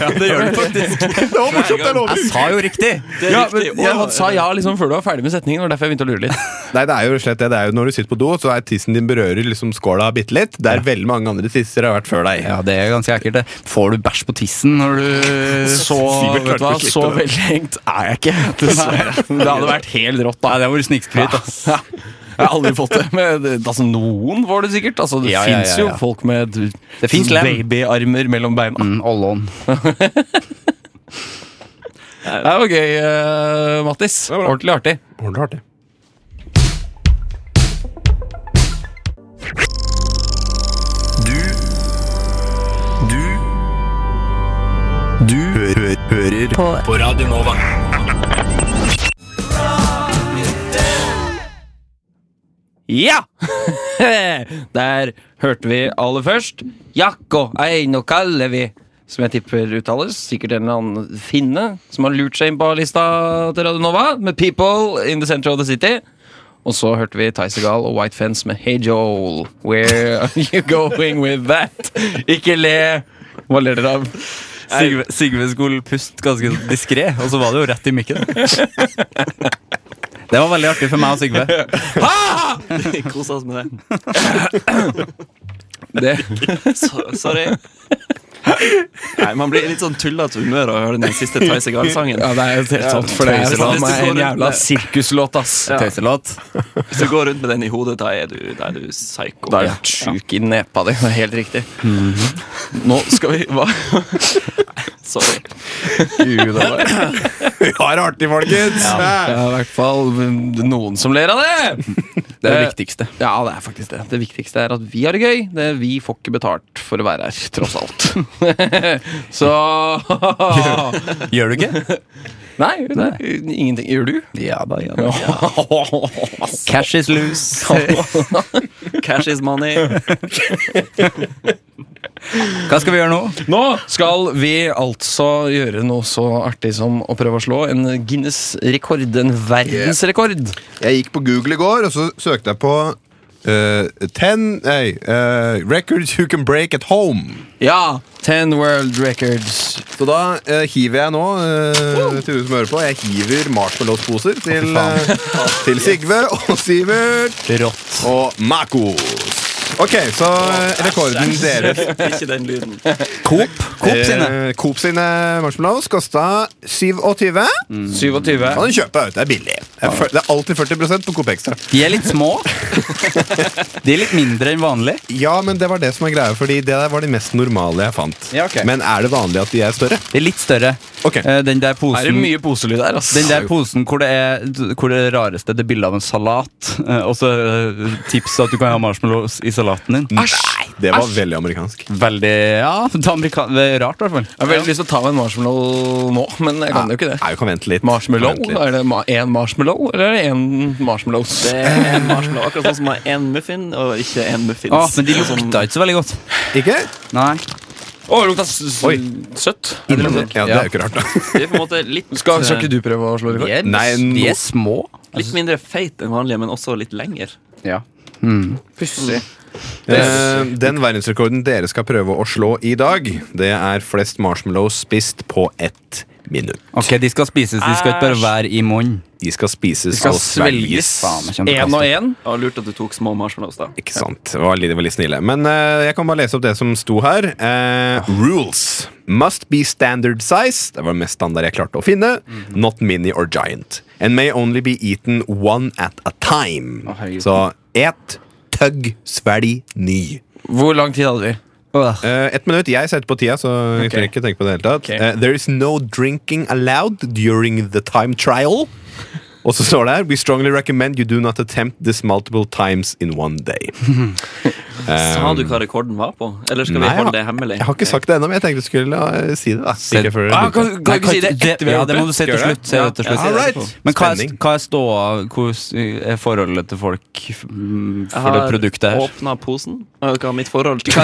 [SPEAKER 1] Ja, det gjør den faktisk.
[SPEAKER 4] Det var morsomt, jeg lover!
[SPEAKER 1] Jeg sa jo riktig!
[SPEAKER 3] Det er
[SPEAKER 2] Ja,
[SPEAKER 3] riktig.
[SPEAKER 2] men jeg
[SPEAKER 3] Og-
[SPEAKER 2] sa ja liksom før du var ferdig med setningen. Og derfor jeg begynte å lure litt
[SPEAKER 4] Nei, det er jo rett og slett det. det er jo Når du sitter på do, så er tissen din berører liksom skåla bitte litt. Der veldig mange andre tisser har vært før deg.
[SPEAKER 1] Ja, det er ganske ekkelt. det. Får du bæsj på tissen når du
[SPEAKER 2] Så,
[SPEAKER 4] Sivert
[SPEAKER 2] vet du
[SPEAKER 4] klarte
[SPEAKER 2] hva,
[SPEAKER 4] å slippe
[SPEAKER 2] så
[SPEAKER 4] det.
[SPEAKER 2] velhengt er jeg ikke, dessverre. Det hadde vært helt rått,
[SPEAKER 1] Nei,
[SPEAKER 2] da.
[SPEAKER 1] det var snikskryt, ass.
[SPEAKER 2] Ja. Jeg har aldri fått det. Men det, altså, noen får det sikkert. Altså, det
[SPEAKER 1] Ja, ja, ja,
[SPEAKER 2] fins jo
[SPEAKER 1] ja.
[SPEAKER 2] folk med d-
[SPEAKER 1] Det finnes lem.
[SPEAKER 2] babyarmer mellom beina.
[SPEAKER 1] Mm, all on.
[SPEAKER 2] Det var gøy, eh, Mattis.
[SPEAKER 4] var bra.
[SPEAKER 2] Ordentlig artig.
[SPEAKER 4] Ordentlig artig.
[SPEAKER 2] Ja! Der hørte vi aller først Jakko Eino Kallevi, som jeg tipper uttales. Sikkert en eller annen finne som har lurt seg inn på lista til Radionova med People in the Center of the City. Og så hørte vi Ty Segal og White Fence med Hey Joel, where are you going with that? Ikke le! Hva ler dere av?
[SPEAKER 1] Sigve, Sigve skulle puste ganske diskré, og så var det jo rett i mikken. Det var veldig artig for meg og Sigve.
[SPEAKER 3] Kos oss med det.
[SPEAKER 2] Det,
[SPEAKER 3] Så, sorry. Nei, Man blir litt sånn tullete humør av å høre den siste Ty Segal-sangen.
[SPEAKER 2] ja, det er jo helt sant, for det
[SPEAKER 1] sånn,
[SPEAKER 2] er faen meg en jævla sirkuslåt, ass.
[SPEAKER 1] Tøyselåt.
[SPEAKER 3] Hvis du går rundt med den i hodet, da er du, da er du psycho.
[SPEAKER 2] Da er du sjuk i nepa di. Det er helt riktig. Nå skal vi Hva?
[SPEAKER 3] Sorry.
[SPEAKER 4] Vi har det artig, folkens!
[SPEAKER 2] Det er i hvert fall noen som ler av det!
[SPEAKER 1] Det er det
[SPEAKER 2] Eh,
[SPEAKER 1] viktigste.
[SPEAKER 2] Ja, det er faktisk det. Det viktigste er at vi har det gøy. Det, vi får ikke betalt for å være her, tross alt. Så
[SPEAKER 1] Gjør du ikke?
[SPEAKER 2] Nei, ingenting. Gjør du?
[SPEAKER 1] Ja da, ja da. Cash is loose.
[SPEAKER 3] Cash is money.
[SPEAKER 1] Hva skal vi gjøre nå?
[SPEAKER 2] Nå skal vi altså gjøre noe så artig som å prøve å slå en Guinness-rekord. En verdensrekord.
[SPEAKER 5] Jeg gikk på Google i går, og så søkte jeg på eh, ten, nei, eh, records you can break at home.
[SPEAKER 2] Ja! Ten World Records.
[SPEAKER 4] Så da eh, hiver jeg nå, eh, til du som hører på, jeg hiver marshmallowsposer til, eh, til Sigve og Sivert
[SPEAKER 1] Rått.
[SPEAKER 4] og Makos. Ok, så eh, rekorden deres
[SPEAKER 3] Ikke den lyden.
[SPEAKER 1] Coop. Coop sine.
[SPEAKER 4] Eh, Coop sine marshmallows kosta 27.
[SPEAKER 1] Mm.
[SPEAKER 2] 27.
[SPEAKER 4] Kan du kjøpe, vet du. det er billig. Det er fyr- Det er alltid 40 på Coop Extra.
[SPEAKER 1] De er litt små. De er litt mindre enn vanlig.
[SPEAKER 4] Ja, men det var det som er greia, Fordi det der var de mest normale jeg fant.
[SPEAKER 1] Ja, ok.
[SPEAKER 4] Men er det vanlig at de er større?
[SPEAKER 1] De er litt større.
[SPEAKER 4] Ok.
[SPEAKER 1] Eh, Den der posen
[SPEAKER 2] Er det mye poselyd her, ass?
[SPEAKER 1] Den der posen hvor det er hvor det rareste det er bilde av en salat. Eh, og så eh, tips at du kan ha marshmallows i salaten
[SPEAKER 4] Mm.
[SPEAKER 1] din.
[SPEAKER 4] Nei, det var veldig amerikansk.
[SPEAKER 1] Veldig ja, det er amerika- det er rart, i hvert fall.
[SPEAKER 2] Jeg har veldig lyst til å ta meg en marshmallow nå, men jeg kan jo ikke det.
[SPEAKER 4] Nei, vi kan vente litt.
[SPEAKER 2] Marshmallow?
[SPEAKER 4] Vente litt.
[SPEAKER 2] Er det ma- én marshmallow, eller er det én marshmallows?
[SPEAKER 3] Det er en marshmallow, akkurat sånn som har én muffin og ikke én muffins.
[SPEAKER 1] Ah, men de
[SPEAKER 3] Det er sånn-
[SPEAKER 1] lukta ikke så veldig godt.
[SPEAKER 4] Ikke?
[SPEAKER 1] Nei.
[SPEAKER 2] Å, det lukta s- s-
[SPEAKER 4] Oi.
[SPEAKER 2] søtt.
[SPEAKER 4] Ja, det er jo ikke rart, da.
[SPEAKER 3] De er på en måte litt, eh,
[SPEAKER 2] Skal, skal ikke du prøve å slå rekord?
[SPEAKER 1] De er,
[SPEAKER 4] Nei,
[SPEAKER 1] de
[SPEAKER 4] nå-
[SPEAKER 1] er små.
[SPEAKER 3] litt mindre feit enn vanlige, men også litt lengre.
[SPEAKER 1] Ja.
[SPEAKER 2] Pussig.
[SPEAKER 4] Eh, Den verdensrekorden dere skal prøve å slå i dag, det er flest marshmallows spist på ett minutt.
[SPEAKER 1] Ok, De skal spises, de skal ikke bare være i munnen.
[SPEAKER 4] De skal spises
[SPEAKER 2] skal
[SPEAKER 4] og svelges.
[SPEAKER 1] Faen, jeg kommer til å
[SPEAKER 2] Én og
[SPEAKER 1] kaste.
[SPEAKER 2] én.
[SPEAKER 3] Ja, lurt at du tok små marshmallows, da.
[SPEAKER 4] Ikke sant. Det var litt, det var litt snille. Men eh, jeg kan bare lese opp det som sto her. Eh, rules. Must be standard size. Det var det mest standard jeg klarte å finne. Not mini or giant. And may only be eaten one at a time.
[SPEAKER 1] herregud.
[SPEAKER 4] Så et, tøgg, svelg, ny.
[SPEAKER 2] Hvor lang tid hadde vi?
[SPEAKER 1] Åh.
[SPEAKER 4] Eh, ett minutt. Jeg setter på tida, så jeg trenger ikke tenke på det hele tatt.
[SPEAKER 2] Ok.
[SPEAKER 4] Eh, there is no drinking allowed during the time trial. Og så står det her We strongly recommend you do not attempt this multiple times in one day.
[SPEAKER 3] Eh, Sa du hva rekorden var på? Eller skal vi
[SPEAKER 4] Nei, jeg-
[SPEAKER 3] holde det hemmelig?
[SPEAKER 4] Jeg har ikke sagt det ennå, men jeg tenkte jeg skulle eh, si det. da Ikke før
[SPEAKER 2] Ah,
[SPEAKER 4] jeg begynte.
[SPEAKER 2] kan, kan du ikke si det etter vi
[SPEAKER 1] ja,
[SPEAKER 2] har
[SPEAKER 1] det må
[SPEAKER 2] gjort
[SPEAKER 1] du
[SPEAKER 2] det?
[SPEAKER 1] si til
[SPEAKER 4] Skal jeg
[SPEAKER 1] slutt. si det til slutt.
[SPEAKER 4] All right.
[SPEAKER 1] Men hva er,
[SPEAKER 4] Spenning.
[SPEAKER 1] hva er ståa? Hvordan er forholdet til folk f- mm,
[SPEAKER 3] Jeg
[SPEAKER 1] for det produktet
[SPEAKER 3] har
[SPEAKER 1] her?
[SPEAKER 3] åpna posen. Og Hva er mitt forhold til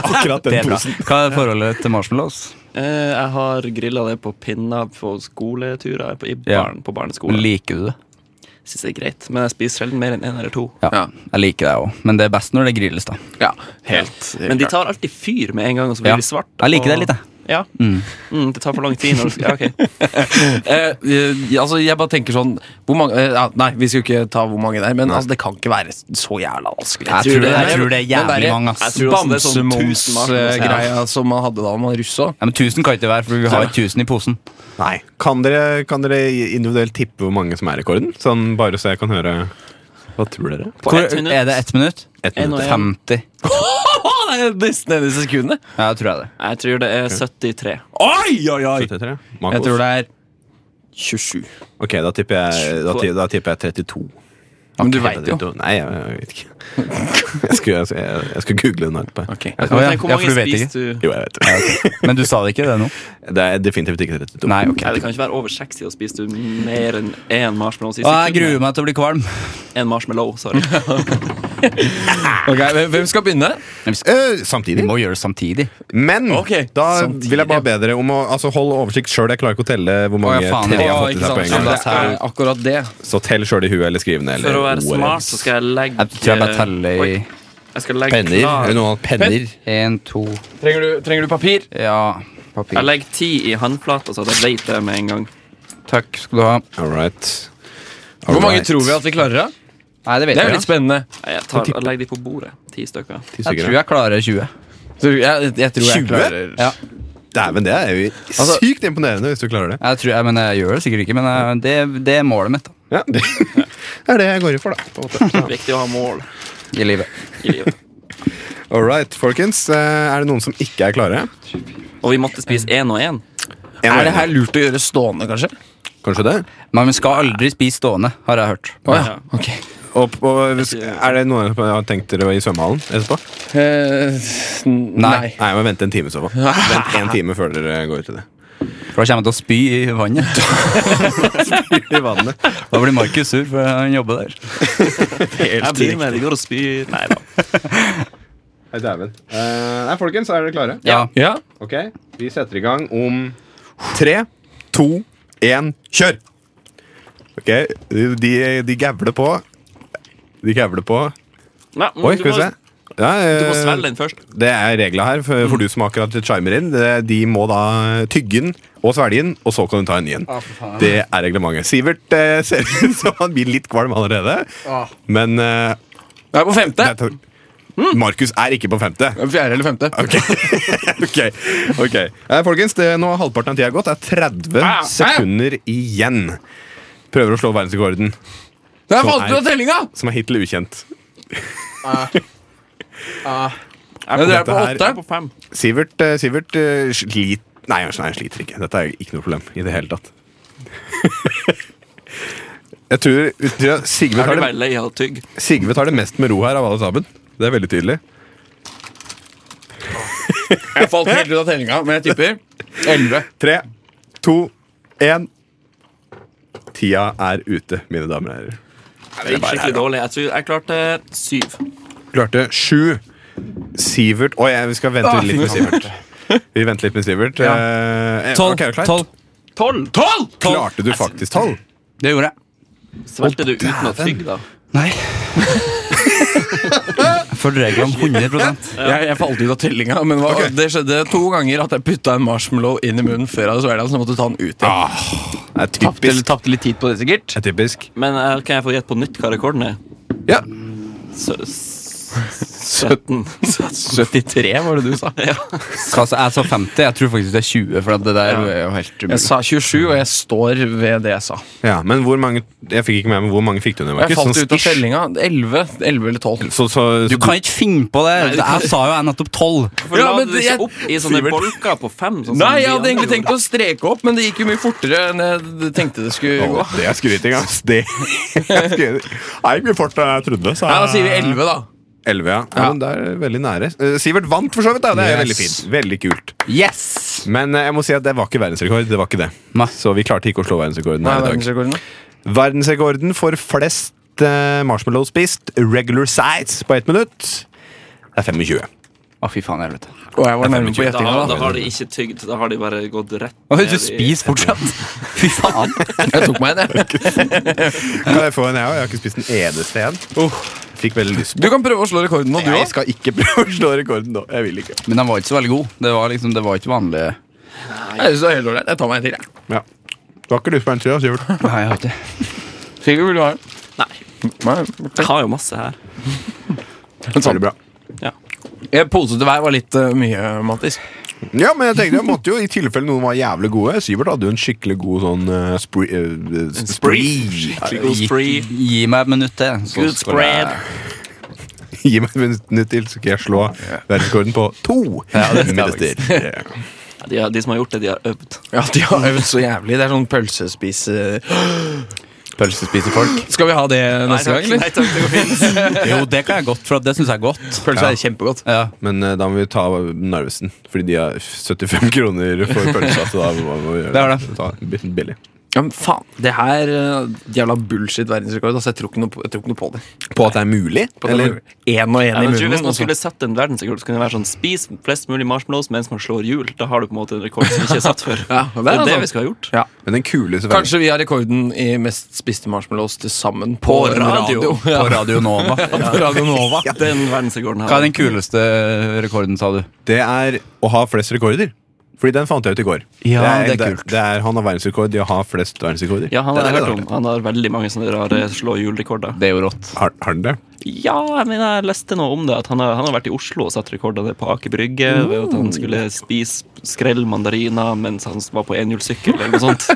[SPEAKER 4] Akkurat den
[SPEAKER 1] Bra.
[SPEAKER 4] posen.
[SPEAKER 1] Hva er forholdet til marshmallows?
[SPEAKER 3] Eh, Jeg har grilla det på pinner på skoleturer på, i
[SPEAKER 1] Ja.
[SPEAKER 3] barn, på barneskolen.
[SPEAKER 1] Liker du det?
[SPEAKER 3] Synes det er greit, men jeg spiser sjelden mer enn én eller to.
[SPEAKER 1] Ja, jeg liker deg òg. Men det er best når det grilles, da.
[SPEAKER 2] Ja, helt.
[SPEAKER 3] Men de tar alltid fyr med en gang, og så blir
[SPEAKER 1] Ja.
[SPEAKER 3] de svarte.
[SPEAKER 1] Jeg liker det
[SPEAKER 3] og-
[SPEAKER 1] litt, jeg.
[SPEAKER 3] Ja. Mm. det tar for lang tid. Når du, ja, ok.
[SPEAKER 2] Eh, eh, altså, jeg bare tenker sånn hvor mange, eh, ja, Nei, vi skal jo ikke ta hvor mange det er, men altså, det kan ikke være så jævla vanskelig.
[SPEAKER 1] Jeg tror det- jeg tror det er
[SPEAKER 2] Den
[SPEAKER 1] jævlig
[SPEAKER 2] derre
[SPEAKER 1] mange, ass.
[SPEAKER 3] Jeg tror også det er sånn tusen marshmallows.
[SPEAKER 2] Bamsemums-greia som man hadde da man russa.
[SPEAKER 1] Ja, men 1000 kan ikke være, for vi har ikke 1000 i posen.
[SPEAKER 4] Nei. Kan dere, kan dere individuelt tippe hvor mange som er rekorden? Sånn bare så jeg kan høre Hva tror dere?
[SPEAKER 3] På
[SPEAKER 1] Hvor,
[SPEAKER 3] ett minutt.
[SPEAKER 1] er det ett minutt?
[SPEAKER 4] Ett
[SPEAKER 3] En og
[SPEAKER 4] minutt.
[SPEAKER 3] en.
[SPEAKER 1] 50.
[SPEAKER 2] det er nesten eneste sekundet.
[SPEAKER 1] Ja, jeg tror jeg det.
[SPEAKER 3] Jeg tror det er 73.
[SPEAKER 2] Oi, oi, oi!
[SPEAKER 4] 73?
[SPEAKER 1] Jeg tror
[SPEAKER 4] Marcos.
[SPEAKER 1] det er
[SPEAKER 2] 27.
[SPEAKER 4] Ok, da tipper jeg, da, ti- da tipper jeg 32.
[SPEAKER 2] Men du
[SPEAKER 4] Ok,
[SPEAKER 2] veit jo.
[SPEAKER 4] 32. Nei, jeg, jeg vet ikke. Jeg skulle, jeg, jeg, jeg skulle google den etterpå.
[SPEAKER 2] Ok.
[SPEAKER 4] Jeg
[SPEAKER 1] Å
[SPEAKER 4] skal,
[SPEAKER 1] ja,
[SPEAKER 3] Tenk hvor
[SPEAKER 1] ja,
[SPEAKER 3] mange
[SPEAKER 1] for du vet ikke.
[SPEAKER 3] spiste du?
[SPEAKER 4] jo, jeg vet det.
[SPEAKER 1] Men du sa det ikke, det nå?
[SPEAKER 4] Det er definitivt ikke 32.
[SPEAKER 1] Nei, ok.
[SPEAKER 3] Nei, det kan ikke være over 60, og spiste du mer enn én marshmallow siste
[SPEAKER 1] Å, jeg gruer meg til å bli kvalm.
[SPEAKER 3] En marshmallow, sorry.
[SPEAKER 2] Ok, hvem- Hvem skal begynne?
[SPEAKER 4] Eh,
[SPEAKER 1] Vi
[SPEAKER 4] samtidig.
[SPEAKER 1] må gjøre det samtidig.
[SPEAKER 4] Men
[SPEAKER 2] Ok,
[SPEAKER 4] da
[SPEAKER 2] samtidig,
[SPEAKER 4] vil jeg bare
[SPEAKER 2] ja.
[SPEAKER 4] be dere om å altså, holde oversikt sjøl. Jeg klarer ikke å telle hvor
[SPEAKER 1] Å,
[SPEAKER 4] mange
[SPEAKER 1] ja, faen,
[SPEAKER 4] tre har
[SPEAKER 1] ja.
[SPEAKER 2] Å,
[SPEAKER 4] fått i
[SPEAKER 2] ikke
[SPEAKER 4] seg
[SPEAKER 2] sant,
[SPEAKER 4] på en
[SPEAKER 2] så
[SPEAKER 4] gang.
[SPEAKER 2] Det er akkurat det.
[SPEAKER 4] Så tell sjøl i huet eller skriv ned.
[SPEAKER 3] For
[SPEAKER 4] eller
[SPEAKER 3] å være
[SPEAKER 4] ordet.
[SPEAKER 3] smart så skal jeg legge
[SPEAKER 1] Jeg tror jeg bare teller i
[SPEAKER 3] Jeg skal legge
[SPEAKER 4] Penner?
[SPEAKER 3] klar-
[SPEAKER 4] Er det noen andre penner?
[SPEAKER 1] én, to
[SPEAKER 2] Trenger du, trenger du papir?
[SPEAKER 1] Ja,
[SPEAKER 3] Jeg
[SPEAKER 1] papir.
[SPEAKER 3] legger ti i håndflata, så jeg vet det med en gang.
[SPEAKER 1] Takk skal du ha.
[SPEAKER 4] All right. All
[SPEAKER 2] Hvor mange
[SPEAKER 4] right.
[SPEAKER 2] tror vi at vi klarer? da?
[SPEAKER 1] Nei, det
[SPEAKER 2] Det
[SPEAKER 1] vet
[SPEAKER 2] er jo
[SPEAKER 1] jeg.
[SPEAKER 2] litt spennende.
[SPEAKER 3] Nei, Jeg, tar, jeg legger de på bordet. Ti stykker.
[SPEAKER 4] Ti
[SPEAKER 1] Jeg
[SPEAKER 4] stykker,
[SPEAKER 1] tror
[SPEAKER 4] ja.
[SPEAKER 1] jeg klarer 20.
[SPEAKER 2] Så Jeg, jeg tror jeg
[SPEAKER 4] 20?
[SPEAKER 2] klarer
[SPEAKER 1] Ja,
[SPEAKER 4] Dæven, det er jo
[SPEAKER 1] Altså-
[SPEAKER 4] sykt imponerende hvis du klarer det.
[SPEAKER 1] jeg tror, jeg, men jeg gjør det sikkert ikke, men jeg, det, det er målet mitt da,
[SPEAKER 4] Ja, Det er det jeg går i for, da. På en måte.
[SPEAKER 3] Viktig å ha mål
[SPEAKER 1] i livet.
[SPEAKER 3] i livet.
[SPEAKER 4] All right, folkens. eh, Er det noen som ikke er klare?
[SPEAKER 3] Og vi måtte spise én og
[SPEAKER 4] En
[SPEAKER 3] én.
[SPEAKER 4] og
[SPEAKER 2] Er det
[SPEAKER 4] en.
[SPEAKER 2] her lurt å gjøre stående, kanskje?
[SPEAKER 4] Kanskje det?
[SPEAKER 1] Men man skal aldri spise stående, har jeg hørt.
[SPEAKER 2] Å ja. ok
[SPEAKER 4] Og, og hvis, er det noen som har tenkt dere i svømmehallen etterpå?
[SPEAKER 2] Eh, n-
[SPEAKER 1] Nei.
[SPEAKER 2] nei.
[SPEAKER 4] Nei, men vent en time i så fall. Vent en time før dere går ut i det.
[SPEAKER 1] For da kommer jeg til å spy i vannet.
[SPEAKER 4] I vannet.
[SPEAKER 1] Da blir Markus sur, for han jobber der.
[SPEAKER 3] Jeg blir med, de går og spyr. Nei da.
[SPEAKER 4] Nei, dæven. Eh, nei, folkens, er dere klare?
[SPEAKER 1] Ja.
[SPEAKER 2] Ja.
[SPEAKER 4] Ok, vi setter i gang om tre, to, én, kjør! Ok, de, de gavler på. De gavler på.
[SPEAKER 3] Nei, men
[SPEAKER 4] Oi,
[SPEAKER 3] du
[SPEAKER 4] skal vi
[SPEAKER 3] må-
[SPEAKER 4] se. Ja,
[SPEAKER 3] Du må
[SPEAKER 4] eh,
[SPEAKER 3] svelge den Mm. først.
[SPEAKER 4] Det er regla her, for, for du som akkurat chimer inn. det- De må da tygge den og svelge den, og så kan du ta en ny en. Det er reglementet. Sivert eh, ser ut som han blir litt kvalm allerede, men eh,
[SPEAKER 2] Jeg er på femte.
[SPEAKER 4] det er to-
[SPEAKER 3] Mm.
[SPEAKER 4] Markus er ikke på femte.
[SPEAKER 2] Fjerde eller femte.
[SPEAKER 4] Ok, ok, ok eh, Folkens, det, nå har halvparten av tida gått. Det er 30
[SPEAKER 2] Ah, hæ?
[SPEAKER 4] sekunder igjen. Prøver å slå verdensrekorden,
[SPEAKER 2] Der
[SPEAKER 4] Så
[SPEAKER 2] falt
[SPEAKER 4] er-
[SPEAKER 2] du av tellinga!
[SPEAKER 4] som er hittil ukjent.
[SPEAKER 2] Ja, dere er på
[SPEAKER 4] dette her-
[SPEAKER 2] åtte. På fem.
[SPEAKER 4] Sivert, eh, Sivert eh, slit... Nei, han- nei, han sliter ikke. Dette er ikke noe problem i det hele tatt. Jeg tror, jeg tror Sigve,
[SPEAKER 3] Er
[SPEAKER 4] tar
[SPEAKER 3] du
[SPEAKER 4] det,
[SPEAKER 3] vel lei av tygg?
[SPEAKER 4] Sigve tar det mest med ro her av alle sammen. Det er veldig tydelig.
[SPEAKER 2] Jeg falt helt ut av tellinga, men jeg tipper elleve.
[SPEAKER 4] Tre, to, én. Tida er ute, mine damer og herrer.
[SPEAKER 3] Det gikk skikkelig dårlig. Jeg tror jeg klarte syv.
[SPEAKER 4] Klarte sju. Sivert Å, jeg- vi skal vente
[SPEAKER 2] Ah,
[SPEAKER 4] litt med Sivert. Vi venter litt med Sivert. Eh,
[SPEAKER 2] Tolv.
[SPEAKER 4] ok, er du klar?
[SPEAKER 2] Tolv.
[SPEAKER 3] Tolv!
[SPEAKER 4] Klarte du faktisk tolv?
[SPEAKER 1] Det gjorde jeg.
[SPEAKER 3] Svelgte du uten å tygge, da?
[SPEAKER 1] Nei. jeg følger reglene 100
[SPEAKER 2] Jeg, jeg falt ut av tellinga, men hva, det skjedde to ganger at jeg putta en marshmallow inn i munnen før jeg hadde svelget den, så jeg måtte ta den ut. igjen.
[SPEAKER 4] Ah, Det er
[SPEAKER 2] Tapte
[SPEAKER 4] typisk.
[SPEAKER 2] tapte litt tid på det, sikkert.
[SPEAKER 4] Det er typisk.
[SPEAKER 3] Men eh, kan jeg få gjette på nytt hva rekorden er?
[SPEAKER 4] Ja.
[SPEAKER 3] Sø- s- 17.
[SPEAKER 2] 73, var det du sa?
[SPEAKER 1] Jeg sa 50. Jeg tror faktisk det er 20. For at det der er jo helt
[SPEAKER 2] Jeg
[SPEAKER 1] umulig.
[SPEAKER 2] sa 27, og jeg står ved det jeg sa.
[SPEAKER 4] Ja, men hvor mange Jeg fikk ikke med meg hvor mange fikk du ned, Markus?
[SPEAKER 2] Jeg falt
[SPEAKER 4] Sånn
[SPEAKER 2] ut av
[SPEAKER 4] ish.
[SPEAKER 2] tellinga. 11, 11 eller 12.
[SPEAKER 4] Så, så, så,
[SPEAKER 1] Du kan ikke finne på det! Jeg sa jo jeg nettopp 12.
[SPEAKER 3] For
[SPEAKER 2] Ja,
[SPEAKER 3] la
[SPEAKER 2] men
[SPEAKER 3] du
[SPEAKER 2] det-
[SPEAKER 3] ikke
[SPEAKER 2] jeg-
[SPEAKER 3] opp i sånne bolker på fem? Sånn som
[SPEAKER 2] Nei,
[SPEAKER 3] de
[SPEAKER 2] jeg hadde
[SPEAKER 3] andre
[SPEAKER 2] egentlig tenkt
[SPEAKER 3] gjorde?
[SPEAKER 2] å streke opp, men det gikk jo mye fortere enn jeg tenkte det skulle
[SPEAKER 4] Å,
[SPEAKER 2] gå.
[SPEAKER 4] det er skryting, ass. Det er skryting. Nei, mye fortere enn jeg trodde. Så
[SPEAKER 2] Ja, Da sier vi 11, da.
[SPEAKER 4] 11, ja. ja. Men det er veldig nære. Eh, Sivert vant, for så vidt. da Det er
[SPEAKER 2] Yes.
[SPEAKER 4] veldig fint. Veldig kult.
[SPEAKER 1] Yes!
[SPEAKER 4] Men eh, jeg må si at det var ikke verdensrekord. Det var ikke det.
[SPEAKER 1] Nei.
[SPEAKER 4] Så vi klarte ikke å slå verdensrekorden.
[SPEAKER 2] Nei,
[SPEAKER 4] her i dag.
[SPEAKER 2] verdensrekorden. da.
[SPEAKER 4] Verdensrekorden for flest eh, marshmallows spist regular size på ett minutt. Det er 25.
[SPEAKER 1] Å, fy faen, helvete.
[SPEAKER 2] Og jeg var nærme på
[SPEAKER 3] Da,
[SPEAKER 2] gjettinga,
[SPEAKER 3] har-
[SPEAKER 2] da.
[SPEAKER 3] da har de ikke tygd. Da har de bare gått rett
[SPEAKER 1] Å,
[SPEAKER 3] ned
[SPEAKER 1] du spiser fortsatt? Fy faen.
[SPEAKER 2] Jeg tok meg en, jeg.
[SPEAKER 4] Kan jeg få en, jeg òg? Jeg har ikke spist en eneste en. Fikk veldig lyst.
[SPEAKER 2] Du kan prøve å slå rekorden nå, du
[SPEAKER 4] Jeg
[SPEAKER 2] òg.
[SPEAKER 4] skal ikke prøve å slå rekorden nå. Jeg vil ikke.
[SPEAKER 1] Men den var ikke så veldig god. Det var liksom, det var ikke vanlig.
[SPEAKER 2] Jeg synes det er helt ålreit. Jeg tar meg en til, jeg.
[SPEAKER 4] Ja. Du har ikke lyst på en til, da, Sivert?
[SPEAKER 1] Nei, jeg har ikke.
[SPEAKER 2] Sigurd, vil du ha en?
[SPEAKER 3] Nei. Jeg har jo masse her.
[SPEAKER 4] Veldig bra.
[SPEAKER 2] Jeg Pose til hver var litt eh, mye, Mattis.
[SPEAKER 4] Ja, men jeg tenkte jeg måtte jo, i tilfelle noen var jævlig gode Sivert hadde jo en skikkelig god sånn eh, spree, eh, spree.
[SPEAKER 3] Skikkelig god spree.
[SPEAKER 1] Gi, gi meg et minutt til. så
[SPEAKER 3] Good
[SPEAKER 1] skal jeg-
[SPEAKER 3] spread.
[SPEAKER 4] Gi meg et minutt til, så skal jeg slå verdensrekorden på to minutter. Ja.
[SPEAKER 3] Ja, De, har- de som har gjort det, de har øvd.
[SPEAKER 2] Ja, de har øvd så jævlig. Det er sånn eh, pølsespise...
[SPEAKER 1] Pølsespisefolk.
[SPEAKER 2] Skal vi ha det neste gang, eller?
[SPEAKER 3] Nei, takk, det går fint.
[SPEAKER 1] Jo, det kan jeg godt, for at det syns jeg er godt.
[SPEAKER 2] Pølse er kjempegodt.
[SPEAKER 1] Ja.
[SPEAKER 4] Men eh, da må vi ta Narvesen, fordi de har 75 kroner for pølsa. Så da må vi gjøre
[SPEAKER 1] Det er det.
[SPEAKER 4] Ta bill- billig.
[SPEAKER 2] Ja, men faen, det her eh, jævla bullshit verdensrekord. Altså, jeg tror ikke noe på, jeg tror ikke noe på det.
[SPEAKER 4] På at det er mulig?
[SPEAKER 2] På
[SPEAKER 4] eller?
[SPEAKER 2] Eller én og én
[SPEAKER 3] Ja,
[SPEAKER 2] i munnen.
[SPEAKER 3] men jeg tror Hvis
[SPEAKER 2] altså. og
[SPEAKER 3] man
[SPEAKER 2] så-
[SPEAKER 3] skulle sette en verdensrekord, så kunne det være sånn spis flest mulig marshmallows mens man slår hjul. Da har du på en måte en rekord som ikke er satt før.
[SPEAKER 2] Ja, altså.
[SPEAKER 3] Det er det
[SPEAKER 2] sant.
[SPEAKER 3] vi skal ha gjort.
[SPEAKER 2] Ja.
[SPEAKER 4] Men den kuleste verden-
[SPEAKER 2] Kanskje vi har rekorden i mest spiste marshmallows til sammen på,
[SPEAKER 3] På
[SPEAKER 2] en
[SPEAKER 3] radio.
[SPEAKER 1] På
[SPEAKER 2] Ja,
[SPEAKER 1] Radio Nova.
[SPEAKER 2] på Radio Nova.
[SPEAKER 3] Den verdensrekorden
[SPEAKER 1] Hva
[SPEAKER 3] her.
[SPEAKER 1] er den kuleste rekorden, sa du?
[SPEAKER 4] Det er å ha flest rekorder. Fordi den fant jeg ut i går.
[SPEAKER 1] Ja,
[SPEAKER 4] det er,
[SPEAKER 1] det er kult.
[SPEAKER 4] Det, er han har verdensrekord i å ha flest verdensrekorder.
[SPEAKER 3] Ja, han
[SPEAKER 4] Det er
[SPEAKER 3] har jeg hørt
[SPEAKER 4] det,
[SPEAKER 3] om. Han har veldig mange sånne rare slå hjul-rekorder.
[SPEAKER 1] Det er jo rått.
[SPEAKER 4] Har, har den det?
[SPEAKER 3] Ja, jeg mener, jeg leste noe om det. At han har, han har vært i Oslo og satt rekorder der på Aker Brygge. Ved at han skulle spise skrell mandariner mens han var på enhjulssykkel eller noe sånt.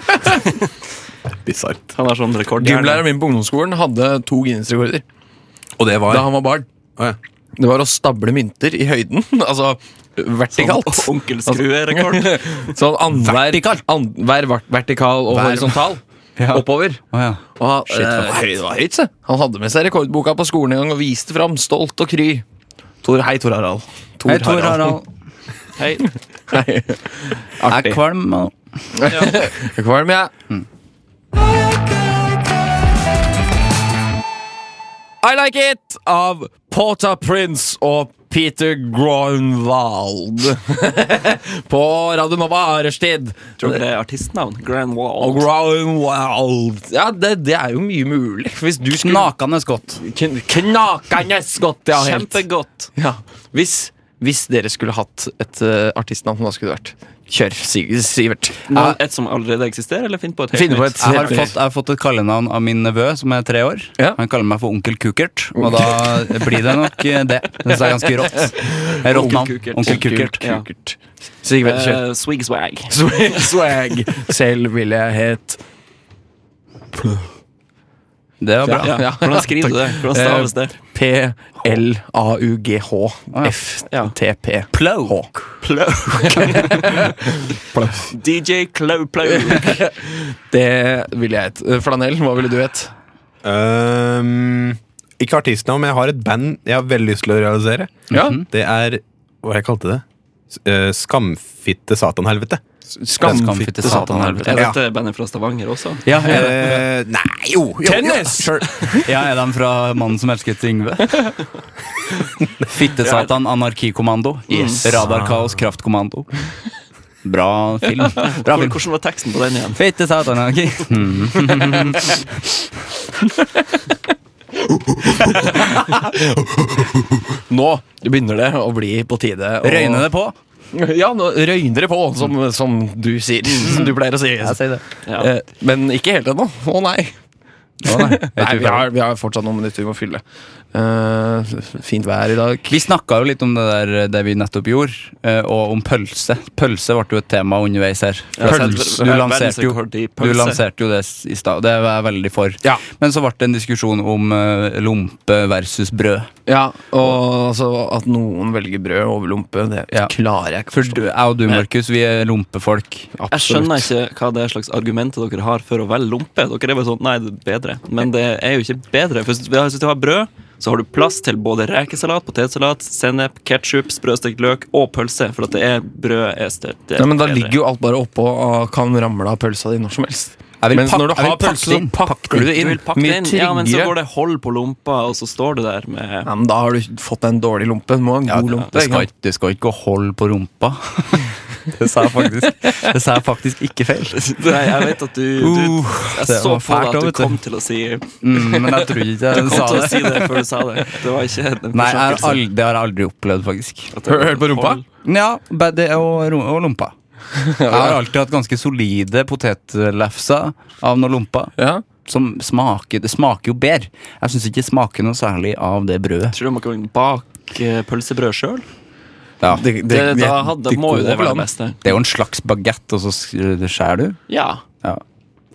[SPEAKER 4] Bisart.
[SPEAKER 3] Han har sånn rekord.
[SPEAKER 2] Gymlæreren min på ungdomsskolen hadde to Guinness-rekorder
[SPEAKER 4] Og det var
[SPEAKER 2] da han var barn.
[SPEAKER 4] Å, ja.
[SPEAKER 2] Det var å stable mynter i høyden. Altså vertikalt.
[SPEAKER 3] Onkel Skrue-rekord.
[SPEAKER 2] Sånn annenhver an- hver vert- vertikal og
[SPEAKER 4] Hver-
[SPEAKER 2] horisontal. Oppover.
[SPEAKER 1] Å ja.
[SPEAKER 2] Og han, eh, høy- det var høyt, se. Han hadde med seg rekordboka på skolen en gang og viste fram, stolt og kry. Tor, hei, Tor Harald. Tor
[SPEAKER 1] Hei, Tor Harald.
[SPEAKER 3] Hei.
[SPEAKER 2] Hei.
[SPEAKER 1] Jeg er
[SPEAKER 2] Artig.
[SPEAKER 1] kvalm. nå.
[SPEAKER 2] Kvalm, ja.
[SPEAKER 3] Mm.
[SPEAKER 2] I Like It av Porta Prince og Peter Grunwald. På Radio Nova Arestid.
[SPEAKER 3] Tror dere det er artistnavn? Grand
[SPEAKER 2] Og
[SPEAKER 3] Wall.
[SPEAKER 2] Grunwald Ja, det, det er jo mye mulig. Hvis du skulle
[SPEAKER 1] Knakende godt.
[SPEAKER 2] Kn- Knakende godt, ja. Helt.
[SPEAKER 3] Kjempegodt.
[SPEAKER 2] Ja. Hvis, hvis dere skulle hatt et eh, artistnavn, hva skulle det vært? Kjør, Sig- Sivert.
[SPEAKER 3] Noe- Et som allerede eksisterer, eller finn på et helt
[SPEAKER 2] Finn på
[SPEAKER 3] nytt?
[SPEAKER 2] et
[SPEAKER 1] Jeg har,
[SPEAKER 2] helt-
[SPEAKER 1] fått, jeg har fått et kallenavn av min nevø, som er tre år.
[SPEAKER 2] Ja.
[SPEAKER 1] Han kaller meg for Onkel Kukert, og da blir det nok eh, det. Det er ganske rått. Det er Rått navn.
[SPEAKER 3] Kukert.
[SPEAKER 1] Onkel Kukert.
[SPEAKER 3] Ja.
[SPEAKER 2] Sigvart, kjør.
[SPEAKER 3] Eh, swig swag.
[SPEAKER 2] Swag. Swag. Selv ville jeg het
[SPEAKER 1] Det var bra.
[SPEAKER 2] Ja. Eh,
[SPEAKER 3] Hvordan skriver du det? Hvordan staves det?
[SPEAKER 2] P-L-A-U-G-H-F-T-P. Plow.
[SPEAKER 3] DJ Klau Plau.
[SPEAKER 2] Det ville jeg hett. Flanell, hva ville du hett?
[SPEAKER 5] Øhm, Ehm, ikke artistnavn, men jeg har et band jeg har veldig lyst til å realisere.
[SPEAKER 2] Ja.
[SPEAKER 5] Det er Hva var det jeg kalte det? S- øh, Skamfitte satanhelvete.
[SPEAKER 1] Skamfitte satan helvete.
[SPEAKER 3] Er dette bandet fra Stavanger også?
[SPEAKER 1] Ja, er det-
[SPEAKER 5] Eh, nei, jo! jo
[SPEAKER 2] Tennis!
[SPEAKER 5] Jo, sure.
[SPEAKER 1] ja, er de fra Mannen som elsket Yngve? Fittesatan, anarkikommando. Yes. Radarkaos, kraftkommando. Bra film. Bra film.
[SPEAKER 3] Hvordan var teksten på den igjen?
[SPEAKER 1] Fittesatan, anarki.
[SPEAKER 2] Nå begynner det å bli på tide å
[SPEAKER 1] Røyne det på.
[SPEAKER 2] Ja, nå røyner det på, som, som du sier. Som du pleier å si.
[SPEAKER 1] Jeg sier det.
[SPEAKER 3] Ja.
[SPEAKER 2] Eh, Men ikke helt ennå. Å nei.
[SPEAKER 1] Å, nei. Vet
[SPEAKER 2] nei
[SPEAKER 1] du
[SPEAKER 2] vi,
[SPEAKER 1] hva?
[SPEAKER 2] har, vi har fortsatt noen minutter vi må fylle. Eh, fint vær i dag.
[SPEAKER 1] Vi snakka jo litt om det der det vi nettopp gjorde, eh, og om pølse. Pølse ble jo et tema underveis her.
[SPEAKER 3] Pølse.
[SPEAKER 1] Du lanserte jo,
[SPEAKER 3] Verdensrekord i
[SPEAKER 1] du
[SPEAKER 3] pølse.
[SPEAKER 1] lanserte jo det s- i stad, og det var jeg veldig for.
[SPEAKER 2] Ja.
[SPEAKER 1] Men så ble det en diskusjon om eh, lompe versus brød.
[SPEAKER 2] Ja, og altså, at noen velger brød over lompe, det
[SPEAKER 1] Ja.
[SPEAKER 2] klarer jeg ikke.
[SPEAKER 1] For du, jeg og du, Markus, vi er lompefolk.
[SPEAKER 3] Jeg skjønner ikke hva det er slags argumenter dere har for å velge lompe. Dere er bare sånn, nei, det er bedre. Men det er jo ikke bedre. For hvis du har brød, så har du plass til både rekesalat, potetsalat, sennep, ketsjup, sprøstekt løk og pølse. For at det er brød er støtt.
[SPEAKER 2] Ja, men da ligger jo alt bare oppå og kan ramle av pølsa di når som helst.
[SPEAKER 1] Jeg vil
[SPEAKER 2] Mens
[SPEAKER 1] pakke-
[SPEAKER 2] når du
[SPEAKER 1] jeg vil
[SPEAKER 2] har
[SPEAKER 1] pakke
[SPEAKER 2] pølse, så
[SPEAKER 1] inn.
[SPEAKER 2] pakker du det inn.
[SPEAKER 3] du vil pakke
[SPEAKER 2] Mye
[SPEAKER 3] det inn, ja, men så
[SPEAKER 2] tryggere.
[SPEAKER 3] går det hold på lompa, og så står du der med
[SPEAKER 2] Ja, men da har du fått deg en dårlig lompe. Du må ha en god lompe.
[SPEAKER 1] Det
[SPEAKER 2] ikke
[SPEAKER 1] skal,
[SPEAKER 2] sant?
[SPEAKER 1] ikke, det skal ikke gå hold på rumpa. Det sa jeg faktisk, det sa jeg faktisk ikke feil.
[SPEAKER 3] Nei, jeg vet at du, du Jeg
[SPEAKER 1] Uh, det
[SPEAKER 3] så
[SPEAKER 1] var
[SPEAKER 3] på deg
[SPEAKER 1] fælt da,
[SPEAKER 3] at
[SPEAKER 1] vet
[SPEAKER 3] du
[SPEAKER 1] du.
[SPEAKER 3] kom til å si
[SPEAKER 1] Mm, men jeg tror ikke jeg
[SPEAKER 3] Kom
[SPEAKER 1] sa
[SPEAKER 3] til å
[SPEAKER 1] det.
[SPEAKER 3] si det før du sa det. Det var ikke en
[SPEAKER 1] Nei, jeg har
[SPEAKER 3] forsakelse.
[SPEAKER 1] aldri, det har jeg aldri opplevd, faktisk.
[SPEAKER 2] Hør, hør på rumpa.
[SPEAKER 3] Hold.
[SPEAKER 1] Ja, bedde og, rom- og lompa. Jeg har alltid hatt ganske solide potetlefser av noe lompa.
[SPEAKER 2] Ja.
[SPEAKER 1] Som smaker, det smaker jo bedre. Jeg syns ikke det smaker noe særlig av det brødet.
[SPEAKER 3] Tror du man kan bake eh, pølsebrød sjøl?
[SPEAKER 1] Ja.
[SPEAKER 2] Det,
[SPEAKER 1] Det,
[SPEAKER 2] det,
[SPEAKER 3] Da hadde-
[SPEAKER 2] det
[SPEAKER 3] må jo
[SPEAKER 2] går
[SPEAKER 3] det
[SPEAKER 2] vel
[SPEAKER 3] være
[SPEAKER 2] an.
[SPEAKER 3] det beste.
[SPEAKER 1] er jo en slags bagett, og så s- det skjærer du.
[SPEAKER 3] Ja.
[SPEAKER 1] Ja.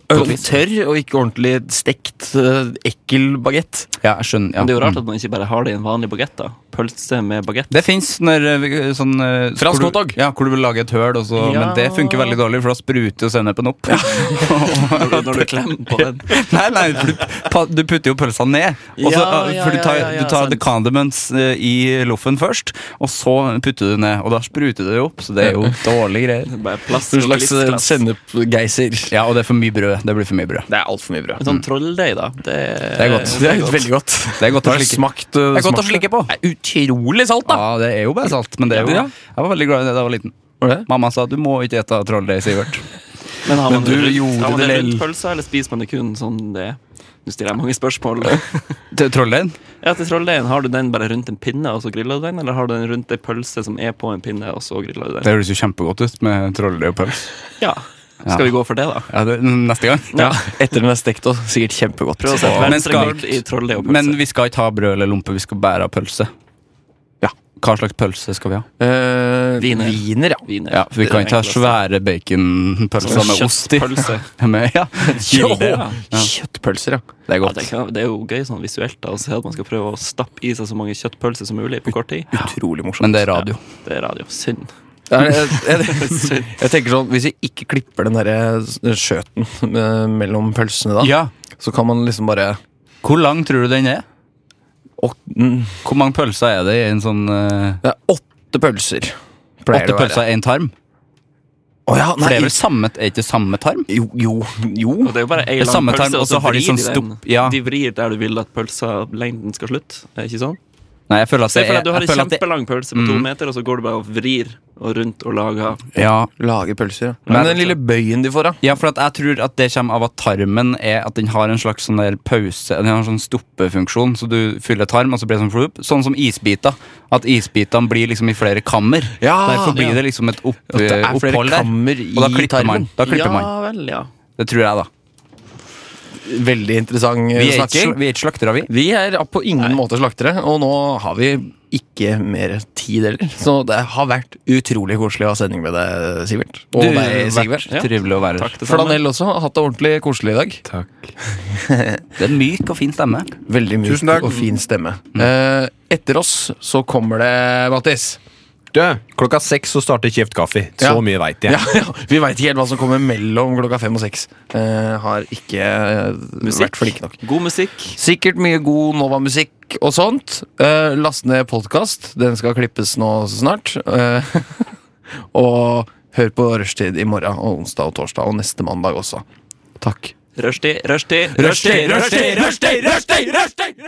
[SPEAKER 2] Øl Tørr og ikke ordentlig stekt, eh, ekkel bagett.
[SPEAKER 1] ja, jeg skjønner. Ja.
[SPEAKER 3] Men det er jo rart
[SPEAKER 1] Mm.
[SPEAKER 3] at man ikke bare har det i en vanlig bagett. da. Pølse med bagett.
[SPEAKER 1] Det fins sånn eh,
[SPEAKER 2] Fransk
[SPEAKER 1] hvor du-
[SPEAKER 2] hotdog.
[SPEAKER 1] Ja, hvor du vil lage et høl, og så,
[SPEAKER 3] Ja.
[SPEAKER 1] men det funker veldig dårlig, for da spruter jo sennepen opp.
[SPEAKER 3] Når du- Når du klemmer på den.
[SPEAKER 1] Nei, nei, for du, pa, du putter jo pølsa ned. Og så,
[SPEAKER 3] Ja,
[SPEAKER 1] eh,
[SPEAKER 3] ja,
[SPEAKER 1] for du
[SPEAKER 3] ja,
[SPEAKER 1] tar,
[SPEAKER 3] ja, ja,
[SPEAKER 1] du tar
[SPEAKER 3] sant.
[SPEAKER 1] the condiments eh, i loffen først, og så putter du ned. Og da spruter det jo opp, så det er jo dårlige greier.
[SPEAKER 3] Det er Bare plass
[SPEAKER 2] En
[SPEAKER 3] og
[SPEAKER 2] slags eh,
[SPEAKER 3] livsglass.
[SPEAKER 2] sennepgeiser.
[SPEAKER 1] Ja, og det er for mye brød. Det blir for mye brød.
[SPEAKER 2] Det er altfor mye brød.
[SPEAKER 3] En sånn trolldeig, da. Det,
[SPEAKER 1] Det er godt.
[SPEAKER 2] Mm. Det er veldig godt.
[SPEAKER 1] Eh, Det er godt å
[SPEAKER 2] Har du
[SPEAKER 1] slikke.
[SPEAKER 2] smakt, eh,
[SPEAKER 1] Det er godt å
[SPEAKER 2] smakt
[SPEAKER 1] slikke på.
[SPEAKER 2] Eh, Det er utrolig salt, da!
[SPEAKER 1] Ja, det er jo bare salt, men det er jo
[SPEAKER 2] Ja.
[SPEAKER 1] Jeg var veldig glad i det da jeg var liten.
[SPEAKER 2] Var det?
[SPEAKER 1] Mamma sa du må ikke ete trolldeig, Sivert.
[SPEAKER 3] Men har man
[SPEAKER 2] Men du
[SPEAKER 3] det rundt,
[SPEAKER 2] gjorde
[SPEAKER 3] har man
[SPEAKER 2] det
[SPEAKER 3] det
[SPEAKER 2] lell.
[SPEAKER 3] rundt pølsa, eller spiser man det kun sånn det er? Nå stiller jeg mange spørsmål.
[SPEAKER 1] T- Trolldeigen?
[SPEAKER 3] Ja, til trolldeigen, Har du den bare rundt en pinne, og så griller du den? Eller har du den rundt ei pølse som er på en pinne, og så griller du den?
[SPEAKER 1] Det høres jo kjempegodt ut med trolldeig og pølse.
[SPEAKER 3] Ja. Skal vi gå for det, da?
[SPEAKER 1] Ja, det- neste gang.
[SPEAKER 2] Ja, Etter den er stekt òg. Sikkert kjempegodt.
[SPEAKER 3] Prøv å sette
[SPEAKER 1] Men skal-
[SPEAKER 3] verdensrekord i trolldeig og pølse.
[SPEAKER 1] Men vi skal ikke ha brød eller lompe, vi skal bære av pølse.
[SPEAKER 2] Ja.
[SPEAKER 1] Hva slags pølse skal vi ha?
[SPEAKER 2] Eh,
[SPEAKER 3] Wiener.
[SPEAKER 2] Wiener, ja.
[SPEAKER 3] Wiener.
[SPEAKER 1] Ja, for vi
[SPEAKER 3] Det
[SPEAKER 1] kan
[SPEAKER 3] er
[SPEAKER 1] ikke ha
[SPEAKER 3] enklest.
[SPEAKER 1] svære baconpølser med ost i.
[SPEAKER 3] Kjøttpølse.
[SPEAKER 1] Med, ja.
[SPEAKER 2] Kilde,
[SPEAKER 1] ja.
[SPEAKER 2] Kjøttpølser, ja.
[SPEAKER 1] Det
[SPEAKER 3] Ja,
[SPEAKER 1] er godt.
[SPEAKER 3] det, kan, det er jo gøy sånn visuelt da, å se at man skal prøve å stappe i seg så mange kjøttpølser som mulig på kort tid.
[SPEAKER 2] Utrolig morsomt.
[SPEAKER 1] Men det er radio.
[SPEAKER 3] Det er radio. Synd.
[SPEAKER 2] Jeg, jeg, jeg, jeg tenker sånn, Hvis vi ikke klipper den derre skjøten eh, mellom pølsene, da,
[SPEAKER 1] Ja.
[SPEAKER 2] så kan man liksom bare
[SPEAKER 1] Hvor lang tror du den er?
[SPEAKER 2] å, mm,
[SPEAKER 1] Hvor mange pølser er det i en sånn eh,
[SPEAKER 2] Det er åtte pølser.
[SPEAKER 1] Åtte pølser i en tarm?
[SPEAKER 2] Å ja,
[SPEAKER 1] For det
[SPEAKER 2] nei,
[SPEAKER 1] er vel samme, er ikke samme tarm?
[SPEAKER 2] jo, jo, jo.
[SPEAKER 3] Og det er jo bare ei
[SPEAKER 1] Det er
[SPEAKER 3] lang
[SPEAKER 1] samme
[SPEAKER 3] pølse,
[SPEAKER 1] tarm,
[SPEAKER 3] og så
[SPEAKER 1] har de
[SPEAKER 3] vrir
[SPEAKER 1] sånn
[SPEAKER 3] den.
[SPEAKER 1] stopp- ja.
[SPEAKER 3] De vrir der du vil at pølsa lengden skal slutte, er ikke sånn?
[SPEAKER 1] Nei, jeg føler at
[SPEAKER 3] Se
[SPEAKER 1] det
[SPEAKER 3] for
[SPEAKER 1] er
[SPEAKER 3] deg at du har
[SPEAKER 1] jeg
[SPEAKER 3] en
[SPEAKER 1] føler at det-
[SPEAKER 3] kjempelang pølse på to meter, og så går du bare og vrir og rundt og lager
[SPEAKER 1] Ja,
[SPEAKER 2] Lage pølser, ja.
[SPEAKER 1] Men-
[SPEAKER 2] Men den lille bøyen de får, da.
[SPEAKER 1] Ja, for at jeg tror at det kommer av at tarmen er at den har en slags sånn der pause Den har en sånn stoppefunksjon, så du fyller tarm, og så blir det sånn flup. Sånn som isbiter. At isbitene blir liksom i flere kammer.
[SPEAKER 2] Ja,
[SPEAKER 1] Derfor blir
[SPEAKER 2] ja.
[SPEAKER 1] det liksom et opp,
[SPEAKER 2] At det er flere
[SPEAKER 1] opphold der.
[SPEAKER 2] kammer i
[SPEAKER 1] Og da klipper
[SPEAKER 2] tarmen.
[SPEAKER 1] man. Da klipper
[SPEAKER 3] Ja
[SPEAKER 1] man.
[SPEAKER 3] vel, ja.
[SPEAKER 1] Det tror jeg, da.
[SPEAKER 2] Veldig interessant eh,
[SPEAKER 1] Vi er, ikke,
[SPEAKER 2] snakking.
[SPEAKER 1] sl- vi er ikke slaktere, vi.
[SPEAKER 2] Vi er på ingen måte slaktere, og nå har vi ikke mer tid heller. Så det har vært utrolig koselig å ha sending med deg, Sivert. Og
[SPEAKER 1] Du,
[SPEAKER 2] deg, Sigvard.
[SPEAKER 1] vært trivelig å være her.
[SPEAKER 3] Takk, det samme.
[SPEAKER 2] Flanell også har hatt det ordentlig koselig i dag.
[SPEAKER 1] Det er en myk og fin stemme.
[SPEAKER 2] Veldig myk
[SPEAKER 5] Tusen takk.
[SPEAKER 2] og fin stemme. Eh, etter oss så kommer det Mattis.
[SPEAKER 5] Du, klokka seks så starter Kjeft kaffe. Så
[SPEAKER 2] Ja.
[SPEAKER 5] mye veit jeg.
[SPEAKER 2] Ja, ja, vi veit ikke helt hva som kommer mellom klokka fem og seks. Eh, har ikke eh,
[SPEAKER 3] Musikk.
[SPEAKER 2] vært flinke nok.
[SPEAKER 3] God musikk.
[SPEAKER 2] Sikkert mye god Nova-musikk og sånt. Eh, last ned podkast. Den skal klippes nå snart. Eh, og hør på Rushtid i morgen og onsdag og torsdag og neste mandag også. Takk.
[SPEAKER 3] Rushtid, rushtid, rushtid, rushtid, rushtid, rushtid, rushtid!